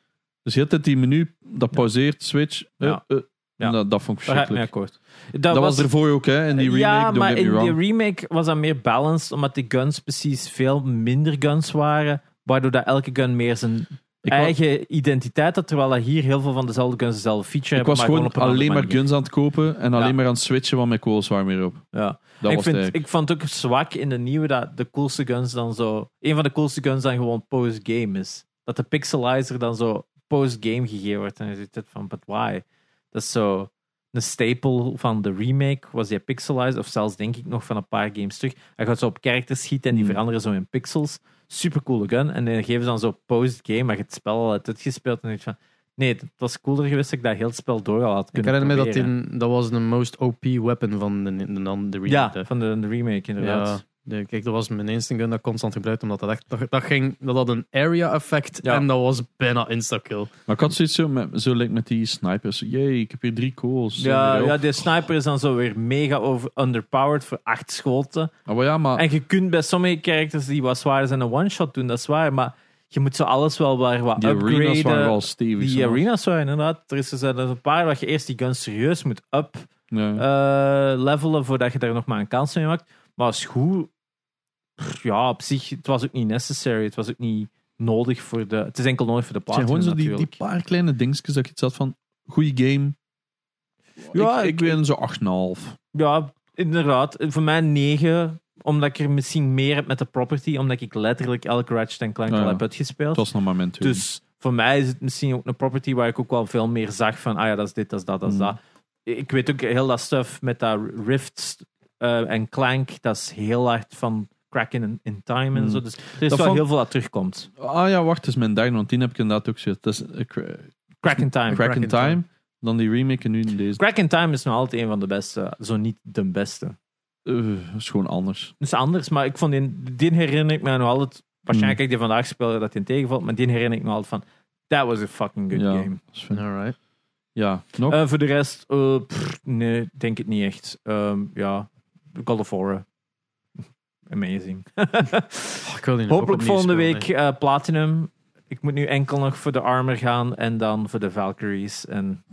Dus heel de tijd die menu, dat pauseert, switch. eh,
Ja.
eh,
Ja.
Dat, dat vond ik
daar ga ik mee
verschrikkelijk.
akkoord.
Dat, was ervoor ook, hè, in die remake.
ja,
don't
maar
get me
in
wrong.
de remake was dat meer balanced, omdat de guns precies veel minder guns waren, waardoor dat elke gun meer zijn
Ik wa-
eigen identiteit had, terwijl dat hier heel veel van dezelfde guns dezelfde feature
Ik was
hebben,
gewoon
maar gewoon op een
alleen maar
andere manier.
guns aan het kopen en alleen maar aan het switchen, want mijn kool waren meer op.
Ja.
Dat was
Ik,
het
vind,
eigenlijk.
ik vond het ook zwak in de nieuwe dat de coolste guns dan zo... Een van de coolste guns dan gewoon post-game is. Dat de pixelizer dan zo post-game gegeven wordt. En je zit het van, but why? Dat is zo een staple van de remake, was die pixelizer. Of zelfs denk ik nog van een paar games terug. Hij gaat zo op characters schieten en die
Hmm.
veranderen zo in pixels. Supercoole gun. En dan geven ze dan zo post-game, maar je het spel al hebt uitgespeeld. En je denkt van, nee, het was cooler geweest dat ik dat heel het spel door al had
Ik
kunnen
herinner me dat
proberen.
in, dat was de most OP weapon van de, de, de, de remake.
Ja, van de, de remake inderdaad.
Ja, de- kijk, dat was mijn instant gun dat ik constant gebruikte, omdat dat echt, dat, dat ging, dat had een area effect
Ja.
en dat was bijna insta-kill.
Maar ik had zoiets zo, met, zo lijkt met die snipers. Jee, ik heb hier drie kools.
Ja, ja, die sniper is dan zo weer mega over underpowered voor acht schoten.
Ah, maar ja, maar
En je kunt bij sommige characters die wat zwaar zijn een one-shot doen, dat is waar. Maar je moet zo alles wel weer wat
die
upgraden.
arenas waren wel stevig.
die
zo.
arenas waren inderdaad. Er is dus een paar dat je eerst die gun serieus moet up
Ja.
eh, levelen voordat je daar nog maar een kans mee maakt. Maar als goed, pff, ja, op zich, het was ook niet necessary. Het was ook niet nodig voor de... Het is enkel nodig voor de
Het zijn
platinum
gewoon zo die,
natuurlijk.
die paar kleine dingetjes dat ik iets had van, goede game.
Ja,
ik, ik,
ik-
ben zo 8,5.
Ja, inderdaad. Voor mij 9, omdat ik er misschien meer heb met de property, omdat ik letterlijk elke Ratchet Clank
Ja,
al
ja.
heb uitgespeeld.
Het was nog maar mijn tweede.
dus voor mij is het misschien ook een property waar ik ook wel veel meer zag van, ah ja, dat is dit, dat is dat, dat is
Mm.
dat. Ik weet ook heel dat stuff met dat Rift eh, en Clank, dat is heel hard van Kraken in, in Time en
Mm.
zo. Dus er is
Dat
wel
vond-
heel veel dat terugkomt.
Ah ja, wacht, het is mijn dag, want die heb ik inderdaad ook zo. Dat is eh, Cra-
Crack in Time.
Crack in Time, dan die remake en nu in deze.
Crack in Time is nog altijd een van de beste, zo niet de beste.
Eh, is gewoon anders.
Dat is anders, maar ik vond die, die herinner ik me nog altijd.
Hmm.
Waarschijnlijk heb ik die vandaag speelde dat die tegenvalt, maar die herinner ik me altijd van. That was a fucking good
ja,
game.
dat is fijn.
Alright.
Ja, nog?
Eh, voor de rest, eh, pff, nee, denk het niet echt. Ehm, ja, Call of Horror.
[laughs]
Amazing.
Ik wil die nog
Hopelijk
opnieuw
volgende
spelen,
week eh, Platinum. Ik moet nu enkel nog voor de Armor gaan en dan voor de Valkyries. En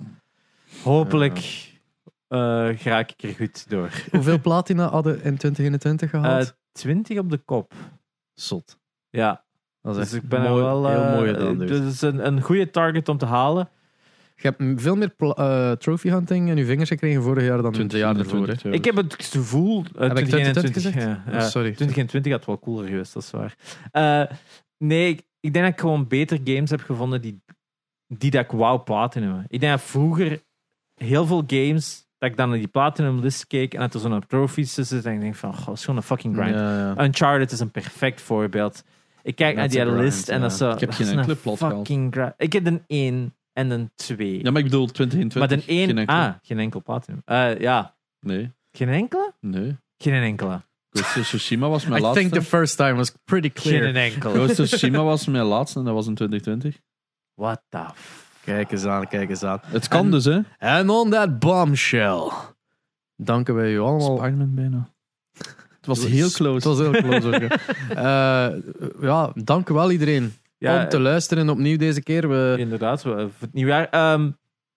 hopelijk eh, raak ik er goed door.
hè. Hoeveel platina hadden in 2021 gehaald?
Eh, 20 op de kop.
Zot.
Ja,
Dat is
Dus
echt
ik ben er
mooi-
wel
heel
eh,
mooi gedaan. Dus.
Dus het is een, een goede target om te halen.
Je hebt m- veel meer pla- eh, trophy hunting in je vingers gekregen vorig jaar dan het jaar ervoor. hè.
2021, ja.
Ik heb het gevoel. eh,
dus. Heb ik 20
2021,
gezegd?
ja,
Oh,
ja.
sorry.
2020 had wel cooler geweest, dat is waar. Eh, nee, ik, ik denk dat ik gewoon beter games heb gevonden die, die dat ik wou platinum. Ik denk dat vroeger heel veel games dat ik dan naar die platinum list keek en dat er zo'n trophies tussen zit en ik denk van, goh, dat is gewoon een fucking grind.
Ja, ja.
Uncharted is een perfect voorbeeld. Ik kijk
That's
naar die
a grind,
list en
ja.
dat is zo...
Ik heb
dat
geen
is een
enkele plot gehaald.
fucking gra- Ik heb een 1 en een 2.
Ja, maar ik bedoel 2021.
maar een 1...
geen enkel.
ah, geen enkel platinum. Eh, ja.
Nee,
Geen enkele?
nee.
Geen enkele.
Ghost of Tsushima was
[laughs]
mijn
I think the
laatste.
first time was pretty clear.
Geen enkele.
Ghost of Tsushima was mijn laatste en dat was in 2020.
What the f...
Kijk eens aan, kijk eens aan.
Het kan
En-
dus, hè?
En on that bombshell. Danken wij u allemaal.
Spider-Man bijna. Het was heel close.
[laughs] Het was heel close. ook, hè. Eh, ja, dank u wel iedereen
Ja,
om te luisteren opnieuw deze keer. We,
Inderdaad, we- voor het nieuwjaar. Ehm,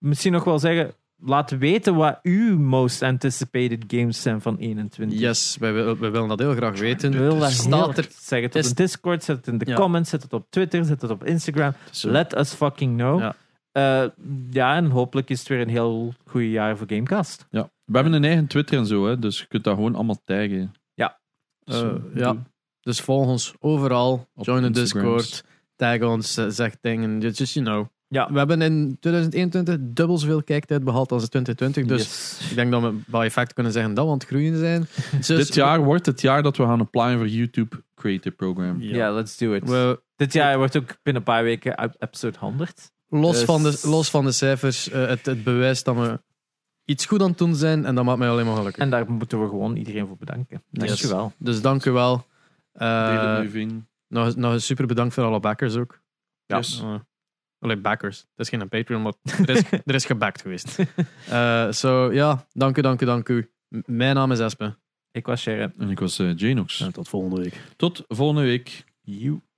misschien nog wel zeggen, laat weten wat uw most anticipated games zijn van 21.
yes, wij, wil- wij willen dat heel graag
Ik
weten.
wil dat heel
Staat
erg-
er,
Zeg het op
is-
de Discord, zet het in de
Ja.
comments, zet het op Twitter, zet het op Instagram.
Dus, eh,
Let us fucking know.
Ja.
Ja. ja, en hopelijk is het weer een heel goed jaar voor Gamecast.
eh, ja. We hebben een eigen Twitter en zo, hè, dus je kunt dat gewoon allemaal taggen.
Ja.
Dus,
Eh,
eh,
ja.
doe.
dus volg ons overal.
Op
Join de
Instagrams.
Discord. Tag ons, eh, zeg dingen. Just, just you know.
Ja.
We hebben in 2021 dubbel zoveel kijktijd behaald als in 2020. Dus
Yes.
ik denk dat we bij effect kunnen zeggen dat we aan het groeien
[laughs]
zijn. Dus
Dit jaar wordt het jaar dat we gaan applyen voor YouTube Creative Program.
Ja, let's do it.
we,
Dit jaar wordt ook binnen een paar weken ep- episode 100.
Los,
Dus-
van de, los van de cijfers, eh, het, het bewijst dat we iets goed aan het doen zijn en dat maakt mij alleen maar gelukkig.
En daar moeten we gewoon iedereen voor bedanken.
Yes.
Dankjewel.
Dus dank u wel.
Deel
Eh,
het nu, vriend.
nog, eens- nog eens super bedankt voor alle backers ook.
Ja.
Eh, allee, backers. Het is geen Patreon, maar er is, er is gebackt geweest. Eh, Zo, ja. Dank u, dank u, dank u. M- mijn naam is Espen.
Ik was Sharon.
En ik was eh, Janox.
tot volgende week.
Tot volgende week.
You.